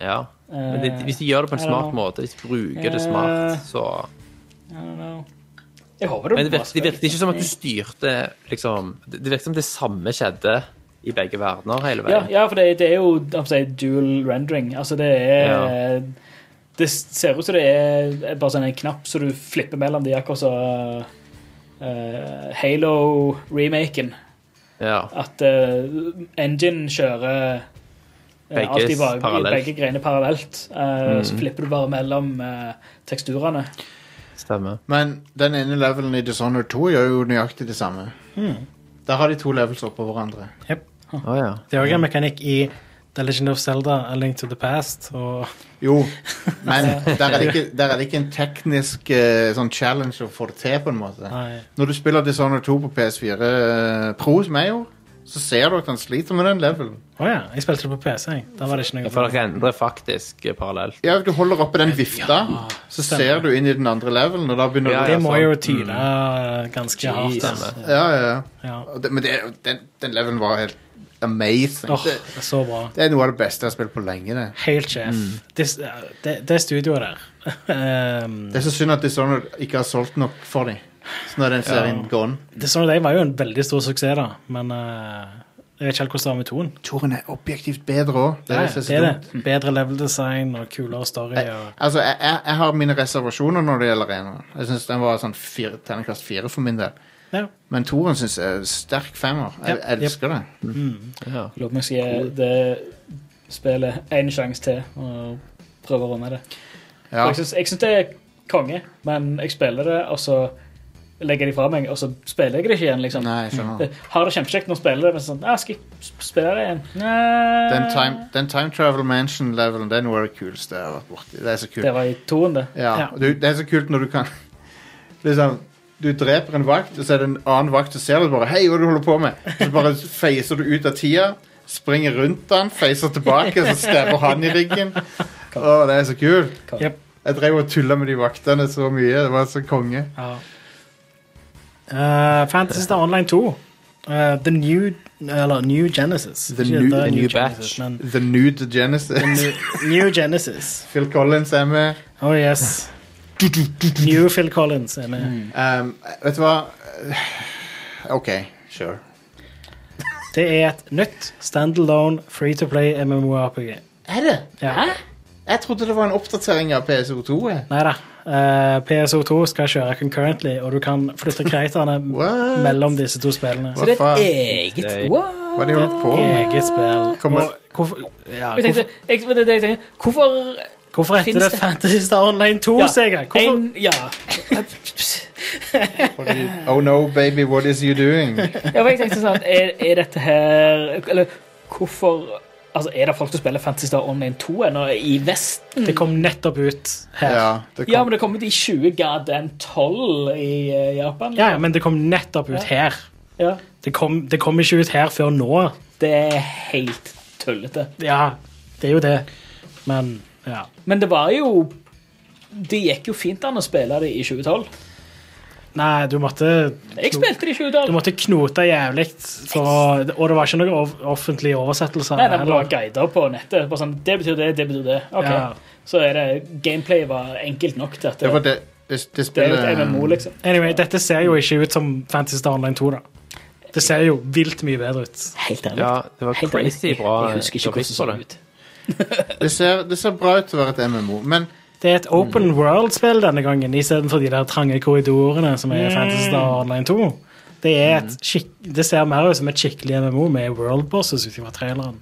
Speaker 3: ja. Men det,
Speaker 4: Eh,
Speaker 3: hvis de gjør det på en
Speaker 4: I don't
Speaker 3: smart
Speaker 4: know.
Speaker 3: måte, hvis de bruker
Speaker 4: Eh,
Speaker 3: det smart, så
Speaker 4: I don't know. Jeg håper det
Speaker 3: Men det
Speaker 4: blir bra
Speaker 3: virker, det virker ikke som at du styrte liksom Det det virker som det samme skjedde i begge verdener hele
Speaker 4: Ja,
Speaker 3: veien.
Speaker 4: ja for det, det er jo hva skal jeg si, dual rendering. Altså, det er Det ser ut som det er bare sånn en knapp så du flipper mellom de, akkurat som eh, Halo-remaken.
Speaker 3: Ja.
Speaker 4: At eh, engine kjører eh,
Speaker 3: Begge
Speaker 4: alltid bare,
Speaker 3: parallelt. Mhm.
Speaker 4: begge greiene parallelt. eh, Så flipper du bare mellom eh, teksturene.
Speaker 3: Stemmer.
Speaker 1: Men den ene levelen i Dishonored 2 gjør jo nøyaktig det samme. Hmm. Der har de to levels oppå hverandre.
Speaker 3: Å ja.
Speaker 2: Det er òg en mekanikk i The Legend of Zelda, A Link to the Past, og
Speaker 1: Jo, men der er det ikke, der er det ikke en teknisk eh, sånn challenge å få det til, på en måte.
Speaker 2: Nei.
Speaker 1: Når du spiller Dishonored 2 på PS4 eh, Pro, som jeg gjorde, så ser du at han sliter med den levelen.
Speaker 2: Å ja, jeg spilte det på PC. jeg. Da var det ikke
Speaker 3: For
Speaker 2: noe
Speaker 3: det rendrer faktisk eh, parallelt.
Speaker 1: Ja, du holder oppe den vifta, så ser
Speaker 2: stemmer.
Speaker 1: du inn i den andre levelen, og da begynner
Speaker 3: Ja,
Speaker 1: du
Speaker 2: Det må
Speaker 3: sant.
Speaker 2: jo tyde eh, ganske hardt.
Speaker 3: Jesus.
Speaker 2: altså.
Speaker 1: Ja, ja, ja.
Speaker 2: Ja.
Speaker 1: Og det- Men det, den, den levelen var helt amazing.
Speaker 2: Åh,
Speaker 1: Det,
Speaker 2: det er så bra.
Speaker 1: det er noe av det beste jeg har spilt på lenge. Det
Speaker 2: Helt sjef. Det, det, det studioet der um,
Speaker 1: Det er så synd at Dishonored ikke har solgt nok for dem. Så nå er den serien gone.
Speaker 2: Dishonored 1 sånn var jo en veldig stor suksess, da, men eh, jeg vet ikke helt hvordan det var med toen.
Speaker 1: Toren er objektivt bedre òg.
Speaker 2: Det er det. Bedre level design og kulere story. Og,
Speaker 1: Altså, jeg, jeg, jeg har mine reservasjoner når det gjelder eneren. Jeg synes den var sånn fire, terningkast fire for min del.
Speaker 2: ja.
Speaker 1: Men toren syns jeg er sterk femmer. Jeg
Speaker 2: Yep, yep.
Speaker 1: elsker det.
Speaker 3: Ja.
Speaker 4: Jeg Lurer på om jeg skal gi det spillet én sjanse til og prøve å runde det.
Speaker 1: Ja.
Speaker 4: Jeg, syns, jeg syns det er konge, men jeg spiller det, og så legger jeg det fra meg, og så spiller jeg det ikke igjen. liksom.
Speaker 1: Nei, jeg skjønner.
Speaker 4: Det, har det kjempekjekt når jeg spiller det, men sånn ja, Skal jeg sp- spille det igjen? Nei.
Speaker 1: Den time, den time Travel Mansion-levelen det er noe av det kuleste jeg har vært borti. Det er så kult.
Speaker 4: Det var i toen, det.
Speaker 1: Ja,
Speaker 2: Ja.
Speaker 1: og Du, det er så kult når du kan liksom, Du dreper en vakt, og så er det en annen vakt som ser deg og bare Hei, hva er det du holder på med? Så bare feiser du ut av tida, springer rundt den, feiser tilbake, så stabber han i ryggen. Å, det er så kult.
Speaker 4: Konge.
Speaker 2: Jep.
Speaker 1: Jeg drev og tulla med de vaktene så mye. Det var så konge.
Speaker 2: Ja. Eh, Fantasy Star Online 2. eh, the New Eller New Genesis.
Speaker 1: The
Speaker 2: Ikke
Speaker 1: new-
Speaker 2: The
Speaker 1: the
Speaker 3: new
Speaker 2: Genesis,
Speaker 3: batch.
Speaker 2: men
Speaker 1: The Nude Genesis.
Speaker 2: New Genesis.
Speaker 1: Phil Collins er med.
Speaker 2: Oh yes. New Phil Collins er med.
Speaker 1: Um, vet du hva? OK, sure.
Speaker 2: Det er et nytt standalone free to play MMORPG.
Speaker 1: Er det?
Speaker 2: Ja.
Speaker 1: Jeg trodde det var en oppdatering av PSO2. jeg.
Speaker 2: Nei da. Eh, PSO2 skal kjøre concurrently, og du kan flytte kreaterne
Speaker 1: What?
Speaker 2: mellom disse to spillene.
Speaker 1: Hva faen?
Speaker 4: eget
Speaker 3: Det er-
Speaker 1: Hva har de holdt på med?
Speaker 2: Eget spill.
Speaker 1: Kommer-
Speaker 2: Og Hvorfor, ja,
Speaker 4: Jeg tenkte,
Speaker 2: hvorfor,
Speaker 4: jeg, det, er det, jeg tenkte, hvorfor
Speaker 2: hvorfor heter
Speaker 4: Finnes
Speaker 2: det
Speaker 4: det-
Speaker 2: Fantasy Star Online 2,
Speaker 4: Ja,
Speaker 2: sier jeg? Hvorfor,
Speaker 4: en- ja.
Speaker 1: Oh no, baby, what is you doing?
Speaker 4: ja, for jeg tenkte sånn er, er dette her Eller hvorfor Altså, Er det folk som spiller Fantasy Star Online 2 ennå i Vesten?
Speaker 2: det kom nettopp ut her. Ja.
Speaker 1: Ja, det
Speaker 4: Ja,
Speaker 1: kom.
Speaker 4: men det kommer til 20 goddamn 12 i eh, Japan.
Speaker 2: ja, men det kom nettopp ut her.
Speaker 4: Ja.
Speaker 2: Det kom, det kom ikke ut her før nå.
Speaker 4: Det er helt tullete.
Speaker 2: Ja, det er jo det. Men ja.
Speaker 4: Men det var jo Det gikk jo fint an å spille det i 2012.
Speaker 2: Nei, du måtte
Speaker 4: Jeg spilte det i
Speaker 2: Du
Speaker 4: 2012.
Speaker 2: måtte knote jævlig, for, og det var ikke noen ov- offentlige oversettelser.
Speaker 4: Nei, det var
Speaker 2: heller.
Speaker 4: guider på nettet. Bare sånn, det betyr det, det betyr det. Ok.
Speaker 2: Ja.
Speaker 4: Så er det, gameplay var enkelt nok til at
Speaker 1: Det var
Speaker 4: det,
Speaker 1: det, det, det
Speaker 4: det er jo et
Speaker 1: spillet
Speaker 4: MMO, liksom.
Speaker 2: Anyway, dette ser jo ikke ut som Fantasy Star Online 2, da. Det ser jo vilt mye bedre ut.
Speaker 4: Helt ærlig.
Speaker 3: Ja, det var
Speaker 4: Helt ærlig.
Speaker 3: crazy bra
Speaker 4: Jeg husker ikke hvordan det
Speaker 3: grafikk på
Speaker 4: så
Speaker 3: det.
Speaker 4: ut.
Speaker 1: det ser, det ser bra ut til å være et MMO, men
Speaker 2: Det er et open
Speaker 1: Mm.
Speaker 2: world-spill denne gangen, istedenfor de der trange korridorene som er Fantasy Star Online 2. Det, er et
Speaker 1: Mm.
Speaker 2: skikk, det ser mer ut som et skikkelig MMO med world bosses ut fra traileren.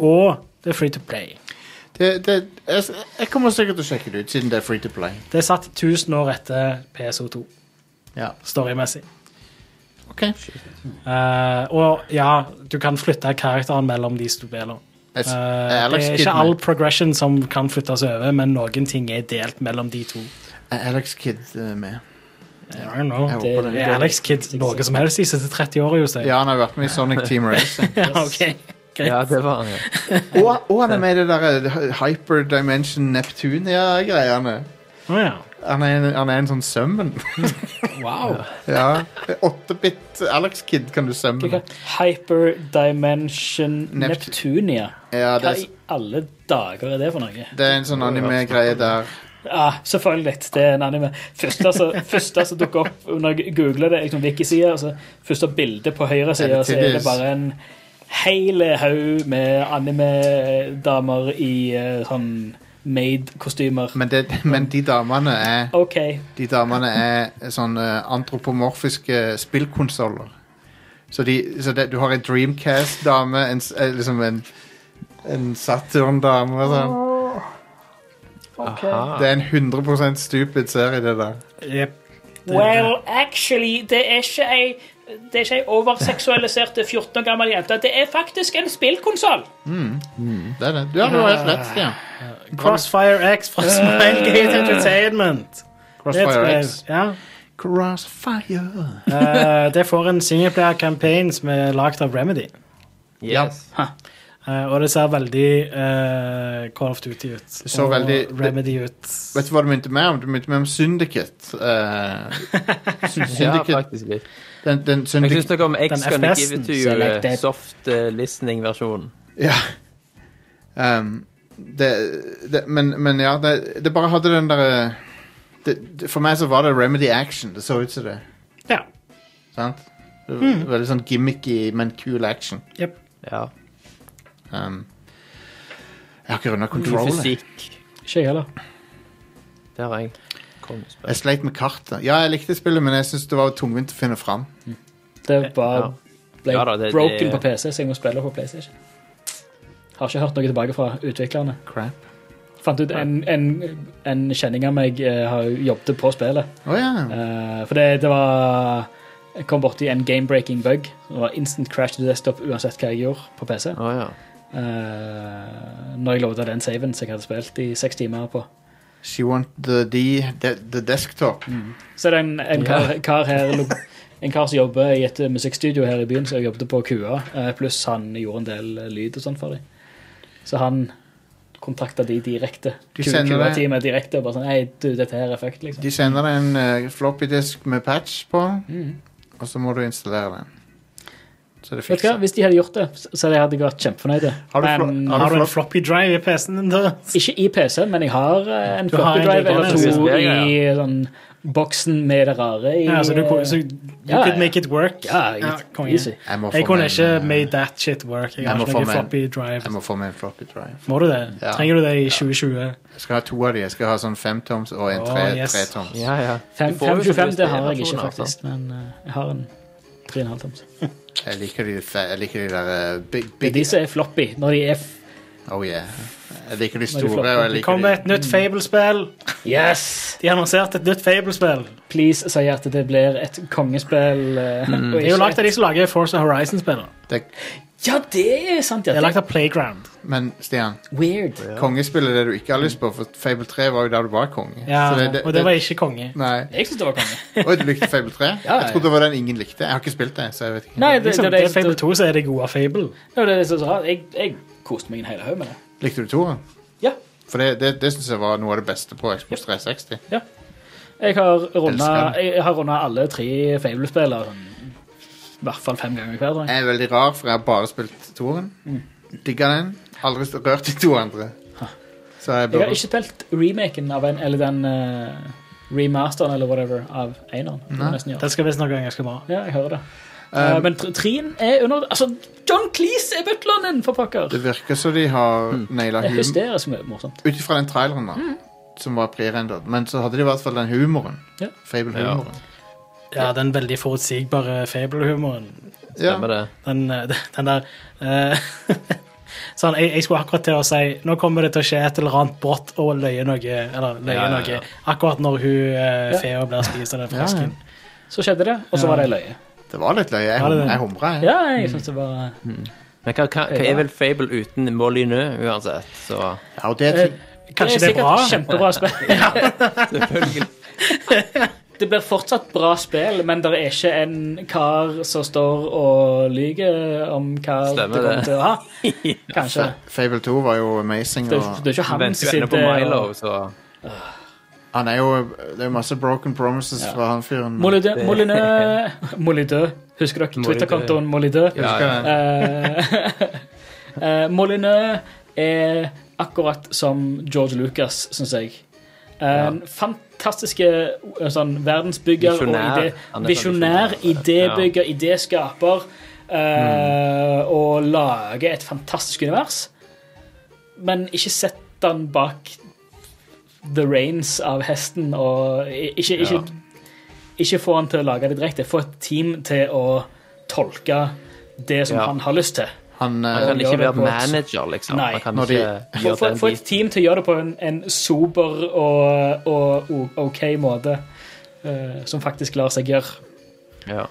Speaker 2: Og det er free to play.
Speaker 1: det, det, jeg, jeg kommer sikkert til å sjekke det ut, siden det er free to play.
Speaker 2: Det er satt 1000 år etter PSO2,
Speaker 1: Ja.
Speaker 2: storymessig.
Speaker 1: OK.
Speaker 2: Eh, og ja, du kan flytte karakteren mellom de du spiller.
Speaker 1: Jeg, s-
Speaker 2: Eh,
Speaker 1: Alex,
Speaker 2: det er ikke
Speaker 1: Kidman,
Speaker 2: all progression som kan flyttes over, men noen ting er delt mellom de to.
Speaker 1: er Alex Kid eh, med.
Speaker 2: I don't know.
Speaker 1: Jeg
Speaker 4: det-
Speaker 1: håper
Speaker 2: Det
Speaker 1: det.
Speaker 2: er Alex Kid noe som helst de siste 30 åra, Jostein.
Speaker 1: Ja, han har vært med i Sonic Team Racing.
Speaker 2: Ja, ok.
Speaker 3: Ja, det var han, ja.
Speaker 1: Og, og han er med i det eh, derre Hyper Dimension Neptunia-greiene.
Speaker 2: Å, ja.
Speaker 1: Han, er en- han er en sånn sømmen.
Speaker 4: Wow.
Speaker 1: Ja. 8-bit Alex Kid kan du sømme.
Speaker 4: Hyperdimension
Speaker 1: Nept-
Speaker 4: Neptunia.
Speaker 1: Ja, det
Speaker 4: Hva
Speaker 1: er,
Speaker 4: i alle dager er det for noe?
Speaker 1: det er en sånn anime-greie der.
Speaker 4: Ja, Ah, selvfølgelig. Det er en anime. Første som første som dukker opp når jeg googler det, er liksom Wiki-sida. Altså, første bilde på høyre
Speaker 1: Er
Speaker 4: side,
Speaker 1: det
Speaker 4: så er det
Speaker 1: tydeligvis-
Speaker 4: bare en hel haug med anime-damer i eh, sånn maid-kostymer.
Speaker 1: Men, det, men de damene er
Speaker 4: OK.
Speaker 1: De damene er sånne antropomorfiske spillkonsoller. Så, de, så det, du har en Dreamcast-dame, en, s- eh, liksom en, en Saturn-dame og sånn.
Speaker 3: Aha. Ah.
Speaker 1: Det er en 100 stupid serie, det der.
Speaker 2: Jep.
Speaker 4: Well, actually, det er ikke ei det er ikke ei overseksualisert 14 år gammel jente. Det er faktisk en spillkonsoll.
Speaker 1: Det er det. Du har jo helt rett, Stian.
Speaker 2: Crossfire X fra Smilegate Entertainment.
Speaker 1: Eh. Crossfire
Speaker 2: Det
Speaker 1: X.
Speaker 2: tror jeg- Ja.
Speaker 1: Crossfire.
Speaker 2: Eh, det får en singleplayer-campaign som er lagd av Remedy.
Speaker 3: Yes.
Speaker 2: Eh, og det ser veldig eh, Call of Duty ut. Det
Speaker 1: så
Speaker 2: og
Speaker 1: veldig- det-
Speaker 2: Remedy ut.
Speaker 1: Vet du hva det begynte med? om? Det begynte med om Syndicate. eh,
Speaker 3: Ja,
Speaker 1: Syndicate.
Speaker 3: faktisk litt.
Speaker 1: Den, den
Speaker 3: Jeg syns
Speaker 1: Syndicate
Speaker 3: noe om X
Speaker 2: Den
Speaker 3: gonna give
Speaker 2: FPS-en,
Speaker 3: it to
Speaker 4: så
Speaker 3: you
Speaker 4: jeg likte
Speaker 3: eh,
Speaker 4: det.
Speaker 3: soft eh, listening-versjonen.
Speaker 1: Ja. Ehm, det, det, men, men ja, det, det bare hadde den derre det, det, For meg så var det remedy action. Det så ut som det.
Speaker 2: Ja.
Speaker 1: Sant? Det var
Speaker 4: Hmm.
Speaker 1: Veldig sånn gimmicky, men cool action.
Speaker 2: Jep.
Speaker 3: Ja.
Speaker 1: Ehm, jeg har ikke runda
Speaker 3: God
Speaker 1: control. Jeg.
Speaker 3: fysikk.
Speaker 4: Ikke jeg heller.
Speaker 3: Det har jeg. Kom, spør.
Speaker 1: jeg sleit med kartet. Ja, jeg likte spillet, men jeg syns det var tungvint å finne fram.
Speaker 4: Det var
Speaker 3: Ja.
Speaker 4: ble
Speaker 3: Ja da, det-
Speaker 4: broken
Speaker 3: det-
Speaker 4: på PC, så jeg må spille på PlayStation. Har ikke hørt noe tilbake fra utviklerne.
Speaker 1: Crap.
Speaker 4: Fant ut en, en, en kjenning av meg eh, har jo jobbet på spillet.
Speaker 1: Å ja.
Speaker 4: Eh, for det, det var Jeg kom borti en game-breaking bug. Det var instant crash to desktop uansett hva jeg gjorde på PC.
Speaker 3: Å ja.
Speaker 4: Eh, når jeg loada den saven som jeg hadde spilt i seks timer på.
Speaker 1: She want the, D- the, the desktop.
Speaker 4: Så er det en, en kar, kar her lo- En kar som jobber i et eh, musikkstudio her i byen, som jobbet på Kua, eh, pluss han gjorde en del eh, lyd og sånn for dem. Så han kontakta de direkte.
Speaker 1: De sender deg-
Speaker 4: Kua-teamet direkte og bare sånn Hei, du, dette her er fucked, liksom.
Speaker 1: De sender deg en eh, floppy disk med patch på,
Speaker 4: Mm.
Speaker 1: og så må du installere den. Så det
Speaker 4: Vet du hva,
Speaker 1: fikser
Speaker 4: Hvis de hadde gjort det, så så hadde jeg vært kjempefornøyd.
Speaker 1: Har du flo-
Speaker 4: Men
Speaker 1: har
Speaker 2: Har du en
Speaker 1: flott-
Speaker 2: floppy drive i PC-en din, da?
Speaker 4: ikke i PC-en, men jeg har eh, en
Speaker 2: Du har
Speaker 4: floppy
Speaker 2: en
Speaker 4: drive
Speaker 2: liten
Speaker 4: eller to
Speaker 3: USB, ja.
Speaker 4: i sånn boksen med det rare i
Speaker 2: Ja, så du, så you
Speaker 4: Ja, ja.
Speaker 2: could make it work.
Speaker 4: ja,
Speaker 2: Ja, kom igjen.
Speaker 4: easy.
Speaker 1: Jeg må
Speaker 2: Jeg
Speaker 1: få
Speaker 2: kunne
Speaker 1: meg en,
Speaker 2: ikke
Speaker 1: eh,
Speaker 2: made that shit work. Jeg
Speaker 1: jeg
Speaker 2: har
Speaker 1: må
Speaker 2: ikke
Speaker 1: få
Speaker 2: noen
Speaker 1: meg en-
Speaker 2: floppy drive.
Speaker 1: Jeg må få meg en floppy drive.
Speaker 2: Må du det?
Speaker 1: Ja.
Speaker 2: Trenger du det i 2020?
Speaker 1: Jeg skal ha to av de. Jeg skal ha sånn femtoms og en
Speaker 2: Å,
Speaker 1: tre,
Speaker 2: yes.
Speaker 1: tretoms.
Speaker 3: ja, ja.
Speaker 4: Fem-
Speaker 3: Du får jo
Speaker 4: 525, det har jeg
Speaker 3: USB-versjoner,
Speaker 4: ikke,
Speaker 3: altså.
Speaker 4: faktisk. Men eh, jeg har en 3,5 toms.
Speaker 1: Jeg liker de, fe- jeg liker de der eh, big,
Speaker 4: Det er
Speaker 1: big
Speaker 4: de som er floppy. Når de er f
Speaker 1: Oh yeah. Jeg liker de
Speaker 4: Når de
Speaker 1: store, og
Speaker 4: flopper.
Speaker 1: jeg
Speaker 2: Det
Speaker 1: liker de
Speaker 2: kommer et
Speaker 4: Mm.
Speaker 2: nytt Fable-spill.
Speaker 4: Yes!
Speaker 2: De annonserte et nytt Fable-spill.
Speaker 4: Please si at det blir et kongespill. eh, og
Speaker 3: Mm.
Speaker 2: Det er jo
Speaker 4: ikke
Speaker 2: lagd av de som lager Force Horizon-spillere.
Speaker 1: det,
Speaker 4: Ja, det er sant. Ja.
Speaker 2: Det er lagt av Playground.
Speaker 1: Men Stian,
Speaker 4: Weird.
Speaker 1: kongespill er det du ikke har lyst på, for Fable 3 var jo der du var konge.
Speaker 2: Ja,
Speaker 1: Så
Speaker 2: og det var ikke konge.
Speaker 1: Nei.
Speaker 4: Jeg syns det var konge.
Speaker 1: Oi, du likte Fable 3?
Speaker 4: ja, ja.
Speaker 1: Jeg trodde det var den ingen likte. Jeg har ikke spilt det, så jeg vet ikke.
Speaker 4: Nei, det,
Speaker 2: Liksom,
Speaker 4: det,
Speaker 2: det er
Speaker 4: det,
Speaker 2: Fable
Speaker 4: det,
Speaker 2: 2, så er det gode av Fable.
Speaker 4: det, det, det, det jeg, jeg koste meg en hel haug med det.
Speaker 1: Likte du toeren?
Speaker 4: Ja.
Speaker 1: For det, det, det syns jeg var noe av det beste på Xbox 360.
Speaker 4: Jeg har runda
Speaker 1: Elsker
Speaker 4: jeg, jeg har rundet alle tre Fable-spillene sånn, i hvert fall fem ganger hver. tror jeg.
Speaker 1: Jeg er veldig rar, for jeg har bare spilt toeren.
Speaker 4: Mm.
Speaker 1: Digga den. Aldri rørt de to andre. Så jeg
Speaker 4: Jeg har
Speaker 1: burde
Speaker 4: ikke spilt remaken av en, eller den eh, remasteren eller whatever av eneren. Det må jeg nesten gjøre.
Speaker 2: Den skal visstnok være ganske bra.
Speaker 4: Ja, jeg hører det. Eh, men tr- trien er under Altså, John Cleese er butleren din, for pokker!
Speaker 1: Det virker som de har naila
Speaker 4: Det er
Speaker 1: humor.
Speaker 4: hysterisk mor- morsomt.
Speaker 1: Ut ifra den traileren, da,
Speaker 4: Mm.
Speaker 1: som var prerendret. Men så hadde de i hvert fall den humoren.
Speaker 4: Ja.
Speaker 1: Fable-humoren.
Speaker 2: Ja, Den veldig forutsigbare Fable-humoren.
Speaker 1: Ja.
Speaker 3: Stemmer det?
Speaker 2: Den, eh, den der eh, Sånn, jeg, jeg skulle akkurat til å si nå kommer det til å skje et eller annet brått og løye noe. Eller løye
Speaker 3: Ja, ja, ja.
Speaker 2: noe. Akkurat når hun eh,
Speaker 4: Ja.
Speaker 2: fea blir spist av den
Speaker 1: Ja, ja.
Speaker 2: frosken.
Speaker 4: Så skjedde det, og så var det ei løye.
Speaker 1: Det var litt løye. Jeg,
Speaker 2: Ja, det er
Speaker 1: hum
Speaker 2: det.
Speaker 1: jeg humra, jeg.
Speaker 4: Ja, jeg synes det var
Speaker 3: Men hva, hva, hva er vel Fable uten Molyneux uansett? Så
Speaker 1: Ja, og det er ting.
Speaker 4: Eh,
Speaker 2: Kanskje det er
Speaker 4: sikkert
Speaker 2: bra?
Speaker 4: Kjempebra spill.
Speaker 3: selvfølgelig.
Speaker 4: Det blir fortsatt bra spill, men det er ikke en kar som står og lyver om hva det
Speaker 3: Stemmer
Speaker 4: kommer
Speaker 3: det.
Speaker 4: til å ha. Kanskje.
Speaker 1: Fable 2 var jo amazing.
Speaker 4: Det er,
Speaker 1: Og
Speaker 4: det er ikke han
Speaker 3: Venter
Speaker 4: som
Speaker 3: vi ennå på
Speaker 4: sitter
Speaker 3: Milo,
Speaker 4: og-
Speaker 3: så
Speaker 1: han er jo Det er jo masse broken promises fra han fyren.
Speaker 4: Molyneux- Molyneux Molyneux. Husker dere Twitter-kontoen Molyneux?
Speaker 3: Ja, ja.
Speaker 4: Eh, eh, Molyneux er akkurat som George Lucas, syns jeg. Eh, En fantastiske eh, sånn, verdensbygger og
Speaker 3: Visjonær. Han
Speaker 4: ide-
Speaker 3: er
Speaker 4: visjonær.
Speaker 3: sånn visjonær.
Speaker 4: Idébygger, idéskaper.
Speaker 3: Mm.
Speaker 4: eh, Og lager et fantastisk univers. Men ikke sett den bak the reins av hesten, og i- ikke, ikke,
Speaker 3: Ja.
Speaker 4: ikke få han til å lage det direkte. Få et team til å tolke det som
Speaker 3: Ja.
Speaker 4: han har lyst til.
Speaker 1: Han,
Speaker 3: Han
Speaker 1: eh,
Speaker 3: kan ikke
Speaker 4: gjør det
Speaker 3: være
Speaker 4: på et-
Speaker 3: manager, liksom.
Speaker 4: Nei.
Speaker 3: Han kan
Speaker 1: Når de-
Speaker 3: ikke
Speaker 4: Få,
Speaker 3: gjøre
Speaker 4: få,
Speaker 3: den
Speaker 4: få et
Speaker 3: biten.
Speaker 4: team til å gjøre det på en, en sober og, og, og OK måte, eh, som faktisk lar seg gjøre.
Speaker 3: Ja.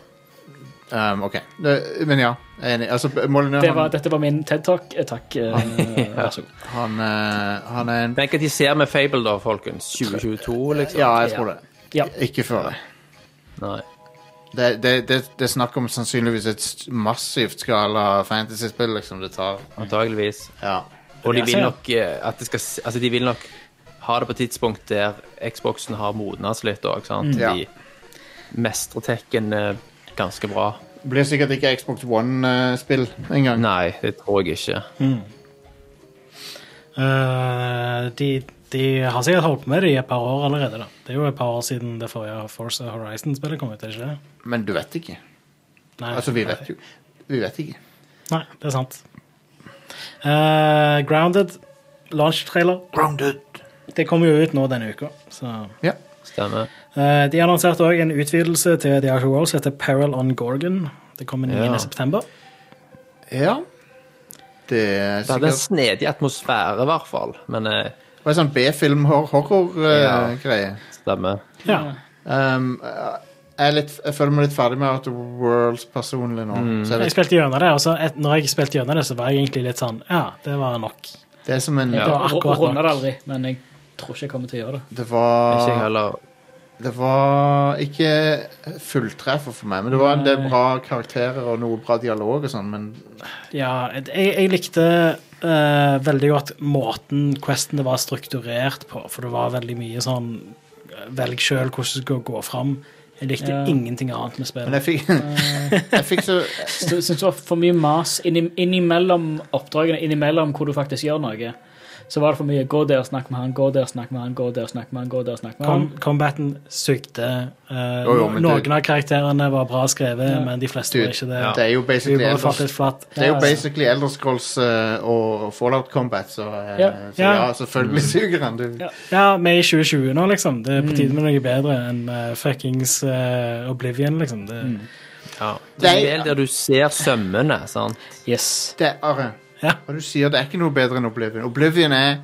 Speaker 1: um, OK. Det, men ja, jeg er enig. Altså, Molyneux,
Speaker 4: Det var,
Speaker 1: han,
Speaker 4: dette var min TED-talk. Eh, Takk. eh, Vær så god.
Speaker 1: han, eh, han er en
Speaker 3: Tenk at de ser med Fable, da, folkens. 2022, liksom.
Speaker 1: Ja, jeg tror det.
Speaker 4: Ja.
Speaker 1: Ikke før det.
Speaker 3: Nei.
Speaker 1: Det, det, det, det er snakk om sannsynligvis et st- massivt skala fantasy-spill liksom det tar.
Speaker 3: Antageligvis.
Speaker 1: Ja.
Speaker 3: Og de
Speaker 2: Jeg
Speaker 3: vil
Speaker 2: ser.
Speaker 3: nok eh, at det skal s- Altså, de vil nok ha det på et tidspunkt der Xboxen har modnes litt òg, sant.
Speaker 1: Mm. Ja.
Speaker 3: De mestrer tekken eh, ganske bra.
Speaker 1: Blir sikkert ikke Xbox One-spill engang.
Speaker 3: Nei, det tror jeg ikke.
Speaker 2: Eh, de, de har sikkert holdt på med det i et par år allerede. da. Det er jo et par år siden det forrige Force Horizon-spillet kom ut. er det ikke det?
Speaker 1: Men du vet ikke.
Speaker 2: Nei,
Speaker 1: Altså, vi vet jo Vi vet ikke.
Speaker 2: Nei, det er sant. Eh, Grounded, launch-trailer.
Speaker 1: Grounded.
Speaker 2: Det kommer jo ut nå denne uka. så...
Speaker 1: Ja.
Speaker 3: Stemmer.
Speaker 2: Eh, De annonserte òg en utvidelse til The Outer Worlds som heter Peril on Gorgon. Det kommer 9.
Speaker 3: Ja.
Speaker 2: september.
Speaker 1: ja. Det er
Speaker 3: Det hadde en
Speaker 1: sikkert
Speaker 3: snedig atmosfære, i hvert fall. Men eh,
Speaker 1: Det var en sånn
Speaker 3: Ja.
Speaker 1: B-film-horror-greie.
Speaker 3: stemmer.
Speaker 2: Ja.
Speaker 1: um, jeg, er litt- jeg føler meg litt ferdig med Outer Worlds personlig nå. Så jeg
Speaker 2: Jeg
Speaker 1: vet,
Speaker 2: spilte gjennom det, og så et, når jeg spilte gjennom det, så var jeg egentlig litt sånn Ja, det var nok.
Speaker 1: det er som en
Speaker 3: Ja.
Speaker 4: Jeg
Speaker 2: var akkurat nok.
Speaker 4: runder det aldri, men jeg tror ikke jeg kommer til å gjøre det.
Speaker 1: Det
Speaker 3: Ikke jeg
Speaker 1: var
Speaker 3: heller.
Speaker 1: Det var ikke fulltreffer for meg, men det var en del
Speaker 4: Nei.
Speaker 1: bra karakterer og noe bra dialog og sånn, men
Speaker 2: Ja, jeg, jeg likte eh, veldig godt måten questen det var strukturert på, for det var veldig mye sånn eh, Velg sjøl hvordan du skal gå fram. Jeg likte
Speaker 4: Ja.
Speaker 2: ingenting annet med
Speaker 1: Men
Speaker 2: spillet.
Speaker 1: jeg fikk, jeg fikk så
Speaker 4: Så Jeg synes det var for mye mas inni- innimellom oppdragene, innimellom hvor du faktisk gjør noe. Så var det for mye 'gå der, snakk med han', 'gå der, snakk med han', 'gå der, snakk med han'. gå der, snakk med han.
Speaker 2: Com combaten sugde. eh,
Speaker 1: Jo, jo, men
Speaker 2: noen
Speaker 1: det-
Speaker 2: av karakterene var bra skrevet,
Speaker 4: Ja.
Speaker 2: men de fleste
Speaker 1: Dude,
Speaker 2: var ikke det.
Speaker 3: ja.
Speaker 1: Det er jo
Speaker 2: Vi
Speaker 1: basically
Speaker 2: bare falt
Speaker 1: Elders,
Speaker 2: litt flatt.
Speaker 1: det er jo
Speaker 4: Ja, ja.
Speaker 1: basically Elder Scrolls eh, og Fallout Combat, så, eh,
Speaker 4: Ja.
Speaker 1: så ja, selvfølgelig suger han. Du.
Speaker 4: Ja.
Speaker 2: Ja, vi er i 2020 nå, liksom. Det er på tide med noe bedre enn eh, fuckings eh, Oblivion, liksom. Det,
Speaker 4: Mm.
Speaker 3: Ja. Det
Speaker 1: Det
Speaker 3: er
Speaker 1: er-
Speaker 3: spill der du ser sømmene, sant.
Speaker 4: Yes.
Speaker 1: Det er Are,
Speaker 2: Ja.
Speaker 1: hva du sier, det er ikke noe bedre enn Oblivion. Oblivion er,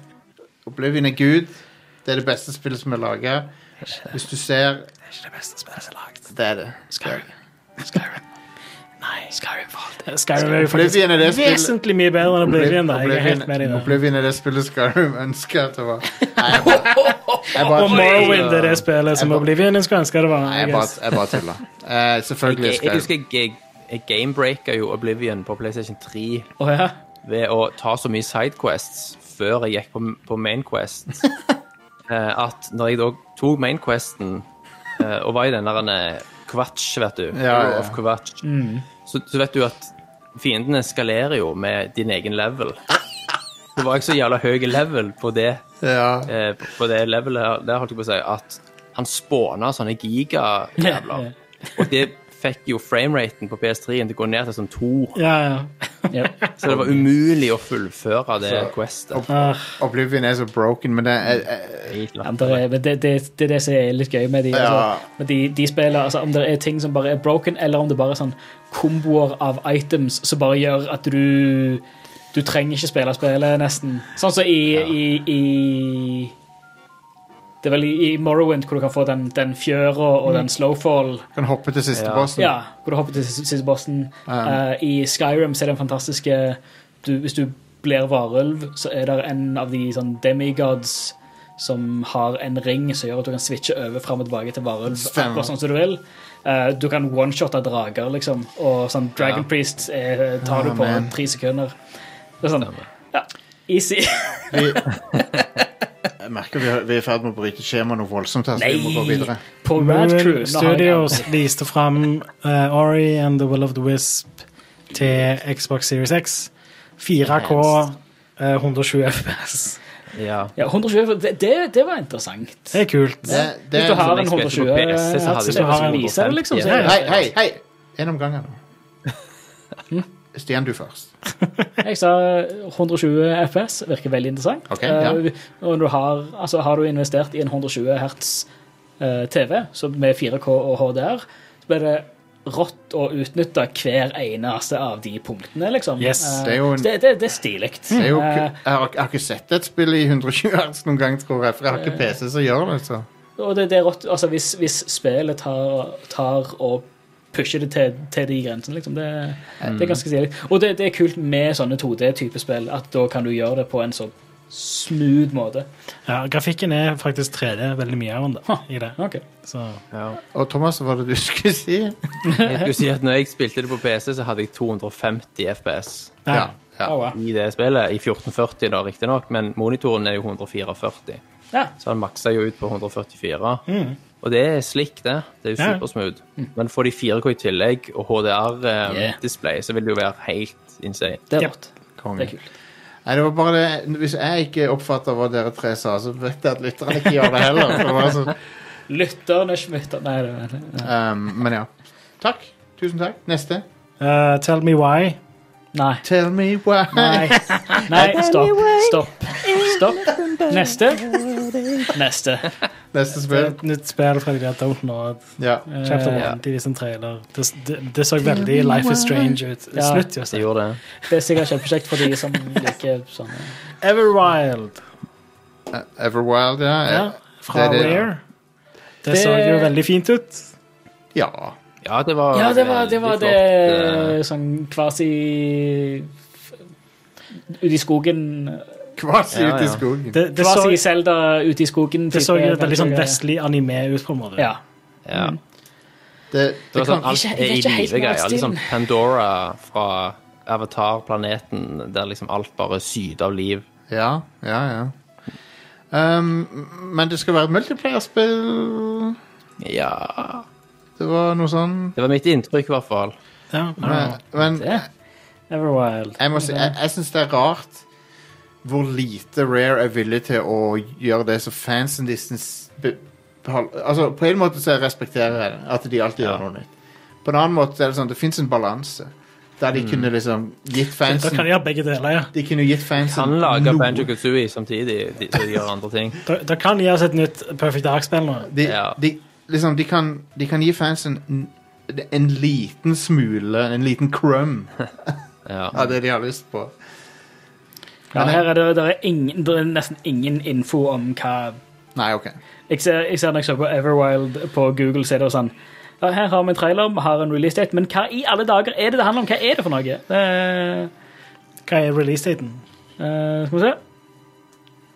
Speaker 1: Oblivion er Gud. Det er det beste spillet som er laga. Hvis du ser
Speaker 2: Det er ikke det beste spillet som er lagd.
Speaker 1: Det er det.
Speaker 2: Skyrim. Skyrim. Nei.
Speaker 4: Skyrim Vault.
Speaker 2: Skyrim er jo faktisk
Speaker 1: Oblivion er det spillet-
Speaker 2: vesentlig mye bedre enn Oblivion. da. Jeg er helt med i
Speaker 1: Oblivion-
Speaker 2: det.
Speaker 1: Oblivion er det spillet Skyrim ønsker at det var. Nei, jeg bare- jeg bare-
Speaker 2: Og Morrowind er det spillet som
Speaker 1: Jeg bare-
Speaker 2: Oblivion jeg skulle ønske det var.
Speaker 1: Nei,
Speaker 2: I
Speaker 1: jeg bare,
Speaker 2: guess.
Speaker 1: jeg bare tuller. Eh, selvfølgelig
Speaker 3: Jeg, jeg
Speaker 1: er Skyrim
Speaker 3: husker jeg, jeg gamebreaker jo Oblivion på PlayStation 3
Speaker 4: Å ja.
Speaker 3: ved å ta så mye sidequests før jeg gikk på, på mainquest, eh, at når jeg da tok mainquesten eh, og var i den der en, eh, kvatch, vet du,
Speaker 1: Ja,
Speaker 3: Hero
Speaker 1: ja. Mm.
Speaker 3: of kvatch, så, så vet du at fiendene skalerer jo med din egen level. Det var ikke så jævla høy level på det,
Speaker 1: Ja.
Speaker 3: eh, på det levelet her, der holdt jeg på å si, at han spåna sånne gigajævler. Og det fikk jo frameraten på PS3-en til å gå ned til sånn to.
Speaker 2: Ja, ja.
Speaker 4: Yep.
Speaker 3: Så det var umulig å fullføre det questet.
Speaker 2: Ah,
Speaker 1: Oblivion er så broken, men det er, er-
Speaker 4: Ja, men det, er, men det, det, det er det som er litt gøy med de,
Speaker 1: Ja.
Speaker 4: altså, med de, de spiller, altså, om det er ting som bare er broken, eller om det bare er sånn komboer av items som bare gjør at du du trenger ikke spille spillet, nesten. Sånn som i, i, i Det er vel i, i Morrowind, hvor du kan få den, den fjøra og den slowfall.
Speaker 1: kan hoppe til siste
Speaker 3: Ja.
Speaker 1: bossen.
Speaker 4: Ja, hvor du hopper til sis- siste bossen. Eh, I Skyrim så er den fantastiske eh, du, Hvis du blir varulv, så er det en av de sånn demigods som har en ring som gjør at du kan switche over fram og tilbake til varulv.
Speaker 1: Stemmer.
Speaker 4: Akkurat sånn som du vil. Eh, du kan one-shotte drager, liksom. Og sånn Dragon
Speaker 3: Ja.
Speaker 4: Priest eh, tar
Speaker 1: Ah,
Speaker 4: du på
Speaker 1: man.
Speaker 4: tre sekunder. Det er sånn ja, Easy.
Speaker 1: Vi, jeg merker vi, har- vi er i ferd med å bryte skjemaet noe voldsomt her, så vi må gå videre.
Speaker 4: På Rad Crew.
Speaker 2: Moon
Speaker 4: nå har jeg-
Speaker 2: Studios viste fram eh, Ori and the Will of the Wisp til Xbox Series X. 4K, eh, 120 FPS.
Speaker 3: Ja.
Speaker 4: Ja, 120, det, det, det var interessant.
Speaker 2: Det er kult.
Speaker 1: Det, det
Speaker 4: Hvis du
Speaker 1: er,
Speaker 4: har en
Speaker 3: jeg spilte på
Speaker 4: 120
Speaker 3: PC, så hadde
Speaker 4: hertz,
Speaker 2: jeg
Speaker 4: det
Speaker 2: sånn
Speaker 4: viser det, liksom. Så
Speaker 3: 150,
Speaker 4: er det-
Speaker 1: hei, hei, hei! En om gangen. Stian, du først.
Speaker 4: Jeg sa 120 FPS virker veldig interessant.
Speaker 1: Ok, ja.
Speaker 4: Eh, og du har, altså, har du investert i en 120 hertz eh, TV så med 4K og HDR, så blir det rått å utnytte hver eneste av de punktene, liksom.
Speaker 2: Yes,
Speaker 4: Eh,
Speaker 1: det er jo en-
Speaker 4: så det, det, det er stilig.
Speaker 1: Det er jo, ku-
Speaker 4: Eh,
Speaker 1: jeg, har, jeg har ikke sett et spill i 120 hertz noen gang, tror jeg, for jeg har ikke PC som gjør det. så...
Speaker 4: og det, det er rått, altså, hvis, hvis spillet tar, tar og pusher det til, til de grensene, liksom. Det, det er ganske stilig. Og det, det er kult med sånne 2D-type spill, at da kan du gjøre det på en så smooth måte.
Speaker 2: Ja, grafikken er faktisk 3D, veldig mye av den da, i det.
Speaker 4: Ok.
Speaker 2: Så
Speaker 3: Ja.
Speaker 1: Og Thomas, hva var det du skulle si?
Speaker 3: Jeg skulle si at når jeg spilte det på PC, så hadde jeg 250 FPS
Speaker 2: Nei.
Speaker 1: Ja. ja.
Speaker 4: Oh, wow.
Speaker 3: i det spillet. I 1440, da, riktignok, men monitoren er jo 144.
Speaker 4: Ja. Mm.
Speaker 3: Så han maksa jo ut på 144. Og det er slik, det. Det er jo
Speaker 2: Ja.
Speaker 3: supersmooth. Men får de 4K i tillegg og
Speaker 4: Yeah.
Speaker 3: HDR-display, eh, så vil det jo være helt insane.
Speaker 4: Det er
Speaker 2: Yep.
Speaker 4: rått. Det
Speaker 1: Konge.
Speaker 4: er kult.
Speaker 1: Nei, det var bare det. Hvis jeg ikke oppfatter hva dere tre sa, så vet jeg at lytterne ikke gjør det heller. For det var så,
Speaker 4: Lytterne smutter Nei, det- det- det-
Speaker 1: um, men ja. Takk. Tusen takk. Neste.
Speaker 2: Eh, tell me why.
Speaker 4: nei.
Speaker 1: Tell me why.
Speaker 2: Nei.
Speaker 4: Nei, stopp. Stopp. Stopp. Neste. Neste.
Speaker 1: Neste
Speaker 2: Det er
Speaker 1: spill.
Speaker 2: et nytt spill fra de der Don't Know.
Speaker 1: Ja.
Speaker 2: Chapter
Speaker 4: Eh,
Speaker 2: 1. De viste en trailer. Det, det, det så veldig Life is Strange ut.
Speaker 4: Ja.
Speaker 2: Slutt,
Speaker 3: Det
Speaker 2: Jostein.
Speaker 3: gjorde det.
Speaker 4: Det er sikkert kjempeprosjekt for de som liker sånne
Speaker 2: Everwild.
Speaker 1: Eh, Everwild, ja.
Speaker 2: Ja,
Speaker 1: Eh,
Speaker 2: fra
Speaker 1: det- det-
Speaker 2: Rare. Det
Speaker 4: Det-
Speaker 2: så jo veldig fint ut.
Speaker 1: Ja.
Speaker 3: Ja, det var
Speaker 4: Ja, det var det, var
Speaker 3: veldig flott, eh,
Speaker 4: det sånn kvasi Ute i skogen
Speaker 1: Kvasi
Speaker 3: Ja,
Speaker 1: ute i
Speaker 3: ja.
Speaker 1: skogen.
Speaker 2: Det, det, så,
Speaker 4: Kvasi Selda ute i skogen.
Speaker 2: det så
Speaker 4: type
Speaker 2: jo veldig sånn
Speaker 4: eventyr.
Speaker 2: vestlig anime ut, på en måte.
Speaker 4: Ja.
Speaker 3: eh, Ja.
Speaker 1: Det,
Speaker 3: Det
Speaker 1: det
Speaker 3: var sånn
Speaker 1: kan,
Speaker 3: alt
Speaker 4: Ikke-
Speaker 3: er
Speaker 4: jeg
Speaker 3: i
Speaker 4: vet ikke helt
Speaker 3: live
Speaker 4: hva
Speaker 3: greier.
Speaker 4: stilen-
Speaker 3: Liksom Pandora fra Avatar-planeten, der liksom alt bare syder av liv.
Speaker 1: ja, ja, ja. Um, men det skal være et multiplayer-spill.
Speaker 3: Ja
Speaker 1: Det var noe sånn.
Speaker 3: Det var mitt inntrykk, i hvert fall.
Speaker 2: Ja,
Speaker 1: Men, men
Speaker 4: Det. Everwild.
Speaker 1: jeg må si, jeg, jeg syns det er rart hvor lite Rare er villig til å gjøre det som fansen distance Altså, På en måte så respekterer jeg det, at de alltid
Speaker 3: Ja.
Speaker 1: gjør noe nytt. På en annen måte så er det sånn, det fins en balanse, der de kunne liksom gitt
Speaker 2: Mm. Da
Speaker 1: fansen
Speaker 2: kan de ha begge deler, ja.
Speaker 1: De kunne gitt
Speaker 3: Han
Speaker 1: fansen
Speaker 3: lager
Speaker 1: noe.
Speaker 3: Banjo Kazooie samtidig de- så de gjør andre ting.
Speaker 2: Da, da kan de gi oss et nytt Perfect Dark-spill nå.
Speaker 1: De,
Speaker 3: Ja.
Speaker 1: de, liksom, de, kan, de kan gi fansen en, en liten smule, en liten crumb
Speaker 3: Ja.
Speaker 1: av det de har lyst på.
Speaker 4: Ja,
Speaker 1: Men-
Speaker 4: her er det, det, er ingen, det er nesten ingen info om hva
Speaker 1: Nei, OK.
Speaker 4: Jeg ser, jeg ser når jeg så på Everwild på Google, så er det jo sånn Ja, Her har vi en trailer, vi har en release date, men hva i alle dager er det det handler om? Hva er det for noe? Eh,
Speaker 2: Hva er releasedaten?
Speaker 4: eh, skal vi se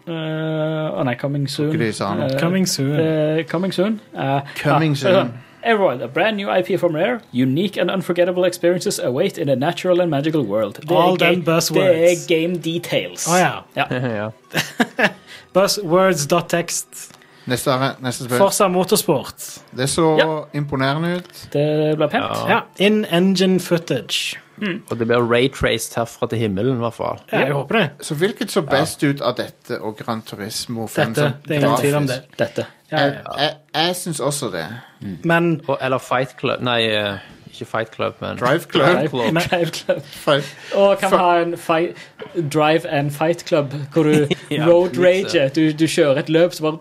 Speaker 4: Eh, Å nei, coming soon.
Speaker 1: Ikke de sa noe.
Speaker 4: Eh,
Speaker 2: Coming soon.
Speaker 4: eh, coming soon. Eh,
Speaker 1: Coming
Speaker 4: ah,
Speaker 1: soon.
Speaker 4: Aeroid, a brand new IP from Rare. Unique and unforgettable experiences await in a natural and magical world. Det er
Speaker 2: All them
Speaker 4: ga-
Speaker 2: buzzwords.
Speaker 4: Det er game details.
Speaker 2: Å ja.
Speaker 3: ja.
Speaker 2: Buzzwords.text.
Speaker 1: Neste, er- neste spill.
Speaker 2: Forsa motorsport.
Speaker 1: Det så
Speaker 4: Ja.
Speaker 1: imponerende ut.
Speaker 4: Det blir pent.
Speaker 3: Ja.
Speaker 2: Ja. In engine footage.
Speaker 3: Og det blir raytraced herfra til himmelen, i hvert fall.
Speaker 2: Ja, jeg håper det.
Speaker 1: Så hvilket så best ut av dette og Gran Turismo? for en
Speaker 2: Dette.
Speaker 1: sånn
Speaker 2: Det er ingen tvil om det.
Speaker 1: grafisk?
Speaker 4: Dette.
Speaker 2: Ja,
Speaker 1: Jeg,
Speaker 2: ja.
Speaker 1: jeg, jeg syns også det.
Speaker 2: Men
Speaker 3: Og, eller Fight Club Nei, eh, ikke Fight Club, men
Speaker 1: Drive Club.
Speaker 3: Club.
Speaker 2: Men-
Speaker 4: Drive Club.
Speaker 1: Fight.
Speaker 4: Og kan
Speaker 1: For-
Speaker 4: ha en fight, drive and fight club, hvor du
Speaker 3: Ja,
Speaker 4: road
Speaker 3: litt
Speaker 4: rager. Du, du kjører et løp, så bare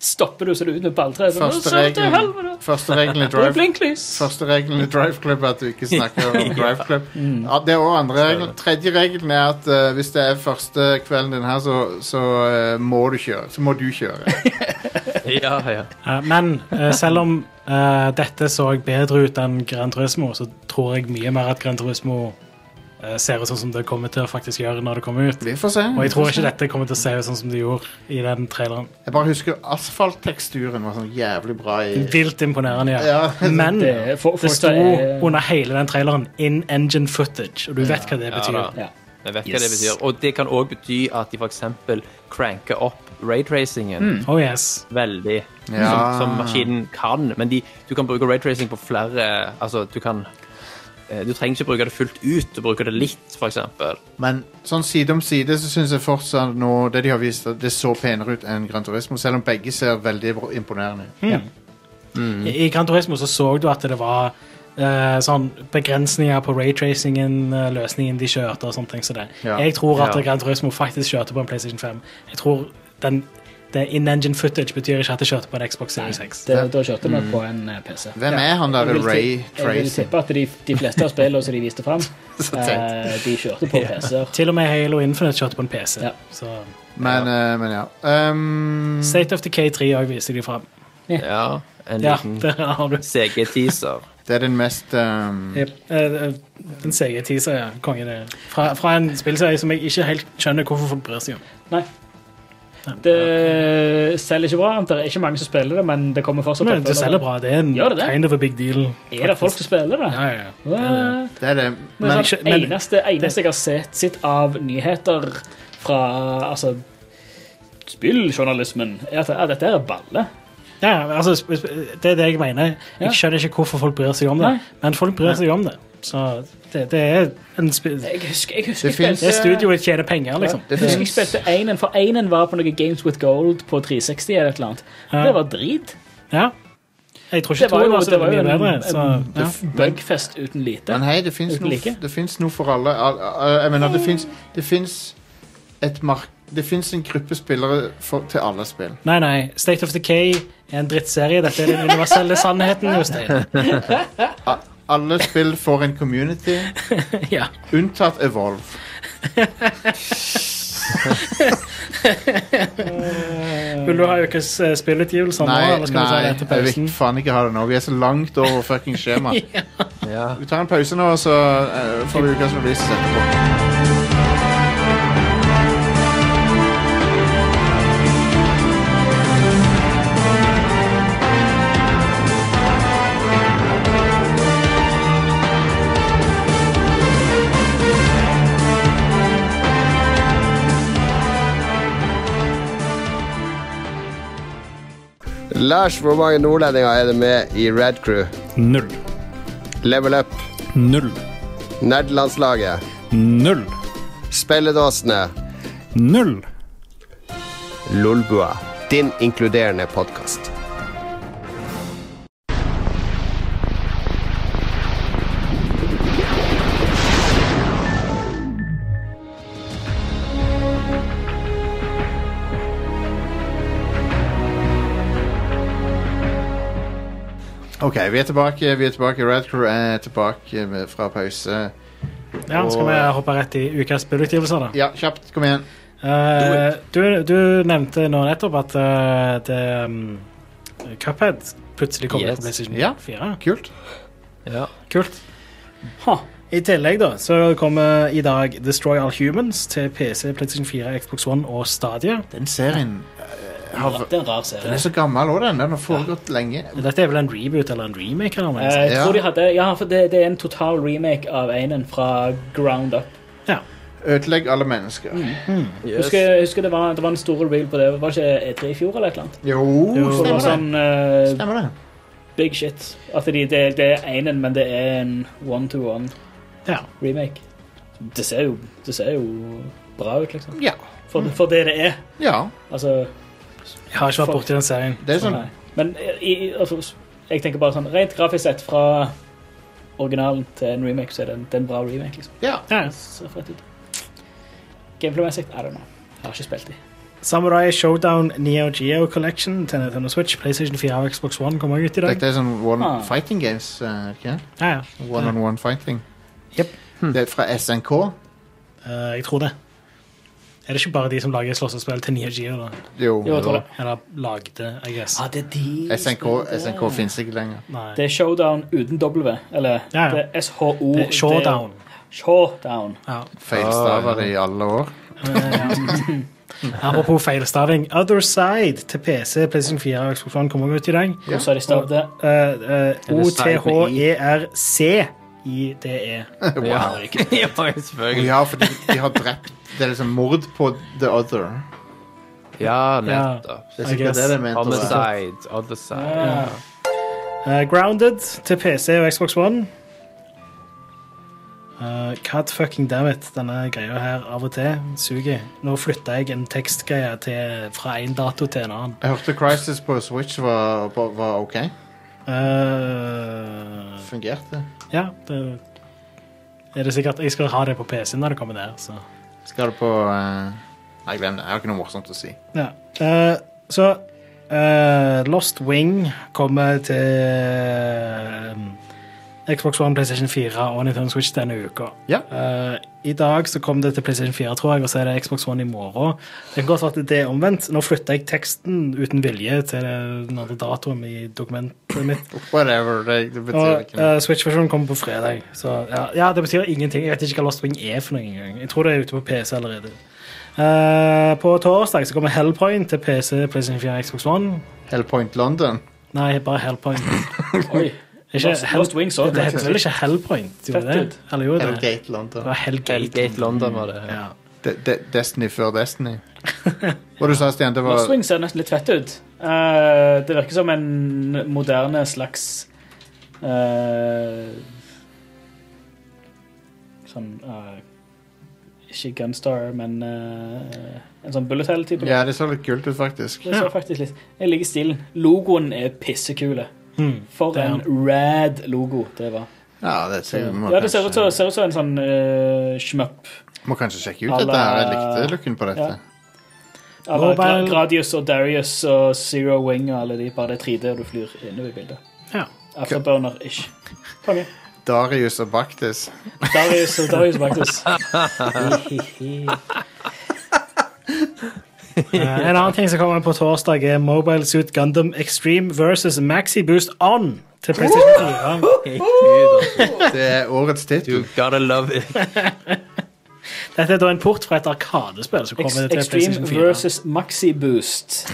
Speaker 4: stopper du så du er ut med balltreet. Så,
Speaker 1: Første
Speaker 4: «Å, så til helvete!
Speaker 1: regelen, første regelen i
Speaker 4: Det er
Speaker 1: Drive
Speaker 4: blinklys!
Speaker 1: Første regelen i Drive Club er at du ikke snakker om Drive Club.
Speaker 2: Mm.
Speaker 1: Ja, det er også andre regelen. Tredje regelen er at eh, hvis det er første kvelden din her, så, så eh, må du kjøre. Så må du kjøre.
Speaker 3: Ja, ja.
Speaker 2: Eh, Men eh, selv om eh, dette så bedre ut enn Gran Turismo, så tror jeg mye mer at Gran Turismo eh, ser ut sånn som det kommer til å faktisk gjøre når det kommer ut.
Speaker 1: Vi får se.
Speaker 2: Og jeg tror ikke dette kommer til å se ut sånn som det gjorde i den traileren.
Speaker 1: Jeg bare husker asfaltteksturen var sånn jævlig bra i
Speaker 2: Vilt imponerende, ja.
Speaker 1: Ja,
Speaker 2: Men
Speaker 4: Det er- for- eh,
Speaker 2: det sto
Speaker 4: Forza er-
Speaker 2: under hele den traileren 'in engine footage', og du vet hva det
Speaker 3: Ja,
Speaker 2: betyr.
Speaker 3: da.
Speaker 4: Ja.
Speaker 3: Jeg vet hva
Speaker 2: Yes.
Speaker 3: det betyr. Og det kan òg bety at de f.eks. cranker opp raytracingen
Speaker 2: Oh yes.
Speaker 3: veldig.
Speaker 1: Ja.
Speaker 3: Som, som maskinen kan. Men de, du kan bruke raytracing på flere Altså, du kan eh, Du trenger ikke bruke det fullt ut. Du bruker det litt, f.eks.
Speaker 1: Men sånn side om side så syns jeg fortsatt nå det de har vist, at det så penere ut enn Gran Turismo, selv om begge ser veldig bra- imponerende ut.
Speaker 2: Hmm. I i Gran Turismo så, så du at det var eh, sånn begrensninger på raytracingen, eh, løsningen de kjørte og sånne ting. Så det.
Speaker 1: Ja.
Speaker 2: Jeg tror at
Speaker 3: Ja.
Speaker 2: Gran Turismo faktisk kjørte på en PlayStation 5. Jeg tror den, det in engine footage betyr ikke at det kjørte på en Xbox Series X.
Speaker 4: Det, da kjørte vi på en eh, PC.
Speaker 1: Hvem er han der
Speaker 4: Jeg vil ti-
Speaker 1: Ray
Speaker 4: Jeg vil
Speaker 1: Tracy?
Speaker 4: tippe at de, de fleste av spillene som de viste fram,
Speaker 1: Så teit.
Speaker 4: eh, de kjørte på PC-er.
Speaker 2: Til og med Halo Infinite kjørte på en PC.
Speaker 4: Ja.
Speaker 2: Så
Speaker 1: Men, eh, men ja. Um,
Speaker 2: State of the K3 òg viser de fram.
Speaker 4: Mm.
Speaker 3: Ja. En
Speaker 2: Ja,
Speaker 3: liten
Speaker 2: der har du.
Speaker 3: CG-teaser.
Speaker 1: det er den mest um,
Speaker 2: Yep. eh, En CG-teaser, ja. Konge, det. Fra, fra en spillserie som jeg ikke helt skjønner hvorfor folk bryr seg om.
Speaker 4: Nei. Det selger ikke bra. Det er ikke mange som spiller det, men det kommer fortsatt
Speaker 2: Men det
Speaker 4: oppfølgere.
Speaker 2: selger bra. Det er en
Speaker 4: Gjør det det?
Speaker 2: kind of a big deal.
Speaker 4: Er det folk som spiller det?
Speaker 2: Ja, ja, ja.
Speaker 4: Hva?
Speaker 1: Det er det.
Speaker 4: Det
Speaker 1: Men
Speaker 4: er
Speaker 2: ikke-
Speaker 4: sånn,
Speaker 2: men-
Speaker 4: eneste, eneste jeg har sett sitt av nyheter fra altså, spilljournalismen, er at ja, dette her er balle.
Speaker 2: Ja, altså, sp- sp- det er det jeg mener.
Speaker 4: Ja.
Speaker 2: Jeg skjønner ikke hvorfor folk bryr seg om det,
Speaker 4: Nei.
Speaker 2: men folk bryr seg om det. Så det, det er en sp Det
Speaker 4: Jeg husker, jeg husker
Speaker 1: Det finnes-
Speaker 2: er studioet tjener penger, liksom.
Speaker 1: det
Speaker 4: Jeg husker
Speaker 1: finnes
Speaker 4: jeg spilte Einen, for Einen var på noen Games with Gold på 360 eller et eller annet.
Speaker 2: Ja.
Speaker 4: Det var drit.
Speaker 2: Ja. Jeg tror
Speaker 4: Det
Speaker 2: ikke
Speaker 4: var
Speaker 2: to
Speaker 4: jo,
Speaker 2: var så
Speaker 4: det var jo
Speaker 2: mye
Speaker 4: en,
Speaker 2: bedre. Så,
Speaker 4: en
Speaker 2: ja.
Speaker 4: bugfest uten lite.
Speaker 1: Men hei, det fins
Speaker 4: Uten
Speaker 1: noe,
Speaker 4: like.
Speaker 1: det finnes noe for alle. Al- al- Jeg mener, det fins Det finnes et mark... Det fins en gruppe spillere for, til alle spill.
Speaker 2: Nei, nei. State of Decay er en drittserie. Dette er den universelle sannheten, Jostein.
Speaker 1: Alle spill får en community,
Speaker 2: Ja.
Speaker 1: unntatt Evolve.
Speaker 2: Vil du ha ukes eh, spillutgivelser nå,
Speaker 1: Nei,
Speaker 2: eller skal vi ta
Speaker 1: nei,
Speaker 2: det etter
Speaker 1: jeg vil
Speaker 2: pausen?
Speaker 1: faen ikke ha det nå. Vi er så langt over fucking skjema.
Speaker 3: Ja.
Speaker 1: Vi tar en pause nå, så eh, får vi ukas release etterpå.
Speaker 6: Lars, hvor mange nordlendinger er det med i Red Crew?
Speaker 7: Null.
Speaker 6: Level Up,
Speaker 7: Null.
Speaker 6: Nerdelandslaget,
Speaker 7: Null.
Speaker 6: Spelledåsene,
Speaker 7: Null.
Speaker 6: Lolbua. Din inkluderende podkast.
Speaker 1: Ok, vi er tilbake. Vi er tilbake. Red Crew er tilbake med- fra pause.
Speaker 2: Ja, skal vi hoppe rett i ukas spillutgivelser, da?
Speaker 1: Ja, kjapt. Kom igjen.
Speaker 2: Eh, du, du nevnte nå nettopp at eh, det um, Cuphead plutselig kommer
Speaker 3: Yes.
Speaker 2: på PlayStation
Speaker 1: Ja.
Speaker 2: 4.
Speaker 1: Kult.
Speaker 3: Ja.
Speaker 2: Kult.
Speaker 4: Ha.
Speaker 2: I tillegg da, så kommer i dag Destroy All Humans til PC, PlayStation 4, Xbox One og Stadia.
Speaker 1: Den serien eh, har,
Speaker 4: Det er en rar
Speaker 1: Den
Speaker 4: serie.
Speaker 1: er så gammel òg, den. Den har foregått lenge.
Speaker 2: Dette er vel en reboot eller en remake? eller noe?
Speaker 4: Eh, Jeg
Speaker 1: Ja.
Speaker 4: tror de hadde Ja, for det, det er en total remake av Einen fra ground up.
Speaker 1: Ødelegg alle mennesker.
Speaker 3: Yes.
Speaker 4: Husker, jeg husker det, var, det var en stor reel på det. Var det ikke E3 i fjor eller et eller annet?
Speaker 1: Jo,
Speaker 4: For det var
Speaker 1: stemmer det.
Speaker 4: sånn eh,
Speaker 1: Stemmer det.
Speaker 4: big shit. At de, det, det er Einen, men det er en one-to-one
Speaker 2: Ja.
Speaker 4: remake. Det ser jo, det ser jo bra ut, liksom.
Speaker 1: Ja.
Speaker 4: For, for det det er.
Speaker 1: ja.
Speaker 4: Altså
Speaker 2: Jeg har ikke vært borti den serien.
Speaker 1: Det er sånn
Speaker 4: Nei. Men i, i- altså, jeg tenker bare sånn rent grafisk sett fra originalen til en remake, så er det en, det er en bra remake. liksom.
Speaker 1: Ja.
Speaker 2: Ja.
Speaker 4: Det ser fett ut. Gameplay-messig, I don't know. Jeg har ikke spilt de.
Speaker 2: Samurai Showdown Neo Geo Collection til Nintendo Switch, PlayStation 4 og Xbox One kommer ut i dag.
Speaker 1: Dette er sånn one
Speaker 4: Ah.
Speaker 1: fighting games. eh, Ikke?
Speaker 2: Ja, ja.
Speaker 1: One on one fighting.
Speaker 2: Jep.
Speaker 1: Det er fra SNK.
Speaker 2: Eh, jeg tror det. Er det ikke bare de som lager slåssespill til Neo Geo? da?
Speaker 1: Jo.
Speaker 4: Jo, jeg tror det.
Speaker 2: Eller lagde, I guess.
Speaker 4: Ah, det er de
Speaker 1: SNK, SNK fins ikke lenger.
Speaker 2: Nei.
Speaker 4: Det er showdown uden W. Eller
Speaker 2: Ja, ja.
Speaker 4: det er SHO.
Speaker 2: Det er Showdown.
Speaker 4: Showdown.
Speaker 2: Ja.
Speaker 1: Feilstaver i alle år.
Speaker 2: Apropos feilstaving. Other Side til PC, PlayStation 4 og Xbox One kommer ut i dag.
Speaker 1: Ja.
Speaker 4: Hvordan har de stavet det?
Speaker 2: Eh, eh,
Speaker 3: side med
Speaker 2: E
Speaker 3: i?
Speaker 2: O-T-H-E-R-C-I-D-E.
Speaker 3: Ja. ja, selvfølgelig.
Speaker 1: Ja, for de, de har drept Det er liksom mord på The Other.
Speaker 3: Ja, nettopp.
Speaker 1: Det er
Speaker 2: I
Speaker 1: sikkert
Speaker 2: guess.
Speaker 1: det de mente. å være.
Speaker 3: Homicide, other side.
Speaker 4: Ja.
Speaker 2: Eh, Grounded til PC og Xbox One. Eh, God fucking dammit, denne greia her av og til suger. Nå flytta jeg en tekstgreie til, fra én dato til en annen.
Speaker 1: Jeg hørte Crisis på Switch var, var- var OK.
Speaker 2: Eh,
Speaker 1: Fungerte.
Speaker 2: ja, det er det sikkert. Jeg skal ha det på PC når det kommer ned. Så.
Speaker 1: Skal det på eh, Nei, glem det. Jeg har ikke noe morsomt å si.
Speaker 2: Ja. Eh, så eh, Lost Wing kommer til eh, Xbox One, PlayStation 4 og Nintendo Switch denne uka.
Speaker 1: Ja.
Speaker 2: Eh, I dag så kom det til PlayStation 4, tror jeg, og så er det Xbox One i morgen. Det kan godt være at det er omvendt. Nå flytta jeg teksten uten vilje til den andre datoen i dokumentet mitt.
Speaker 1: Whatever. Det, det betyr
Speaker 2: Og
Speaker 1: ikke noe.
Speaker 2: eh, Switch-versjonen kommer på fredag. Så ja, ja, det betyr ingenting. Jeg vet ikke hva Lost Wing er for noe engang. Jeg tror det er ute på PC allerede. Eh, på torsdag så kommer Hellpoint til PC, PlayStation 4, Xbox One.
Speaker 4: eh.
Speaker 1: Hellpoint London.
Speaker 2: Nei, bare Hellpoint.
Speaker 4: Oi.
Speaker 2: Ikke
Speaker 4: Lost-
Speaker 2: Hell-
Speaker 4: Lost Wings også,
Speaker 2: Det heter vel
Speaker 4: faktisk.
Speaker 2: ikke Hellpoint? Gjorde det?
Speaker 4: Fett ut.
Speaker 2: Eller gjorde det?
Speaker 1: Hellgate
Speaker 2: Det
Speaker 1: London.
Speaker 2: var Hellgate.
Speaker 3: Hellgate London var det.
Speaker 2: Ja.
Speaker 1: De, de, Destiny før Destiny. Hva du sa Stian? Det
Speaker 4: Lost
Speaker 1: var
Speaker 4: Wing ser nesten litt fett ut. Eh, det virker som en moderne slags eh, Sånn eh, Ikke Gunstar, men eh, en sånn bullet hell-type.
Speaker 1: Ja, det så litt kult ut, faktisk.
Speaker 4: Det ser faktisk litt Jeg liker stilen. Logoen er pissekule.
Speaker 2: Mm.
Speaker 4: For
Speaker 2: Det er
Speaker 4: en rad logo det var.
Speaker 1: Ja, det, ser, må,
Speaker 4: Ja, det ser ut som
Speaker 1: kanskje,
Speaker 4: ser ut som en sånn uh, shmup.
Speaker 1: må kanskje sjekke ut
Speaker 4: Alle-
Speaker 1: dette. her Jeg likte looken på dette.
Speaker 4: Ja. Eller Gra
Speaker 2: Mobile-
Speaker 4: Gradius og Darius og Zero Wing og alle de. Bare det er 3D, og du flyr innover i bildet.
Speaker 2: Ja.
Speaker 4: Afterburner-ish. Konge.
Speaker 1: Darius og Baktis.
Speaker 4: Darius og Darius Magnus.
Speaker 2: Eh, en annen ting som kommer på torsdag, er Mobile Suit Gundam Extreme versus Maxi Boost On til PlayStation 4.
Speaker 3: Hey, Gud, altså.
Speaker 1: Det er årets
Speaker 3: you
Speaker 1: tittel.
Speaker 3: gotta love it.
Speaker 2: Dette er da en port fra et arkadespill som kommer til PlayStation
Speaker 4: Extreme
Speaker 2: 4.
Speaker 4: versus Maxi Boost.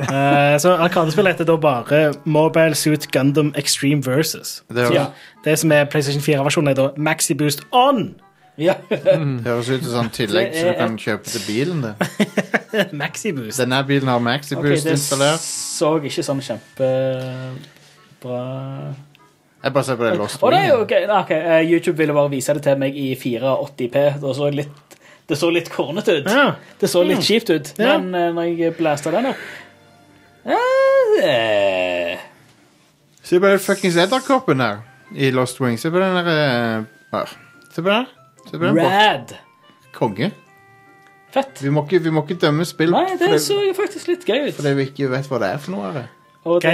Speaker 2: Eh, så Arkadespill heter da bare Mobile Suit Gundam Extreme Versus.
Speaker 1: Det høres,
Speaker 4: Ja.
Speaker 2: Det som er PlayStation 4-versjonen, er da Maxi Boost On!
Speaker 4: ja.
Speaker 1: høres ut som sånn tillegg så du kan kjøpe til bilen. Det.
Speaker 2: Maxi Boost.
Speaker 1: Denne bilen har
Speaker 4: Ok,
Speaker 1: Maxiboost
Speaker 4: det
Speaker 1: installert.
Speaker 4: så ikke sånn kjempebra
Speaker 1: Jeg bare ser på det Lost
Speaker 4: Å nei,
Speaker 1: Wing.
Speaker 4: ok, nei, ok, eh, YouTube ville bare vise det til meg i 480p. Det så litt, det så litt kornete ut.
Speaker 2: Ja.
Speaker 4: Det så litt kjipt ut,
Speaker 2: Ja.
Speaker 4: men eh, når jeg blasta den opp eh, eh,
Speaker 1: Se på den fuckings edderkoppen her i Lost Wing. Se på den der eh, her. Se på den. Se på den. bak.
Speaker 4: Rad.
Speaker 1: Konge.
Speaker 4: Fett.
Speaker 1: Vi må ikke, vi må ikke dømme spill
Speaker 4: Nei, det
Speaker 1: fordi,
Speaker 4: så faktisk litt gøy ut.
Speaker 1: fordi vi ikke vet hva det er for noe. her.
Speaker 4: Og det,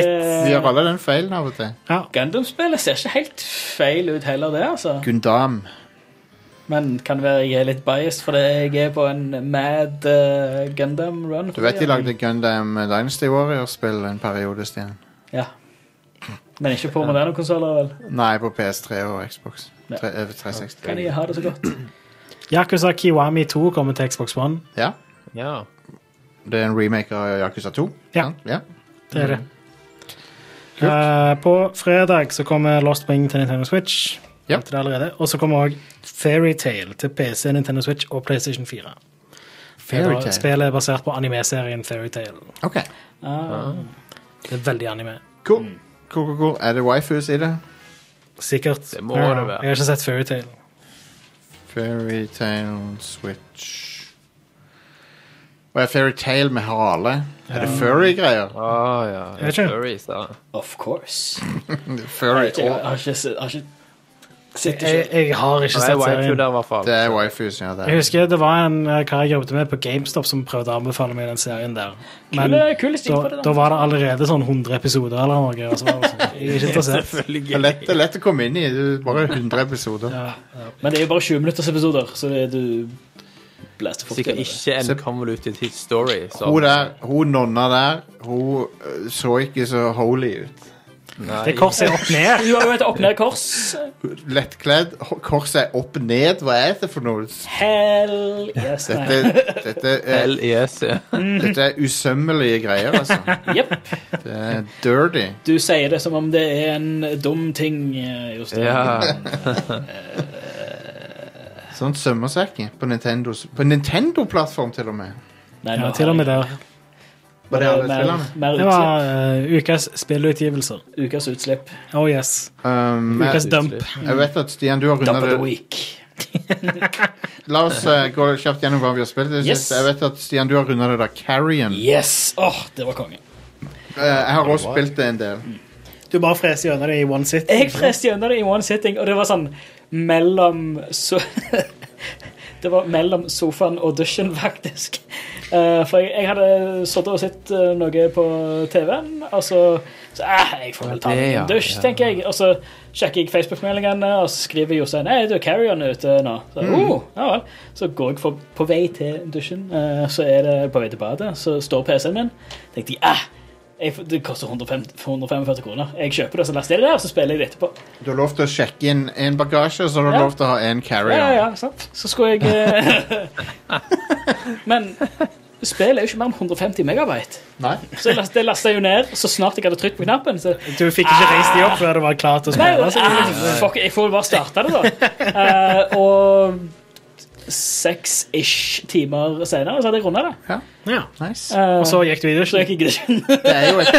Speaker 1: Vi gjør alle den feilen av og til.
Speaker 2: Ja.
Speaker 4: Gundam-spillet ser ikke helt feil ut heller, det, altså.
Speaker 1: Gundam.
Speaker 4: Men kan være jeg er litt biased, fordi jeg er på en mad eh, Gundam run.
Speaker 1: Du vet de lagde Gundam eh, Dynasty Warrior-spill en periode, Stian?
Speaker 4: Ja. Men ikke på moderne konsoller, vel?
Speaker 1: Nei, på PS3 og Xbox.
Speaker 4: Ja.
Speaker 1: Tre, eh, over 360.
Speaker 4: Kan jeg ha det så godt?
Speaker 2: Yakuza Kiwami 2 kommer til Xbox One.
Speaker 1: Ja.
Speaker 3: Ja.
Speaker 1: Det er en remake av Yakuza 2.
Speaker 2: Ja.
Speaker 1: sant? ja.
Speaker 2: Det er det.
Speaker 3: Mm.
Speaker 2: Eh, på fredag så kommer Lost Wing til Nintendo Switch.
Speaker 1: Ja.
Speaker 2: Nevnte det allerede. Og så kommer òg Fairytale til PC, Nintendo Switch og PlayStation 4. Det er da-
Speaker 1: Fairytale.
Speaker 2: Spillet er basert på anime-serien Fairytale.
Speaker 1: OK.
Speaker 4: Ah,
Speaker 2: Det er veldig anime.
Speaker 1: Cool. Cool, cool, cool. Er det waifus i det?
Speaker 2: Sikkert.
Speaker 3: Det må
Speaker 2: Ja,
Speaker 3: det være.
Speaker 2: Jeg har ikke sett Fairytale.
Speaker 1: Fairytale Switch Hva er fairytale med hale? Er det furry-greier?
Speaker 3: Å ja.
Speaker 2: Jeg vet ikke.
Speaker 3: Furries, da.
Speaker 4: of course.
Speaker 1: Furry
Speaker 4: Jeg har ikke se- har ikke sett det
Speaker 2: Jeg,
Speaker 4: selv.
Speaker 2: jeg har ikke
Speaker 3: Det er
Speaker 2: sett
Speaker 3: waifu
Speaker 2: serien.
Speaker 3: der, i hvert fall.
Speaker 1: Det er waifus, ja. Det
Speaker 2: Jeg
Speaker 1: er.
Speaker 2: husker det var en eh, kar jeg jobbet med på GameStop som prøvde å anbefale meg den serien der. Men
Speaker 4: Kule, kule stil på
Speaker 2: da,
Speaker 4: det.
Speaker 2: da
Speaker 4: da.
Speaker 2: var det allerede sånn 100 episoder eller noe. Og så var det sånn, jeg er ikke interessert.
Speaker 1: Det er lett, det er lett å komme inn i. Det er bare 100 episoder.
Speaker 2: Ja,
Speaker 4: Men det er jo bare 20 minutters episoder, så det, du blaster fort.
Speaker 3: Sikkert
Speaker 4: gjennom det.
Speaker 3: ikke en convoluted hit story. Så.
Speaker 1: Hun der, hun nonna der, hun øh, så ikke så holy ut.
Speaker 2: det korset er opp ned.
Speaker 4: Du har jo et opp-ned-kors.
Speaker 1: Lettkledd, ho- korset er opp ned. Hva er det for noe?
Speaker 4: Hell yes, nei.
Speaker 1: Dette, dette, er,
Speaker 3: LES. ja.
Speaker 1: dette er usømmelige greier, altså.
Speaker 4: Jepp.
Speaker 1: Det er Eh, dirty.
Speaker 4: Du sier det som om det er en dum ting, eh, Jostein.
Speaker 3: Ja.
Speaker 1: Sånn sømmer seg ikke på Nintendo. På Nintendo-plattform, til og med.
Speaker 4: Nei,
Speaker 2: Ja, til og med der.
Speaker 1: Var det alle
Speaker 4: mer,
Speaker 1: spillene?
Speaker 4: mer
Speaker 2: Det
Speaker 4: utslipp.
Speaker 2: var eh, ukas spillutgivelser.
Speaker 4: Ukas utslipp.
Speaker 2: Oh yes.
Speaker 1: Um, jeg,
Speaker 2: Ukas dump.
Speaker 1: jeg vet at Stian, du har
Speaker 4: Dump
Speaker 1: runda
Speaker 4: of the
Speaker 1: det.
Speaker 4: week.
Speaker 1: La oss eh, gå kjapt gjennom hva vi har spilt. Jeg,
Speaker 4: Yes.
Speaker 1: jeg vet at Stian, du har runda det der Carrion.
Speaker 4: Yes! Åh, det var konge.
Speaker 1: Eh, jeg har også spilt det en del.
Speaker 2: Du bare freser gjennom det i one sit.
Speaker 4: Jeg freste gjennom det i one sitting, og det var sånn mellom so Det var mellom sofaen og dusjen, faktisk. Eh, for jeg, jeg hadde sittet og sett eh, noe på TV-en, og så, så eh, Jeg får vel ta meg
Speaker 3: Det, ja.
Speaker 4: en dusj,
Speaker 3: Ja.
Speaker 4: tenker jeg. Og så sjekker jeg Facebook-meldingene, og så skriver Jostein Nei, du, carry-on er ute nå. Så,
Speaker 3: Mm.
Speaker 4: oh, ja vel. så går jeg for, på vei til dusjen, eh, så er det på vei til badet, så står PC-en min. tenkte jeg, eh, jeg, får- det koster 150, 145 kroner. Jeg kjøper det, så laster jeg det der, og så spiller jeg det etterpå.
Speaker 1: Du har lov til å sjekke inn én bagasje, og så har du
Speaker 4: Ja.
Speaker 1: lov til å ha én carrier.
Speaker 4: Ja, ja, ja, sant. Så skulle jeg eh, Men spillet er jo ikke mer enn 150 megabyte.
Speaker 1: Nei.
Speaker 4: Så jeg last- det lasta jeg jo ned, og så snart jeg hadde trykt på knappen så,
Speaker 2: Du fikk ikke reist de opp før du var klar til å
Speaker 4: Nei,
Speaker 2: spille. så-
Speaker 4: ah, fuck, jeg får jo bare starte det, da. Eh, og seks-ish timer senere så hadde jeg runda det.
Speaker 2: Ja.
Speaker 1: Nice.
Speaker 4: Eh,
Speaker 2: Og så gikk du i
Speaker 4: så
Speaker 2: dusjen.
Speaker 4: gikk jeg ikke
Speaker 1: Det er jo et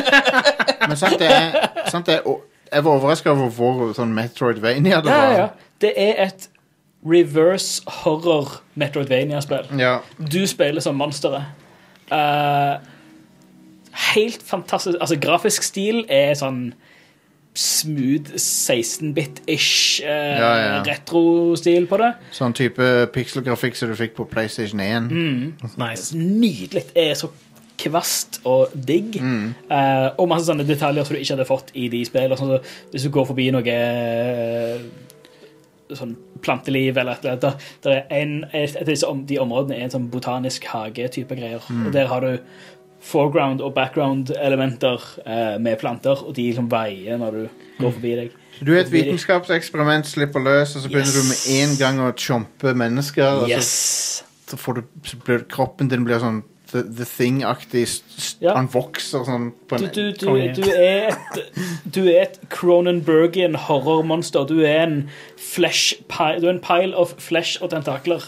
Speaker 1: Men sant, det er, sant, det er og Jeg var overraska over hvor sånn Metroidvania det
Speaker 4: Ja,
Speaker 1: var.
Speaker 4: ja, ja. Det er et reverse horror Metroidvania-spill.
Speaker 1: Ja.
Speaker 4: Du spiller som monsteret. Eh, helt fantastisk Altså, grafisk stil er sånn smooth 16-bit-ish eh,
Speaker 1: Ja, ja.
Speaker 4: retro-stil på det.
Speaker 1: Sånn type pikselgrafikk som du fikk på PlayStation 1.
Speaker 4: Mm.
Speaker 2: Nice.
Speaker 4: Nydelig. Det er så kvast og digg. Eh, og masse sånne detaljer som du ikke hadde fått i de spillene. Sånn, som hvis du går forbi noe eh, sånn planteliv eller et eller annet, da- der er en, et et av disse om, de områdene er en sånn botanisk hage-type greier. Og der har du foreground- og background-elementer eh, med planter, og de liksom veier når du går forbi deg.
Speaker 1: Du er et vitenskapseksperiment, slipper løs, og så begynner du med en gang å chompe mennesker. Og
Speaker 4: Yes!
Speaker 1: så, så får du, så blir kroppen din blir sånn The, the Thing-aktig. s- s-
Speaker 4: Ja.
Speaker 1: Han vokser sånn på
Speaker 4: Du,
Speaker 1: en
Speaker 4: du, du,
Speaker 2: Konge.
Speaker 4: du er et Du er et Cronenbergian horrormonster. Du er en flesh pi- Du er en pile of flesh og tentakler.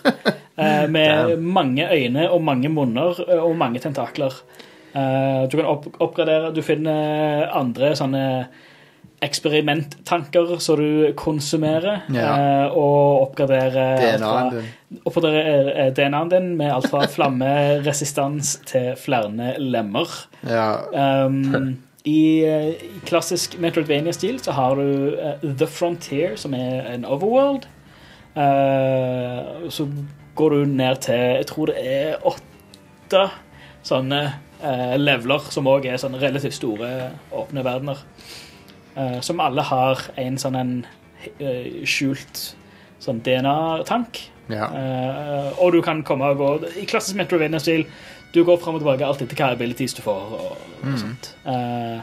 Speaker 4: eh, med mange øyne og mange munner eh, og mange tentakler. Eh, du kan opp oppgradere Du finner andre sånne eksperimenttanker som du konsumerer,
Speaker 1: Ja.
Speaker 4: eh, og oppgraderer alt fra-
Speaker 1: DNA-en
Speaker 4: eh,
Speaker 1: din.
Speaker 4: Oppgraderer DNA-en din med alt fra flammeresistans til flere lemmer.
Speaker 1: Ja.
Speaker 4: Um, I eh, i klassisk Metroidvania-stil så har du eh, The Frontier, som er en overworld. Eh, så går du ned til Jeg tror det er åtte sånne eh, leveler, som òg er sånne relativt store, åpne verdener. Eh, som alle har en sånn en eh, skjult sånn DNA-tank.
Speaker 1: Ja.
Speaker 4: Eh, og du kan komme og gå I klassisk Metrovania-stil Du går frem og tilbake alt etter hva abilities du får. Og, og sånt Eh,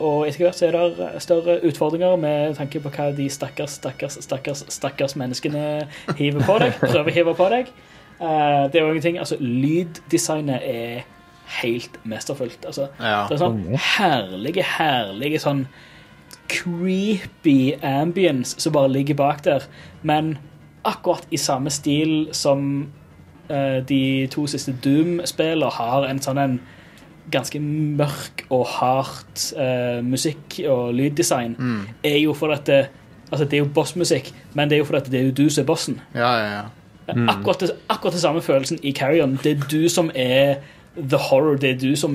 Speaker 4: og etter hvert så er det større utfordringer med tanke på hva de stakkars, stakkars, stakkars stakkars menneskene hiver på deg. Prøver å hive på deg. Eh, det er jo ingenting Altså, lyddesignet er helt mesterfullt. Altså,
Speaker 1: Ja.
Speaker 4: Det er sånn herlige, herlige sånn creepy ambience som bare ligger bak der. Men akkurat i samme stil som eh, de to siste Doom-spillene har en sånn en ganske mørk og hardt eh, musikk og lyddesign, er jo for at det, altså det er jo bossmusikk, men det er jo for at det er jo du som er bossen.
Speaker 1: ja, ja, ja. Mm.
Speaker 4: Akkurat, det- akkurat den samme følelsen i Carrion. Det er du som er the horror. Det er du som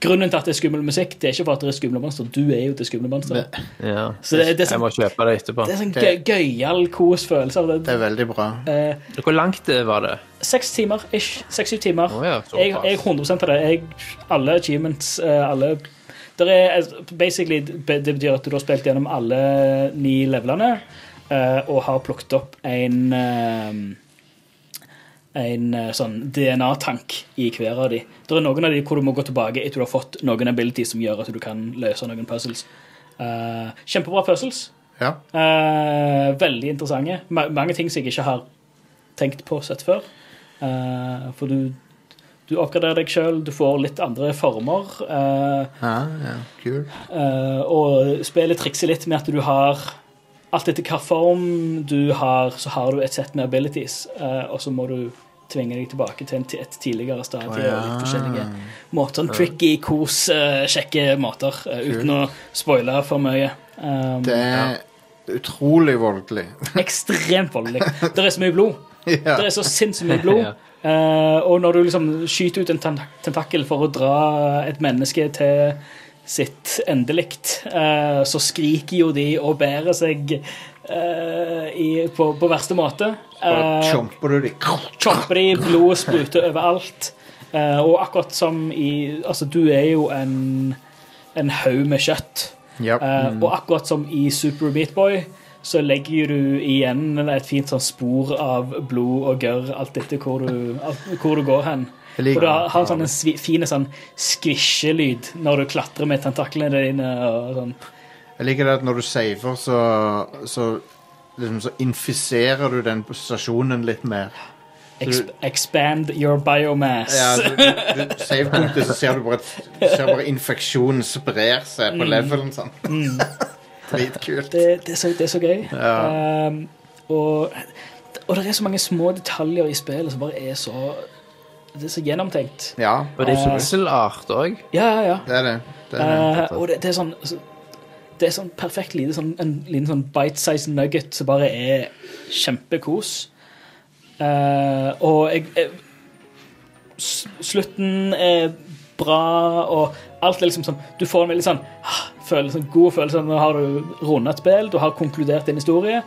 Speaker 4: Grunnen til at det er skummel musikk, det er ikke for at det er skumle monstre. Du er jo det skumle monsteret.
Speaker 1: Det,
Speaker 3: Ja.
Speaker 4: Så det- det er så-
Speaker 3: Jeg må kjøpe det etterpå.
Speaker 4: Det er sånn
Speaker 1: Det-
Speaker 4: gøy, gøyal kos-følelse av det.
Speaker 1: det er veldig bra.
Speaker 4: Eh,
Speaker 3: Hvor langt det var det?
Speaker 4: Seks timer ish. Seks-syv timer.
Speaker 3: Å ja, såpass.
Speaker 4: jeg, jeg er 100 av det. Jeg, alle achievements, eh, alle der er, eh, basically, be- Det betyr at du har spilt gjennom alle ni levelene eh, og har plukket opp en eh, en eh, sånn DNA-tank i hver av de. Det er noen av de hvor du må gå tilbake etter du har fått noen abilities som gjør at du kan løse noen puzzles. Eh, kjempebra puzzles.
Speaker 1: Ja.
Speaker 4: Eh, veldig interessante. Ma mange ting som jeg ikke har tenkt på og sett før. Eh, for du, du oppgraderer deg sjøl, du får litt andre former. eh,
Speaker 1: Ja, ja. Kul.
Speaker 4: eh, og spillet trikser litt med at du har Alt etter hvilken form du har, så har du et sett med abilities, eh, og så må du tvinge deg tilbake til en, ti- et tidligere stadie.
Speaker 1: Å,
Speaker 4: og
Speaker 1: ja.
Speaker 4: litt forskjellige måter. Sånn tricky, kos, eh, kjekke måter, eh, uten å spoile for mye. Um,
Speaker 1: Det er utrolig voldelig.
Speaker 4: Ekstremt voldelig. Det er så mye blod.
Speaker 1: ja.
Speaker 4: Det er så sinnssykt mye blod.
Speaker 3: Ja.
Speaker 4: Eh, og når du liksom skyter ut en ten- tentakkel for å dra et menneske til sitt endelikt, eh, så skriker jo de og bærer seg eh, i, på, på verste måte.
Speaker 1: Bare
Speaker 4: Eh,
Speaker 1: chomper du de
Speaker 4: Chomper de, blodet spruter overalt. Eh, og akkurat som i Altså, du er jo en, en haug med kjøtt.
Speaker 1: Ja.
Speaker 4: Eh, Og akkurat som i Super Meat Boy, så legger du igjen et fint sånn spor av blod og gørr, alt etter hvor du, alt- hvor du går hen.
Speaker 1: Jeg liker
Speaker 4: og du har har en sånn en svi- fin sånn skvisjelyd når du klatrer med tentaklene dine. og sånn.
Speaker 1: Jeg liker det at når du saver, så, så liksom så infiserer du den stasjonen litt mer.
Speaker 4: Exp expand your biomass.
Speaker 1: Ja, du, du, du Savepunktet, så ser du bare, at- ser bare infeksjonen sprer seg på levelen sånn. Dritkult.
Speaker 4: Mm. det, det, er så, det er så gøy. Ehm, og, og det er så mange små detaljer i spillet som bare er så Det er så gjennomtenkt.
Speaker 1: Ja,
Speaker 3: Og
Speaker 4: Eh.
Speaker 3: det er pixelart òg.
Speaker 4: Ja, ja, ja.
Speaker 1: det er det. det, er det.
Speaker 4: Eh, og det, det er sånn altså, Det er sånn perfekt lite sånn, En liten sånn bite-sized nugget som bare er kjempekos. Eh, og jeg, jeg s- Slutten er bra, og alt er liksom sånn Du får en veldig sånn ah, følelse, en god følelse av nå har du rundet et spill, du har konkludert din historie.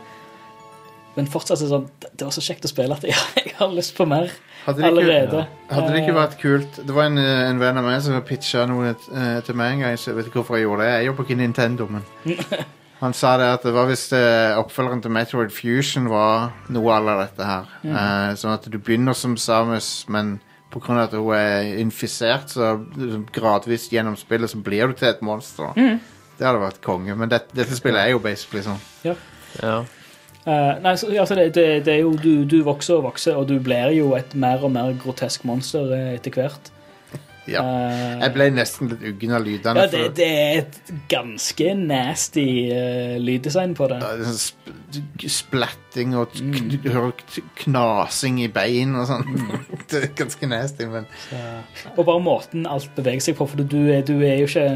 Speaker 4: Men fortsatt er det sånn Det det var så kjekt å spille at jeg, jeg har lyst på mer
Speaker 1: Hadde det ikke-
Speaker 4: allerede.
Speaker 1: Hadde det ikke
Speaker 4: Eh,
Speaker 1: vært kult Det var en, eh, en venn av meg som pitcha noe eh, til meg en gang. Så jeg vet ikke hvorfor jeg gjorde det. Jeg jobber ikke i Nintendo, men Han sa det at det var hvis eh, oppfølgeren til Metroid Fusion var noe à la dette her.
Speaker 4: Mm.
Speaker 1: Eh, sånn at du begynner som Samus, men pga. at hun er infisert, så liksom gradvis gjennom spillet så blir du til et monster.
Speaker 4: Mm.
Speaker 1: Det hadde vært konge, men det, dette spillet er jo basically sånn.
Speaker 3: Ja.
Speaker 4: Eh, nei, så, altså det, det, det er jo du, du vokser og vokser, og du blir jo et mer og mer grotesk monster eh, etter hvert.
Speaker 1: Ja.
Speaker 4: Eh,
Speaker 1: Jeg ble nesten litt uggen av lydene.
Speaker 4: ja,
Speaker 1: for-
Speaker 4: det, det er et ganske nasty eh, lyddesign på det.
Speaker 1: Ja, det er sånn sp splatting og kn-
Speaker 4: Mm.
Speaker 1: du hører k- knasing i bein og sånn.
Speaker 4: Mm.
Speaker 1: det er ganske nasty, men
Speaker 4: Og bare måten alt beveger seg på, for du er, du er jo ikke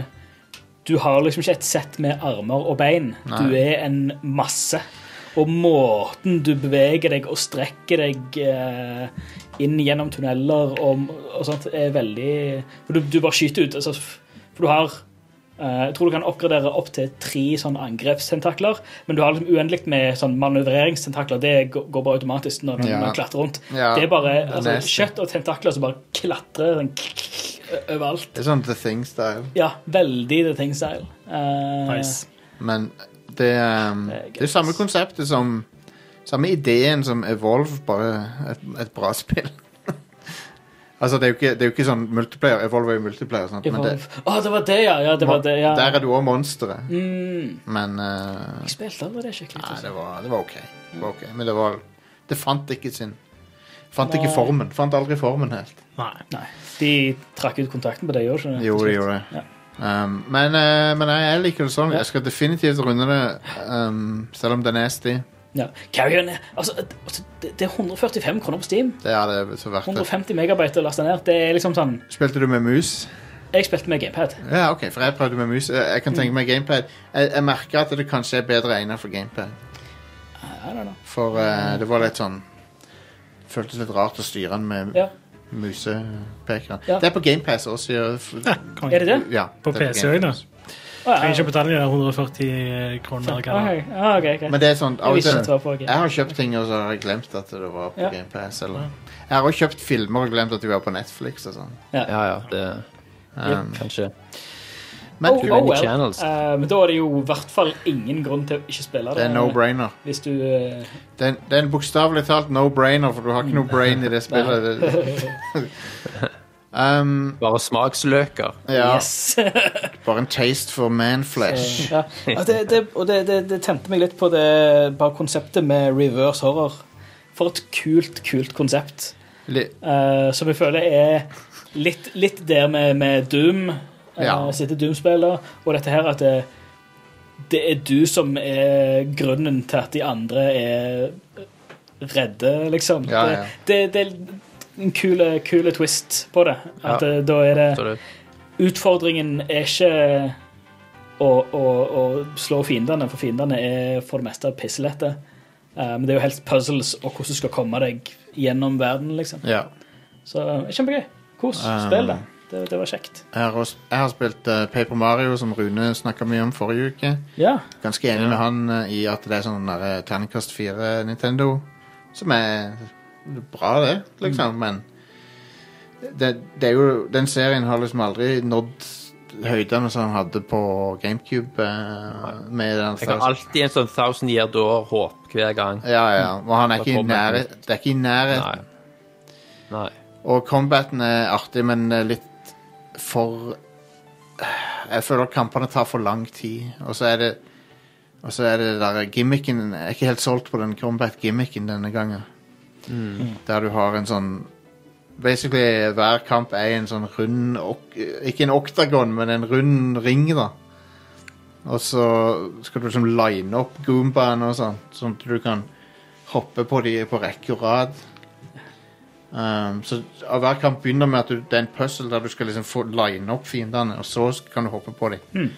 Speaker 4: Du har liksom ikke et sett med armer og bein. Du er en masse. Og måten du beveger deg og strekker deg eh, inn gjennom tunneler og, og sånt, er veldig For du, du bare skyter ut. Altså, f- for du har eh, Jeg tror du kan oppgradere opp til tre sånn angrepstentakler, men du har liksom uendelig med sånn manøvreringstentakler. Det går går bare automatisk når du
Speaker 1: Ja.
Speaker 4: når du klatrer rundt.
Speaker 1: Ja.
Speaker 4: Det er bare altså,
Speaker 1: Nesten.
Speaker 4: kjøtt og tentakler som bare klatrer sånn, overalt.
Speaker 1: det er sånn The Thing-style.
Speaker 4: Ja, veldig The Thing Style. Eh,
Speaker 2: Nice.
Speaker 1: Men det, um,
Speaker 4: Det er
Speaker 1: det er samme konseptet som Samme ideen som Evolve, bare et, et bra spill. altså, det er, jo ikke, det er jo ikke sånn multiplayer. Evolve er jo multiplayer, sant?
Speaker 4: Å,
Speaker 1: men
Speaker 4: det,
Speaker 1: det,
Speaker 4: var det, ja! ja, det var det, ja.
Speaker 1: der er du òg monsteret.
Speaker 4: Mm.
Speaker 1: Men eh,
Speaker 4: Jeg spilte aldri det skikkelig.
Speaker 1: Nei,
Speaker 4: altså.
Speaker 1: det var, det var ok. Det var ok. Men det var Det fant ikke sin Fant ikke
Speaker 4: Nei.
Speaker 1: formen. Fant aldri formen helt.
Speaker 2: Nei.
Speaker 4: Nei. De trakk ut kontakten på det i år, skjønner du.
Speaker 1: Jo, det gjorde det. Um, men eh, men jeg, jeg liker det sånn.
Speaker 4: Ja.
Speaker 1: Jeg skal definitivt runde det, um, selv om det er nasty.
Speaker 4: Ja. Carrion er- altså, altså, det det er 145 kroner på Steam.
Speaker 1: Det er det så verdt det.
Speaker 4: 150 megabyte å laste ned. Det er liksom sånn
Speaker 1: Spilte du med mus?
Speaker 4: Jeg spilte med gamepad.
Speaker 1: Ja, ok, for jeg prøvde med mus. Jeg jeg kan tenke meg gamepad. Jeg, jeg merker at det kanskje er bedre egnet for gamepad.
Speaker 4: I don't know.
Speaker 1: For eh,
Speaker 4: Mm.
Speaker 1: det var litt sånn Føltes litt rart å styre den med
Speaker 4: Ja.
Speaker 1: musepekeren.
Speaker 4: Ja.
Speaker 1: Det er på GamePass også. Ja, f-
Speaker 2: Ja, konge.
Speaker 4: Er det det?
Speaker 1: ja,
Speaker 2: På
Speaker 1: det er
Speaker 2: PC
Speaker 1: Game
Speaker 2: òg, da.
Speaker 1: Pass.
Speaker 4: Å, ja.
Speaker 2: Trenger ikke betale de der 140 kroner.
Speaker 4: Ok,
Speaker 2: hva det er.
Speaker 4: ah, ok, ok.
Speaker 1: Men det er sånn av og
Speaker 4: Jeg visste
Speaker 1: til
Speaker 4: ikke at det var på
Speaker 1: Jeg
Speaker 4: gamepad.
Speaker 1: har kjøpt ting, og så har jeg glemt at det var på
Speaker 4: Ja.
Speaker 1: GamePass. Eller. Jeg har også kjøpt filmer og glemt at de var på Netflix og sånn.
Speaker 3: Ja, ja, det
Speaker 1: Um,
Speaker 3: Kanskje.
Speaker 1: men
Speaker 4: Oh,
Speaker 3: Too
Speaker 4: oh,
Speaker 3: many
Speaker 4: well.
Speaker 3: channels.
Speaker 4: Eh, men da er det jo i hvert fall ingen grunn til å ikke spille
Speaker 1: det
Speaker 4: det.
Speaker 1: er no-brainer.
Speaker 4: hvis du eh,
Speaker 1: Det er, det er en bokstavelig talt no-brainer, for du har ikke noe brain i det spillet. um,
Speaker 3: Bare smaksløker.
Speaker 1: ja.
Speaker 4: Yes.
Speaker 1: Bare en taste for manflesh.
Speaker 4: ja. Og det, det, og det, det, det tente meg litt på det bare konseptet med reverse horror. For et kult, kult konsept.
Speaker 1: Li-
Speaker 4: eh, som jeg føler er litt, litt der med, med Doom. Uh,
Speaker 1: Ja.
Speaker 4: Sitter Doom-spiller, og dette her at det, det er du som er grunnen til at de andre er redde, liksom.
Speaker 1: Ja, ja.
Speaker 4: Det, det, det er en kul, kul twist på det. At eh, da er det
Speaker 3: Absolutt.
Speaker 4: Utfordringen er ikke å, å, å slå fiendene, for fiendene er for det meste pisselette. Eh, Men det er jo helst puzzles og hvordan du skal komme deg gjennom verden, liksom.
Speaker 1: Ja.
Speaker 4: Så eh, kjempegøy. Kos.
Speaker 1: Um.
Speaker 4: Spill det. det. Det var kjekt.
Speaker 1: Jeg har, også, jeg har spilt eh, Paper Mario, som Rune snakka mye om forrige uke.
Speaker 4: Ja.
Speaker 1: Ganske enig med han eh, i at det er sånn der, eh, Terningkast 4 Nintendo, som er bra, det,
Speaker 3: Mm.
Speaker 1: liksom, men det, det er jo, den serien har liksom aldri nådd høydene som han hadde på GameCube. eh, med den
Speaker 3: Jeg har alltid en sånn Thousand Year Door-håp hver gang.
Speaker 1: Ja, ja. Og han er
Speaker 3: Da
Speaker 1: ikke i
Speaker 3: kommer han
Speaker 1: nærhet. Det er ikke i nærheten.
Speaker 3: Nei. Nei.
Speaker 1: Og combaten er artig, men eh, litt for Jeg føler at kampene tar for lang tid. Og så er det Og så er det der gimmicken Jeg er ikke helt solgt på den combat-gimmicken denne gangen. Der du har en sånn Basically hver kamp er en sånn rund ok, Ikke en oktagon, men en rund ring, da. Og så skal du liksom line opp goombaene og sånn, sånn at du kan hoppe på de på rekke og rad. Um, så av hver kamp begynner med at du, det er en puzzle der du skal liksom få line opp fiendene, og så sk- kan du hoppe på dem.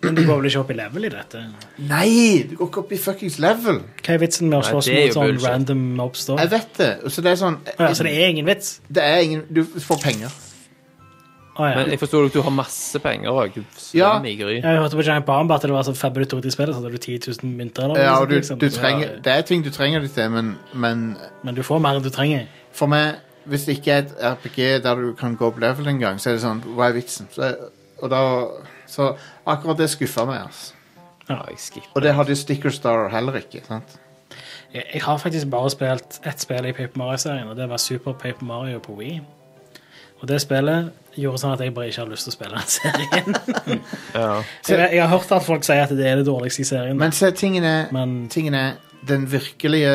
Speaker 2: Men du går vel ikke opp i level i dette?
Speaker 1: Nei! Du går ikke opp i fuckings level!
Speaker 2: Hva er vitsen med å
Speaker 3: Nei,
Speaker 2: slåss
Speaker 3: det er
Speaker 2: mot
Speaker 3: jo
Speaker 2: sånn
Speaker 3: bullshit.
Speaker 2: random mobs, da?
Speaker 1: Jeg vet det. Så det er sånn
Speaker 2: Å ja, så det er ingen vits?
Speaker 1: det er ingen Du får penger.
Speaker 2: Å ja.
Speaker 3: Men jeg forstår at du har masse penger òg.
Speaker 1: Ja.
Speaker 3: Ja. i gry.
Speaker 2: Jeg hørte på Giant Bomb at det var sånn fem minutter ut i spillet, så hadde du 10 000 mynter. eller noe
Speaker 1: Ja, og
Speaker 2: sånt,
Speaker 1: du,
Speaker 2: liksom.
Speaker 1: du trenger Det er ting du trenger det til, men, men
Speaker 2: Men du får mer enn du trenger.
Speaker 1: for meg Hvis det ikke er et RPG der du kan gå opp level en gang, så er det sånn Hva er vitsen? Så, og da Så akkurat det skuffa meg, altså.
Speaker 3: Ja, jeg skipper.
Speaker 1: Og det hadde jo Sticker Star heller ikke. sant?
Speaker 2: Jeg, jeg har faktisk bare spilt ett spill i Paper Mario-serien, og det var Super Paper Mario på Wii. Og det spillet gjorde sånn at jeg bare ikke har lyst til å spille den serien.
Speaker 3: Ja.
Speaker 2: Så jeg, jeg har hørt at folk sier at det er det dårligste i serien.
Speaker 1: Men se, tingen er
Speaker 2: Men-
Speaker 1: Tingen er Den virkelige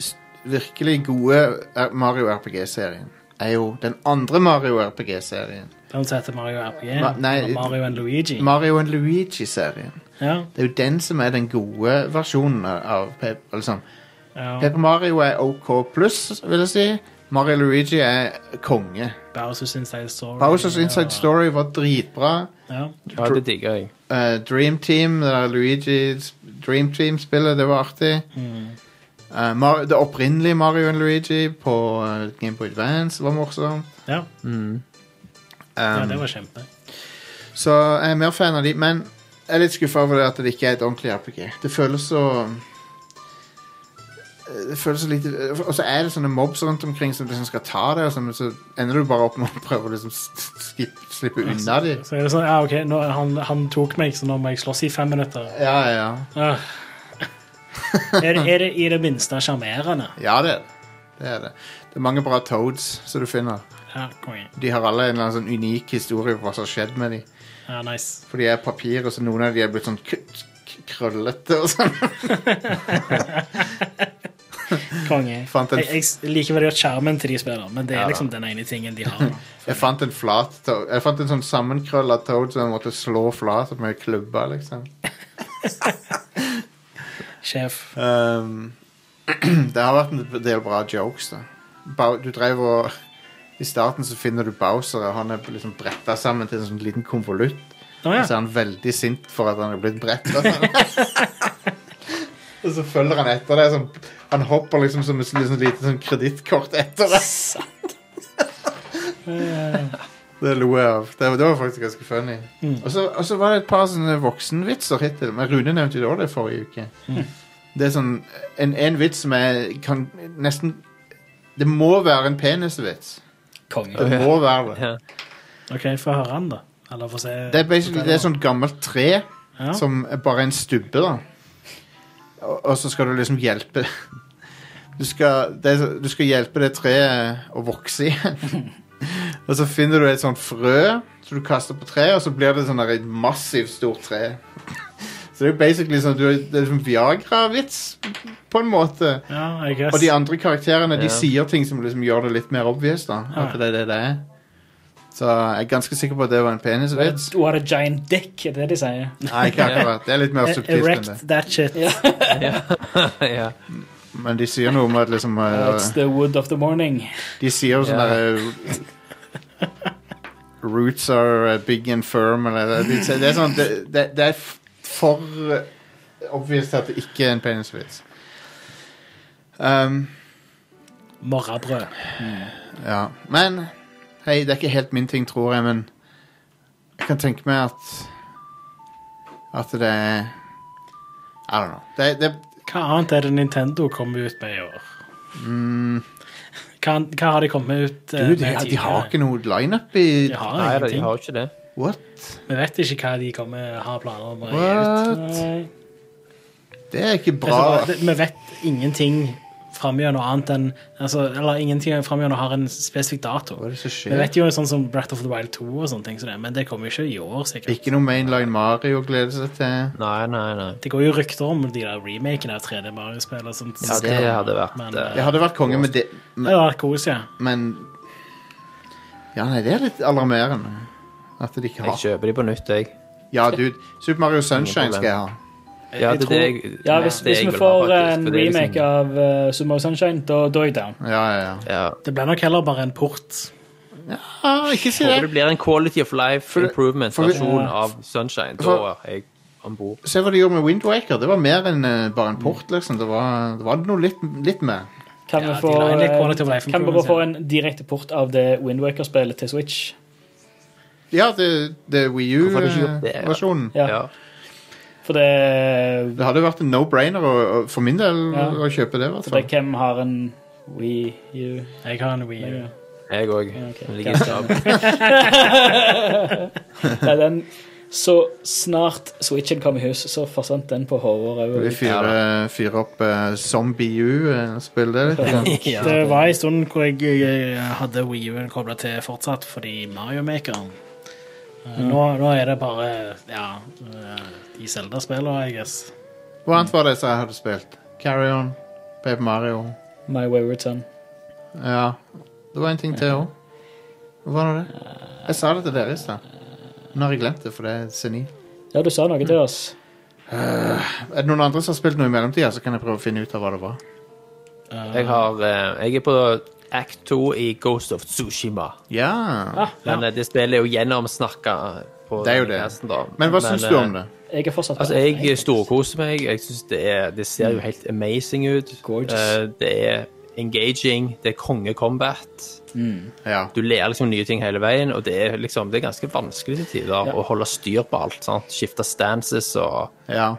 Speaker 1: s- Virkelig gode er- Mario RPG-serien Er jo den andre Mario RPG-serien
Speaker 2: Den som heter Mario RPG.
Speaker 1: Ma- nei,
Speaker 2: eller Mario and Luigi.
Speaker 1: Mario and Luigi-serien
Speaker 2: ja,
Speaker 1: Det er jo den som er den gode versjonen av Pep, liksom.
Speaker 2: ja.
Speaker 1: Paper Mario er OK pluss, vil jeg si Mario og Luigi er konge
Speaker 2: Bowsers Inside Story.
Speaker 1: Bowser's Inside
Speaker 2: og-
Speaker 1: Story var dritbra
Speaker 2: Ja.
Speaker 3: ja, det digger jeg.
Speaker 1: Eh, Dream Team, det der Luigi Dream Team-spillet, det var artig.
Speaker 2: Mm.
Speaker 1: Eh, Mar det opprinnelige Mario Luigi på eh, Game Boy Advance var morsomt.
Speaker 2: Ja. ja,
Speaker 1: Um,
Speaker 2: det var kjempe.
Speaker 1: Så jeg er mer fan av de, men jeg er litt skuffa over det at det ikke er et ordentlig RPG. Det føles så eh, det føles så lite Og så er det sånne mobs rundt omkring som liksom skal ta deg, og sånn, men så ender du bare opp med å prøve å liksom s- s- skip, slippe unna de.
Speaker 2: Så er det sånn, ja, ok, nå, han, han tok meg, så nå må jeg slåss i fem minutter.
Speaker 1: Ja, ja, ja.
Speaker 2: Ah, Er, det- er det i det minste sjarmerende?
Speaker 1: Ja, det er det. Det er det. Det er mange bra Toads som du finner.
Speaker 2: Ja, konge.
Speaker 1: De har alle en eller annen sånn unik historie for hva som har skjedd med dem.
Speaker 2: Ja, nice.
Speaker 1: For de er papir, og så noen av de er blitt sånn k k krøllete og sånn.
Speaker 2: Konge.
Speaker 1: Fant en-
Speaker 2: Jeg, jeg s- liker veldig godt skjermen til de spiller, men det er
Speaker 1: Ja, da.
Speaker 2: liksom den ene tingen de har. da.
Speaker 1: Jeg fant en flat toad. Jeg fant en sånn sammenkrølla toad som jeg måtte slå flat med klubba, liksom.
Speaker 2: Sjef.
Speaker 1: Ehm, det har vært en del bra jokes, da. Bau- Du drev og I starten så finner du Bowser, og han er liksom bretta sammen til en sånn liten konvolutt. Og
Speaker 2: Å
Speaker 1: så
Speaker 2: ja.
Speaker 1: er han veldig sint for at han er blitt brett. og sånn. og så følger han etter deg. Sånn, han hopper liksom som et liksom, lite sånn kredittkort etter deg. det lo jeg av. Det, det var faktisk ganske funny. Og, så, og så var det et par sånne voksenvitser hittil. Men Rune nevnte jo det også det forrige uke. Det er sånn en, en vits som er kan nesten Det må være en penisvits.
Speaker 4: Konge.
Speaker 1: Det må være det.
Speaker 3: Ja.
Speaker 2: OK, få høre han, da. Eller få se.
Speaker 1: Det er basically det er sånn gammelt tre.
Speaker 2: ja.
Speaker 1: Som er bare en stubbe, da. Og, og så skal du liksom hjelpe Du skal, det, er så- du skal hjelpe det treet å vokse igjen. og så finner du et sånt frø som du kaster på treet, og så blir det sånn der et massivt stort tre. så det er jo basically sånn du, det er sånn Viagra-vits, på en måte.
Speaker 2: ja, I guess.
Speaker 1: Og de andre karakterene de
Speaker 3: Ja.
Speaker 1: sier ting som liksom gjør det litt mer obvious, da. At det er det det er. Så jeg er ganske sikker på at det var en penisvits.
Speaker 4: What a giant dick, er det de sier.
Speaker 1: Nei, ikke akkurat. Det er litt mer
Speaker 2: E-
Speaker 1: subtilt enn det.
Speaker 2: Erect that shit.
Speaker 3: ja.
Speaker 1: Men de sier noe om at liksom eh,
Speaker 4: It's the wood of the morning.
Speaker 1: De sier jo sånn
Speaker 3: Ja.
Speaker 1: derre Roots are eh, big and firm eller de, sier- Det er sånn Det, det, det er f- for eh, obvious at det ikke er en penisvits. Um, hmm,
Speaker 2: Morrabrød.
Speaker 1: ja. Men hei, det er ikke helt min ting, tror jeg, men jeg kan tenke meg at at det er I don't know. Det, det,
Speaker 2: Hva annet er det Nintendo kommer ut med i år? Hva, hva har de kommet ut eh,
Speaker 1: Mm. du, de,
Speaker 2: med
Speaker 1: de har ikke noe lineup i
Speaker 2: De har
Speaker 3: Nei, da, de
Speaker 2: ingenting.
Speaker 3: har jo ikke det.
Speaker 1: What?
Speaker 2: Vi vet ikke hva de kommer har planer om å gi ut.
Speaker 1: What?
Speaker 2: Nei.
Speaker 1: Det er ikke
Speaker 2: Det er
Speaker 1: bra.
Speaker 2: så bra. Altså, Det- Vi vet ingenting framgjennom annet enn altså, Eller ingenting framgjennom har en spesifikk
Speaker 1: Hva
Speaker 2: dato.
Speaker 1: er det som
Speaker 2: Vi
Speaker 1: skjer?
Speaker 2: vet jo sånn som Breath of the Wild 2 og sånne ting, som det, men det kommer jo ikke i år, sikkert.
Speaker 1: Ikke noe mainline Mario å glede seg til.
Speaker 3: Nei, nei, nei.
Speaker 2: Det går jo rykter om de der remakene av 3D Mario-spill og sånt.
Speaker 3: Ja, det hadde vært
Speaker 2: Men,
Speaker 3: eh,
Speaker 1: Det hadde vært konge med det,
Speaker 2: Det hadde vært kos, ja.
Speaker 1: men Ja, nei, det er litt alarmerende. At de ikke
Speaker 3: Jeg
Speaker 1: har
Speaker 3: kjøper de på nytt, jeg.
Speaker 1: Ja, dude, Super Mario Sunshine skal jeg ha.
Speaker 3: Ja, det, er det, jeg,
Speaker 4: Ja, hvis,
Speaker 3: det
Speaker 4: hvis
Speaker 3: jeg
Speaker 4: vi
Speaker 3: vil ha,
Speaker 4: får eh,
Speaker 3: faktisk,
Speaker 4: en
Speaker 3: for det er liksom-
Speaker 4: remake av uh, Sumo Sunshine, da da er jeg down.
Speaker 1: Ja, ja,
Speaker 3: ja.
Speaker 2: Det ble nok heller bare en port.
Speaker 1: ja. Ah, ikke si
Speaker 3: Håper det
Speaker 1: det.
Speaker 3: blir en quality of life
Speaker 1: for-
Speaker 3: improvement-versjon av Sunshine. Da
Speaker 1: for-
Speaker 3: er jeg om bord.
Speaker 1: Se hva de gjorde med Windwaker. Det var mer enn eh, bare en port, liksom. Det var, det var noe litt, litt mer.
Speaker 4: Kan,
Speaker 2: Ja,
Speaker 4: vi
Speaker 2: de
Speaker 4: få,
Speaker 2: la inn litt quality of
Speaker 4: eh,
Speaker 2: life
Speaker 4: kan vi bare
Speaker 2: improvements,
Speaker 4: få
Speaker 2: ja.
Speaker 4: en direkte port av det Windwaker-spillet til Switch?
Speaker 1: Ja, det, det er Wii eh,
Speaker 3: Hvorfor har de ikke gjort det, ja?
Speaker 1: U-versjonen.
Speaker 4: Ja.
Speaker 3: Ja.
Speaker 4: For det,
Speaker 1: Det hadde vært en no-brainer å- å- for min del
Speaker 4: Ja.
Speaker 1: å kjøpe det, i hvert
Speaker 4: for det
Speaker 1: fall.
Speaker 4: Hvem har en Wii U?
Speaker 2: Jeg har en Wii U.
Speaker 3: Jeg òg.
Speaker 4: Ja, ok.
Speaker 3: Ligger i skap.
Speaker 4: Nei, den, så snart Switchen kom i hus, så forsvant den på hodet. og
Speaker 1: Vi
Speaker 4: øyet.
Speaker 1: fyrer fyrer opp eh, Zombie U-spill, det. litt.
Speaker 4: Ja,
Speaker 2: Det var en stund hvor jeg, jeg hadde Wii U-en kobla til fortsatt fordi Mario Makeren. Eh, Nå, nå er det bare ja, eh, de Zelda-spillene, I guess.
Speaker 1: Hva annet var det som jeg hadde spilt? Carry On, Paper Mario
Speaker 4: My Wayward Son.
Speaker 1: Ja, det var en ting til òg. Hva var nå det? Jeg sa det til dere i stad. Nå har jeg glemt det, for det er senil.
Speaker 4: Ja, du sa noe til oss.
Speaker 1: Er det noen andre som har spilt noe i mellomtida, så kan jeg prøve å finne ut av hva det var.
Speaker 3: Jeg, har, eh, jeg er på act 2 i Ghost of Tsushima.
Speaker 1: Ja,
Speaker 3: Men eh, det spillet er jo gjennomsnakka. på
Speaker 1: det er jo det.
Speaker 3: podcasten da. eh,
Speaker 1: Men hva syns du om det?
Speaker 4: Jeg er fortsatt
Speaker 3: Altså, jeg storkoser meg. Jeg synes det, er, det ser jo helt amazing ut.
Speaker 4: Gorgeous.
Speaker 3: Eh, det er engaging. Det er konge-combat.
Speaker 1: Ja.
Speaker 3: Du lærer liksom nye ting hele veien, og det er, liksom, det er ganske vanskelig til tider å holde styr på alt. sant? Skifte stances og
Speaker 1: ja.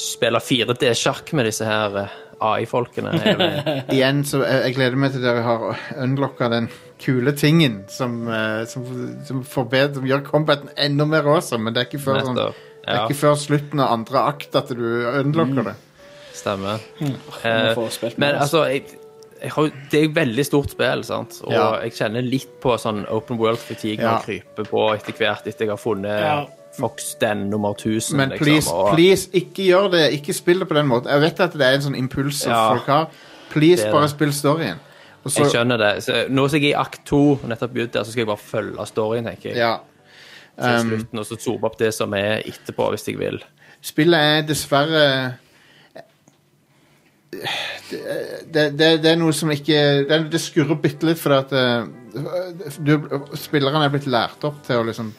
Speaker 3: spille 4D-sjakk med disse her eh, AI-folkene. hele veien.
Speaker 1: Igjen, så eh, jeg, jeg gleder meg til dere har unlocka den kule tingen som, eh, som, som, forbedrer, som gjør combaten enda mer awesome, men det er ikke før, sånn,
Speaker 3: Nettopp.
Speaker 1: det er
Speaker 3: Ja.
Speaker 1: ikke før slutten av andre akt at du unlocker det.
Speaker 3: Stemmer.
Speaker 1: Mm.
Speaker 4: vi
Speaker 3: Eh,
Speaker 4: får spilt med
Speaker 3: men
Speaker 4: oss.
Speaker 3: altså jeg, jeg har, jo- Det er et veldig stort spill, sant? og
Speaker 1: Ja.
Speaker 3: jeg kjenner litt på sånn open world-fatigue
Speaker 1: Ja.
Speaker 3: når jeg kryper på etter hvert etter jeg har funnet
Speaker 2: Ja.
Speaker 3: Fox den nummer 1000.
Speaker 1: Men please,
Speaker 3: liksom, og,
Speaker 1: please, ikke gjør det. Ikke spill det på den måten. Jeg vet at det er en sånn impuls som
Speaker 3: Ja.
Speaker 1: folk har. Please,
Speaker 3: Det er
Speaker 1: bare
Speaker 3: det.
Speaker 1: spill storyen. Og så-
Speaker 3: Jeg skjønner det. Så, nå som jeg er i akt to, og nettopp begynt der, så skal jeg bare følge storyen, tenker jeg.
Speaker 1: Ja.
Speaker 3: Til
Speaker 1: Um,
Speaker 3: slutten, og så zoome opp det som er etterpå, hvis jeg vil.
Speaker 1: Spillet er dessverre det, det, det er noe som ikke Det, det skurrer bitte litt, fordi at eh, du, spillerne er blitt lært opp til å liksom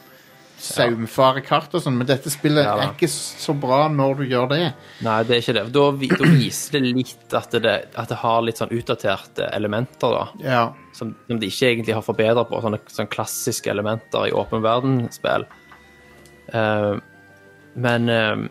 Speaker 1: saumfare kart og sånn, men dette spillet
Speaker 3: Ja da.
Speaker 1: er ikke så bra når du gjør det.
Speaker 3: Nei, det er ikke det. Da, vi- da viser det litt at det, at det har litt sånn utdaterte elementer, da.
Speaker 1: Ja.
Speaker 3: som, som de ikke egentlig har forbedret på, sånne, sånne klassiske elementer i åpen verden-spill. Eh, men eh,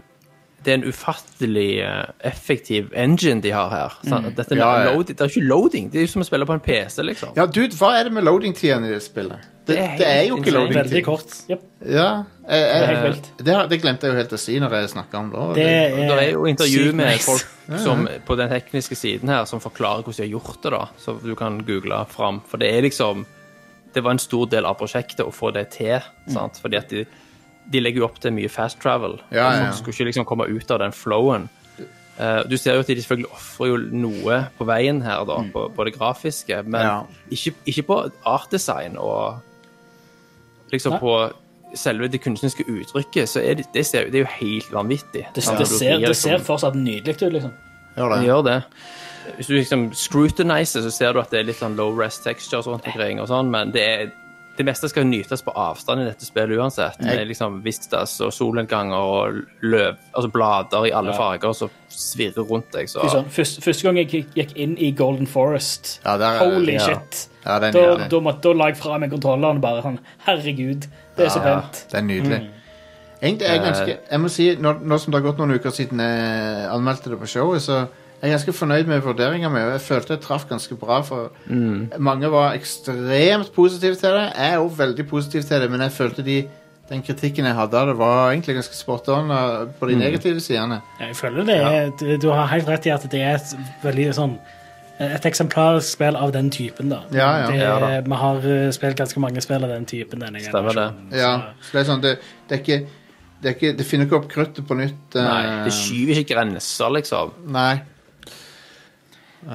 Speaker 3: det er en ufattelig eh, effektiv engine de har her. sant? Dette
Speaker 1: Mm.
Speaker 3: med
Speaker 1: Ja, ja.
Speaker 3: Loading, det er ikke loading, det er jo som å spille på en PC, liksom.
Speaker 1: ja, dude, hva er det med loading-tiden i det spillet? Det,
Speaker 3: Det er
Speaker 1: det,
Speaker 3: helt
Speaker 1: er jo ikke
Speaker 3: insane.
Speaker 1: loading-tid.
Speaker 2: Veldig kort.
Speaker 1: Ja, jeg,
Speaker 4: Det er
Speaker 1: jeg,
Speaker 4: helt vilt.
Speaker 1: det, har- det glemte jeg jo helt å si når jeg snakka om det.
Speaker 2: Det er,
Speaker 3: Det
Speaker 4: Eh,
Speaker 3: er jo intervju
Speaker 2: sykt
Speaker 3: med
Speaker 2: nice.
Speaker 3: folk som, på den tekniske siden her som forklarer hvordan de har gjort det, da. Så du kan google fram. For det er liksom Det var en stor del av prosjektet å få det til. sant? Fordi at de, de legger jo opp til mye fast travel.
Speaker 1: Ja,
Speaker 3: Og
Speaker 1: ja, ja.
Speaker 3: Folk skulle ikke liksom komme ut av den flowen. Eh, du ser jo at de selvfølgelig ofrer jo noe på veien her, da, på, på det grafiske. Men
Speaker 1: Mm. Ja.
Speaker 3: ikke, ikke på artdesign og liksom
Speaker 4: Nei.
Speaker 3: på selve det kunstneriske uttrykket, så er det, det, ser, det er jo helt vanvittig.
Speaker 4: Det,
Speaker 3: Sant?
Speaker 4: det,
Speaker 3: Du
Speaker 4: ser,
Speaker 3: blir
Speaker 4: det
Speaker 3: liksom-
Speaker 4: ser fortsatt nydelig ut, liksom.
Speaker 1: Gjør
Speaker 3: det
Speaker 1: det.
Speaker 3: gjør det. Hvis du liksom scrutiniser, så ser du at det er litt sånn low rest textures rundt omkring, og sånn, men det, er, det meste skal nytes på avstand i dette spillet uansett. Det er liksom vistas og solnedganger og løv, altså blader i alle farger som svirrer rundt deg. Så.
Speaker 4: Fy søren, Første, første gang jeg gikk- gikk inn i Golden Forest,
Speaker 1: Ja, der er-
Speaker 4: holy
Speaker 1: ja.
Speaker 4: shit.
Speaker 1: Ja, det er
Speaker 4: Da,
Speaker 1: nydelig.
Speaker 4: da, måtte, da la jeg fra meg kontrolleren og bare sånn Herregud, det er så
Speaker 3: Ja.
Speaker 4: pent.
Speaker 1: Det er nydelig. Egentlig er jeg ganske Jeg må si, nå, nå som det har gått noen uker siden jeg anmeldte det på showet, så er jeg ganske fornøyd med vurderinga mi, og jeg følte jeg traff ganske bra. For mange var ekstremt positive til det. Jeg er òg veldig positiv til det, men jeg følte de den kritikken jeg hadde av det, var egentlig ganske spot on uh, på de negative sidene.
Speaker 2: Jeg føler det er, du, du har helt rett i at det er et veldig sånn et eksemplarisk spill av den typen, da.
Speaker 1: Ja, ja.
Speaker 2: det,
Speaker 3: Ja, da.
Speaker 2: Vi har eh, spilt ganske mange spill av den typen denne
Speaker 3: Stemmer det.
Speaker 2: generasjonen, så-
Speaker 1: Ja, så det er sånn, det, det er ikke det, er ikke, det finner ikke opp kruttet på nytt. eh,
Speaker 3: Nei, det skyver ikke grenser, liksom.
Speaker 1: nei.
Speaker 2: Eh,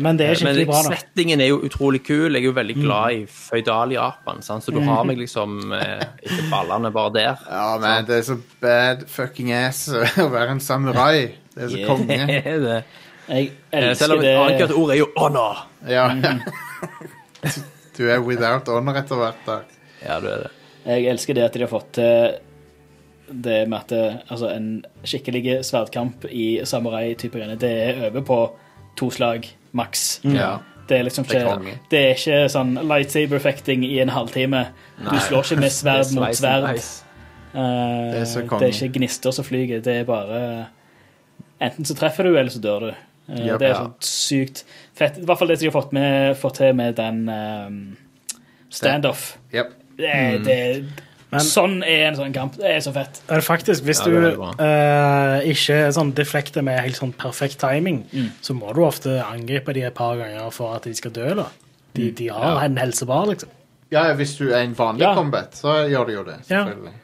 Speaker 2: Men det er
Speaker 3: Men
Speaker 2: skikkelig bra, da.
Speaker 3: settingen er jo utrolig kul. Jeg er jo veldig glad i føydal Japan, sant? så du har meg liksom eh, etter ballene bare der.
Speaker 1: Ja, men det er så bad fucking ass å være en samurai. Det er så
Speaker 4: Yeah.
Speaker 1: konge.
Speaker 3: Er det?
Speaker 4: Jeg
Speaker 3: Eh,
Speaker 4: elsker
Speaker 3: Selv om
Speaker 4: det.
Speaker 3: annet ordet er jo 'honor'.
Speaker 1: Ja.
Speaker 4: Mhm.
Speaker 1: du er without honor etter hvert der.
Speaker 3: Ja, du er det.
Speaker 4: Jeg elsker det at de har fått til det med at det, altså en skikkelig sverdkamp i samurai-type greier, det er over på to slag maks.
Speaker 1: Mm.
Speaker 3: Ja.
Speaker 4: Det er liksom
Speaker 3: Det er
Speaker 4: ikke
Speaker 3: konge.
Speaker 4: Det er ikke sånn lightsaber-fekting i en halvtime. Du slår ikke med sverd mot sverd. Eh,
Speaker 1: Det er så konge.
Speaker 4: det er ikke gnister som flyger, det er bare Enten så treffer du, eller så dør du. Eh,
Speaker 1: Yep.
Speaker 4: det er
Speaker 1: Ja.
Speaker 4: sånn sykt fett. I hvert fall det som de har fått, med, fått til med den eh, standoff.
Speaker 1: Yep.
Speaker 4: Det, er- det, er-
Speaker 2: Men-
Speaker 4: sånn er en sånn kamp. Det er så fett.
Speaker 2: Men faktisk, hvis
Speaker 3: Ja,
Speaker 2: du
Speaker 3: det er veldig
Speaker 2: eh, ikke er sånn deflekter med helt sånn perfekt timing, så må du ofte angripe de et par ganger for at de skal dø, da. De, de har en helsebar, liksom.
Speaker 1: Ja, hvis du er i en vanlig
Speaker 4: Ja.
Speaker 1: combat, så gjør du jo det.
Speaker 2: Ja.
Speaker 1: Selvfølgelig.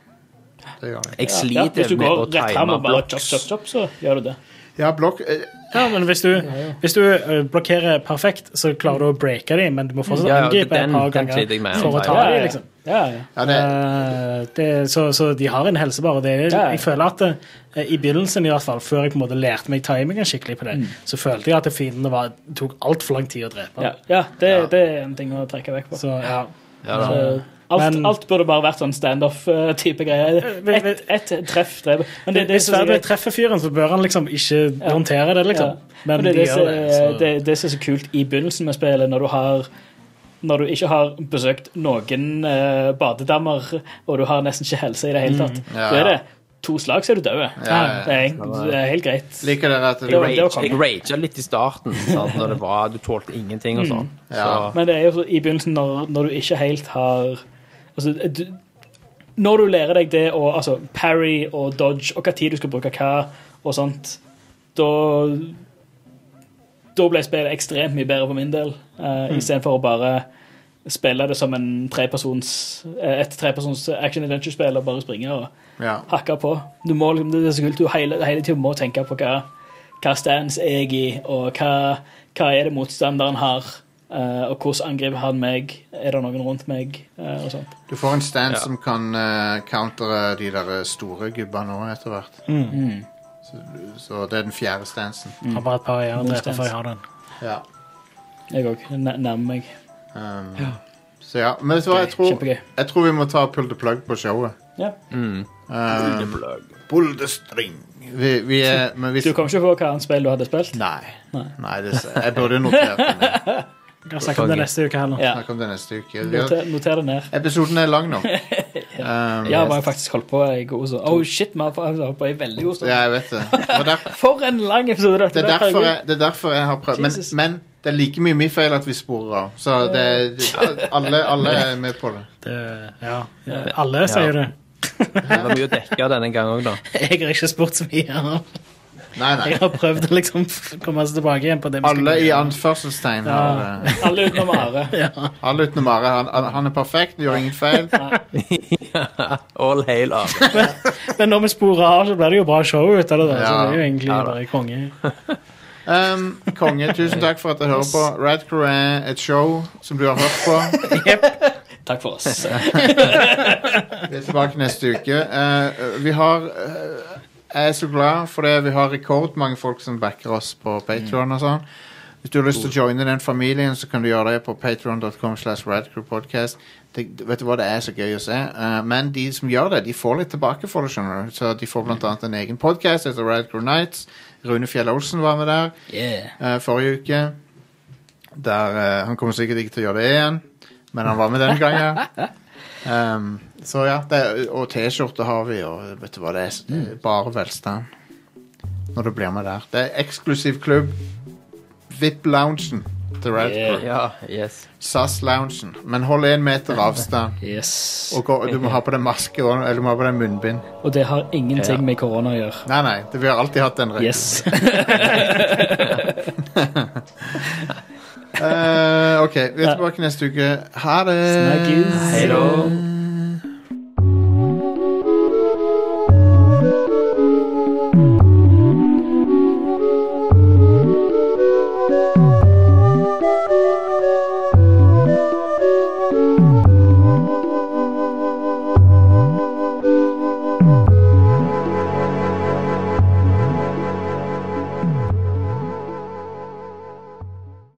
Speaker 1: Det gjør det.
Speaker 3: Jeg
Speaker 4: Ja,
Speaker 3: sliter
Speaker 4: hvis du
Speaker 3: med
Speaker 4: går
Speaker 3: å
Speaker 4: rett fram
Speaker 3: time
Speaker 4: og bare chop,
Speaker 3: blocks.
Speaker 4: chop, chop, så gjør du det.
Speaker 1: Ja, blokk eh,
Speaker 2: Ja, men hvis du, hvis du eh, blokkerer perfekt, så klarer du å breake dem, men du må fortsatt
Speaker 3: Ja, ja,
Speaker 2: angripe
Speaker 3: den-
Speaker 2: et par
Speaker 3: den sliter jeg med.
Speaker 2: ganger for å ta
Speaker 4: Ja,
Speaker 2: dem,
Speaker 4: ja,
Speaker 2: liksom.
Speaker 4: ja, ja.
Speaker 1: ja, det,
Speaker 2: Eh, det, så, så de har en helsebar. og Det er,
Speaker 4: Ja.
Speaker 2: Jeg føler at eh, i begynnelsen, i hvert fall, før jeg på en måte lærte meg timingen skikkelig på det, så følte jeg at fiendene var, tok altfor lang tid å drepe.
Speaker 4: ja, ja det, det er en ting å trekke vekk på.
Speaker 2: Så ja.
Speaker 3: Ja, da.
Speaker 4: Så Alt,
Speaker 2: Men-
Speaker 4: alt burde bare vært sånn standoff-type greier.
Speaker 2: men-
Speaker 4: Ett et treff dreper. Men det, det,
Speaker 2: Hvis
Speaker 4: som er-
Speaker 2: Sverre treffer fyren, så bør han liksom ikke håndtere det, liksom.
Speaker 4: Ja.
Speaker 2: Men,
Speaker 4: Men det, er
Speaker 2: de
Speaker 4: det, som
Speaker 2: gjør det. Så.
Speaker 4: er- det, det som er så kult i begynnelsen med spillet, når du har når du ikke har besøkt noen eh, badedammer, og du har nesten ikke helse i det hele tatt,
Speaker 1: Ja.
Speaker 4: så er det to slag, så er du død.
Speaker 1: ja.
Speaker 4: Det, er- det er helt greit.
Speaker 1: liker dere at
Speaker 4: Det
Speaker 1: det
Speaker 4: var-
Speaker 3: Rage,
Speaker 4: det var konge.
Speaker 3: jeg raga litt i starten, sant, når det var, du tålte ingenting og sånn.
Speaker 4: Mm.
Speaker 1: Ja.
Speaker 3: Så,
Speaker 4: Men det er jo så, i begynnelsen, når, når du ikke helt har Altså, du, når du lærer deg det, og altså parry og dodge, og hva tid du skal bruke hva, og sånt da Da ble spillet ekstremt mye bedre for min del, uh, istedenfor å bare spille det som en trepersons, eh, et trepersons action adventure-spill og bare springe og
Speaker 1: Ja.
Speaker 4: hakke på. Du må, liksom- det er så kult du hele, hele tiden må tenke på hva, hva stands jeg er i, og hva, hva er det motstanderen har, eh, og hvordan angriper han meg, er det noen rundt meg, eh, og sånt.
Speaker 1: Du får en stand
Speaker 3: Ja.
Speaker 1: som kan eh, countere de der eh, store gubbene òg, etter hvert.
Speaker 4: Mm.
Speaker 1: Så, så det er den fjerde stansen.
Speaker 2: Har bare et par øyne å drepe før jeg har den.
Speaker 1: Ja.
Speaker 4: Jeg òg. Nærmer meg.
Speaker 1: Um, Så ja. Men vet du hva, jeg tror,
Speaker 4: Kjempegøy.
Speaker 1: jeg tror vi må ta pull the plug på showet.
Speaker 4: Ja.
Speaker 3: mm.
Speaker 1: Um, pull the string. Vi, vi er Men hvis
Speaker 4: Du kom ikke på hva annet spill du hadde spilt?
Speaker 1: Nei.
Speaker 4: Nei.
Speaker 1: Nei det, jeg burde notert det. ned.
Speaker 2: Vi kan snakke om det neste uke heller.
Speaker 4: Ja.
Speaker 1: Snakk om det neste uke. Vi har,
Speaker 4: Noter, noter det ned.
Speaker 1: episoden er lang nå. Um,
Speaker 4: Ja, vi har faktisk holdt på i god stund. Oh shit, vi har holdt på i veldig god
Speaker 1: ja,
Speaker 4: stund.
Speaker 1: jeg vet det. Og der,
Speaker 4: For en lang episode dette
Speaker 1: det, er
Speaker 4: ble,
Speaker 1: derfor
Speaker 4: herregud.
Speaker 1: jeg, det er derfor jeg har prøvd. Men,
Speaker 4: Jesus.
Speaker 1: men det er like mye min feil at vi sporer av. Så det, det- alle, alle er med på det.
Speaker 2: Det, ja. Alle sier det.
Speaker 3: Det var mye å dekke denne gangen òg, da.
Speaker 2: Jeg har ikke spurt så mye.
Speaker 1: Nei, nei.
Speaker 2: Jeg har prøvd å liksom komme oss tilbake igjen på det vi skal
Speaker 1: Alle i
Speaker 2: gjøre.
Speaker 1: anførselstegn. har, eh,
Speaker 4: Alle utenom Are.
Speaker 1: Alle utenom Are. Han, han- han er perfekt, gjør ingen feil.
Speaker 3: All hail av.
Speaker 2: Men når vi sporer av, så blir det jo bra show ut av det. da, Så
Speaker 1: Ja.
Speaker 2: det er jo egentlig
Speaker 3: Ja da.
Speaker 2: bare konge.
Speaker 1: Um, konge, tusen takk for at jeg hører på. Radcrew er et show som du har hørt på.
Speaker 4: Takk for oss.
Speaker 1: Vi er tilbake neste uke. Eh, vi har eh, Jeg er så glad for det. Vi har rekordmange folk som backer oss på Patreon og sånn. Hvis du har lyst til å joine den familien, så kan du gjøre det på patreon.com slash radcrewpodcast. Det- Vet du hva, det er så gøy å se. Eh, men de som gjør det, de får litt tilbake for det, skjønner du. Så de får blant annet en egen podkast etter Radcrew Nights. Rune Fjell Olsen var med der.
Speaker 4: Yeah.
Speaker 1: eh, forrige uke. Der eh, Han kommer sikkert ikke til å gjøre det igjen, men han var med denne gangen. Um, så ja, det, og T-skjorte har vi, og vet du hva det er? Det
Speaker 4: Mm.
Speaker 1: er bare velstand når du blir med der. Det er eksklusiv klubb. VIP-loungen til Red
Speaker 4: Yeah.
Speaker 1: Crew.
Speaker 3: Ja, yes.
Speaker 1: SAS-loungen. Men hold én meter avstand.
Speaker 4: Yes.
Speaker 1: Og gå, du må ha på deg maske og- eller du må ha på deg munnbind.
Speaker 4: Og det har ingenting med korona å gjøre.
Speaker 1: Nei, nei, det, vi har alltid hatt den regelen.
Speaker 4: Yes.
Speaker 1: Eh, OK, vi er tilbake neste uke. Ha det.
Speaker 4: Snakkes.
Speaker 3: Hei da.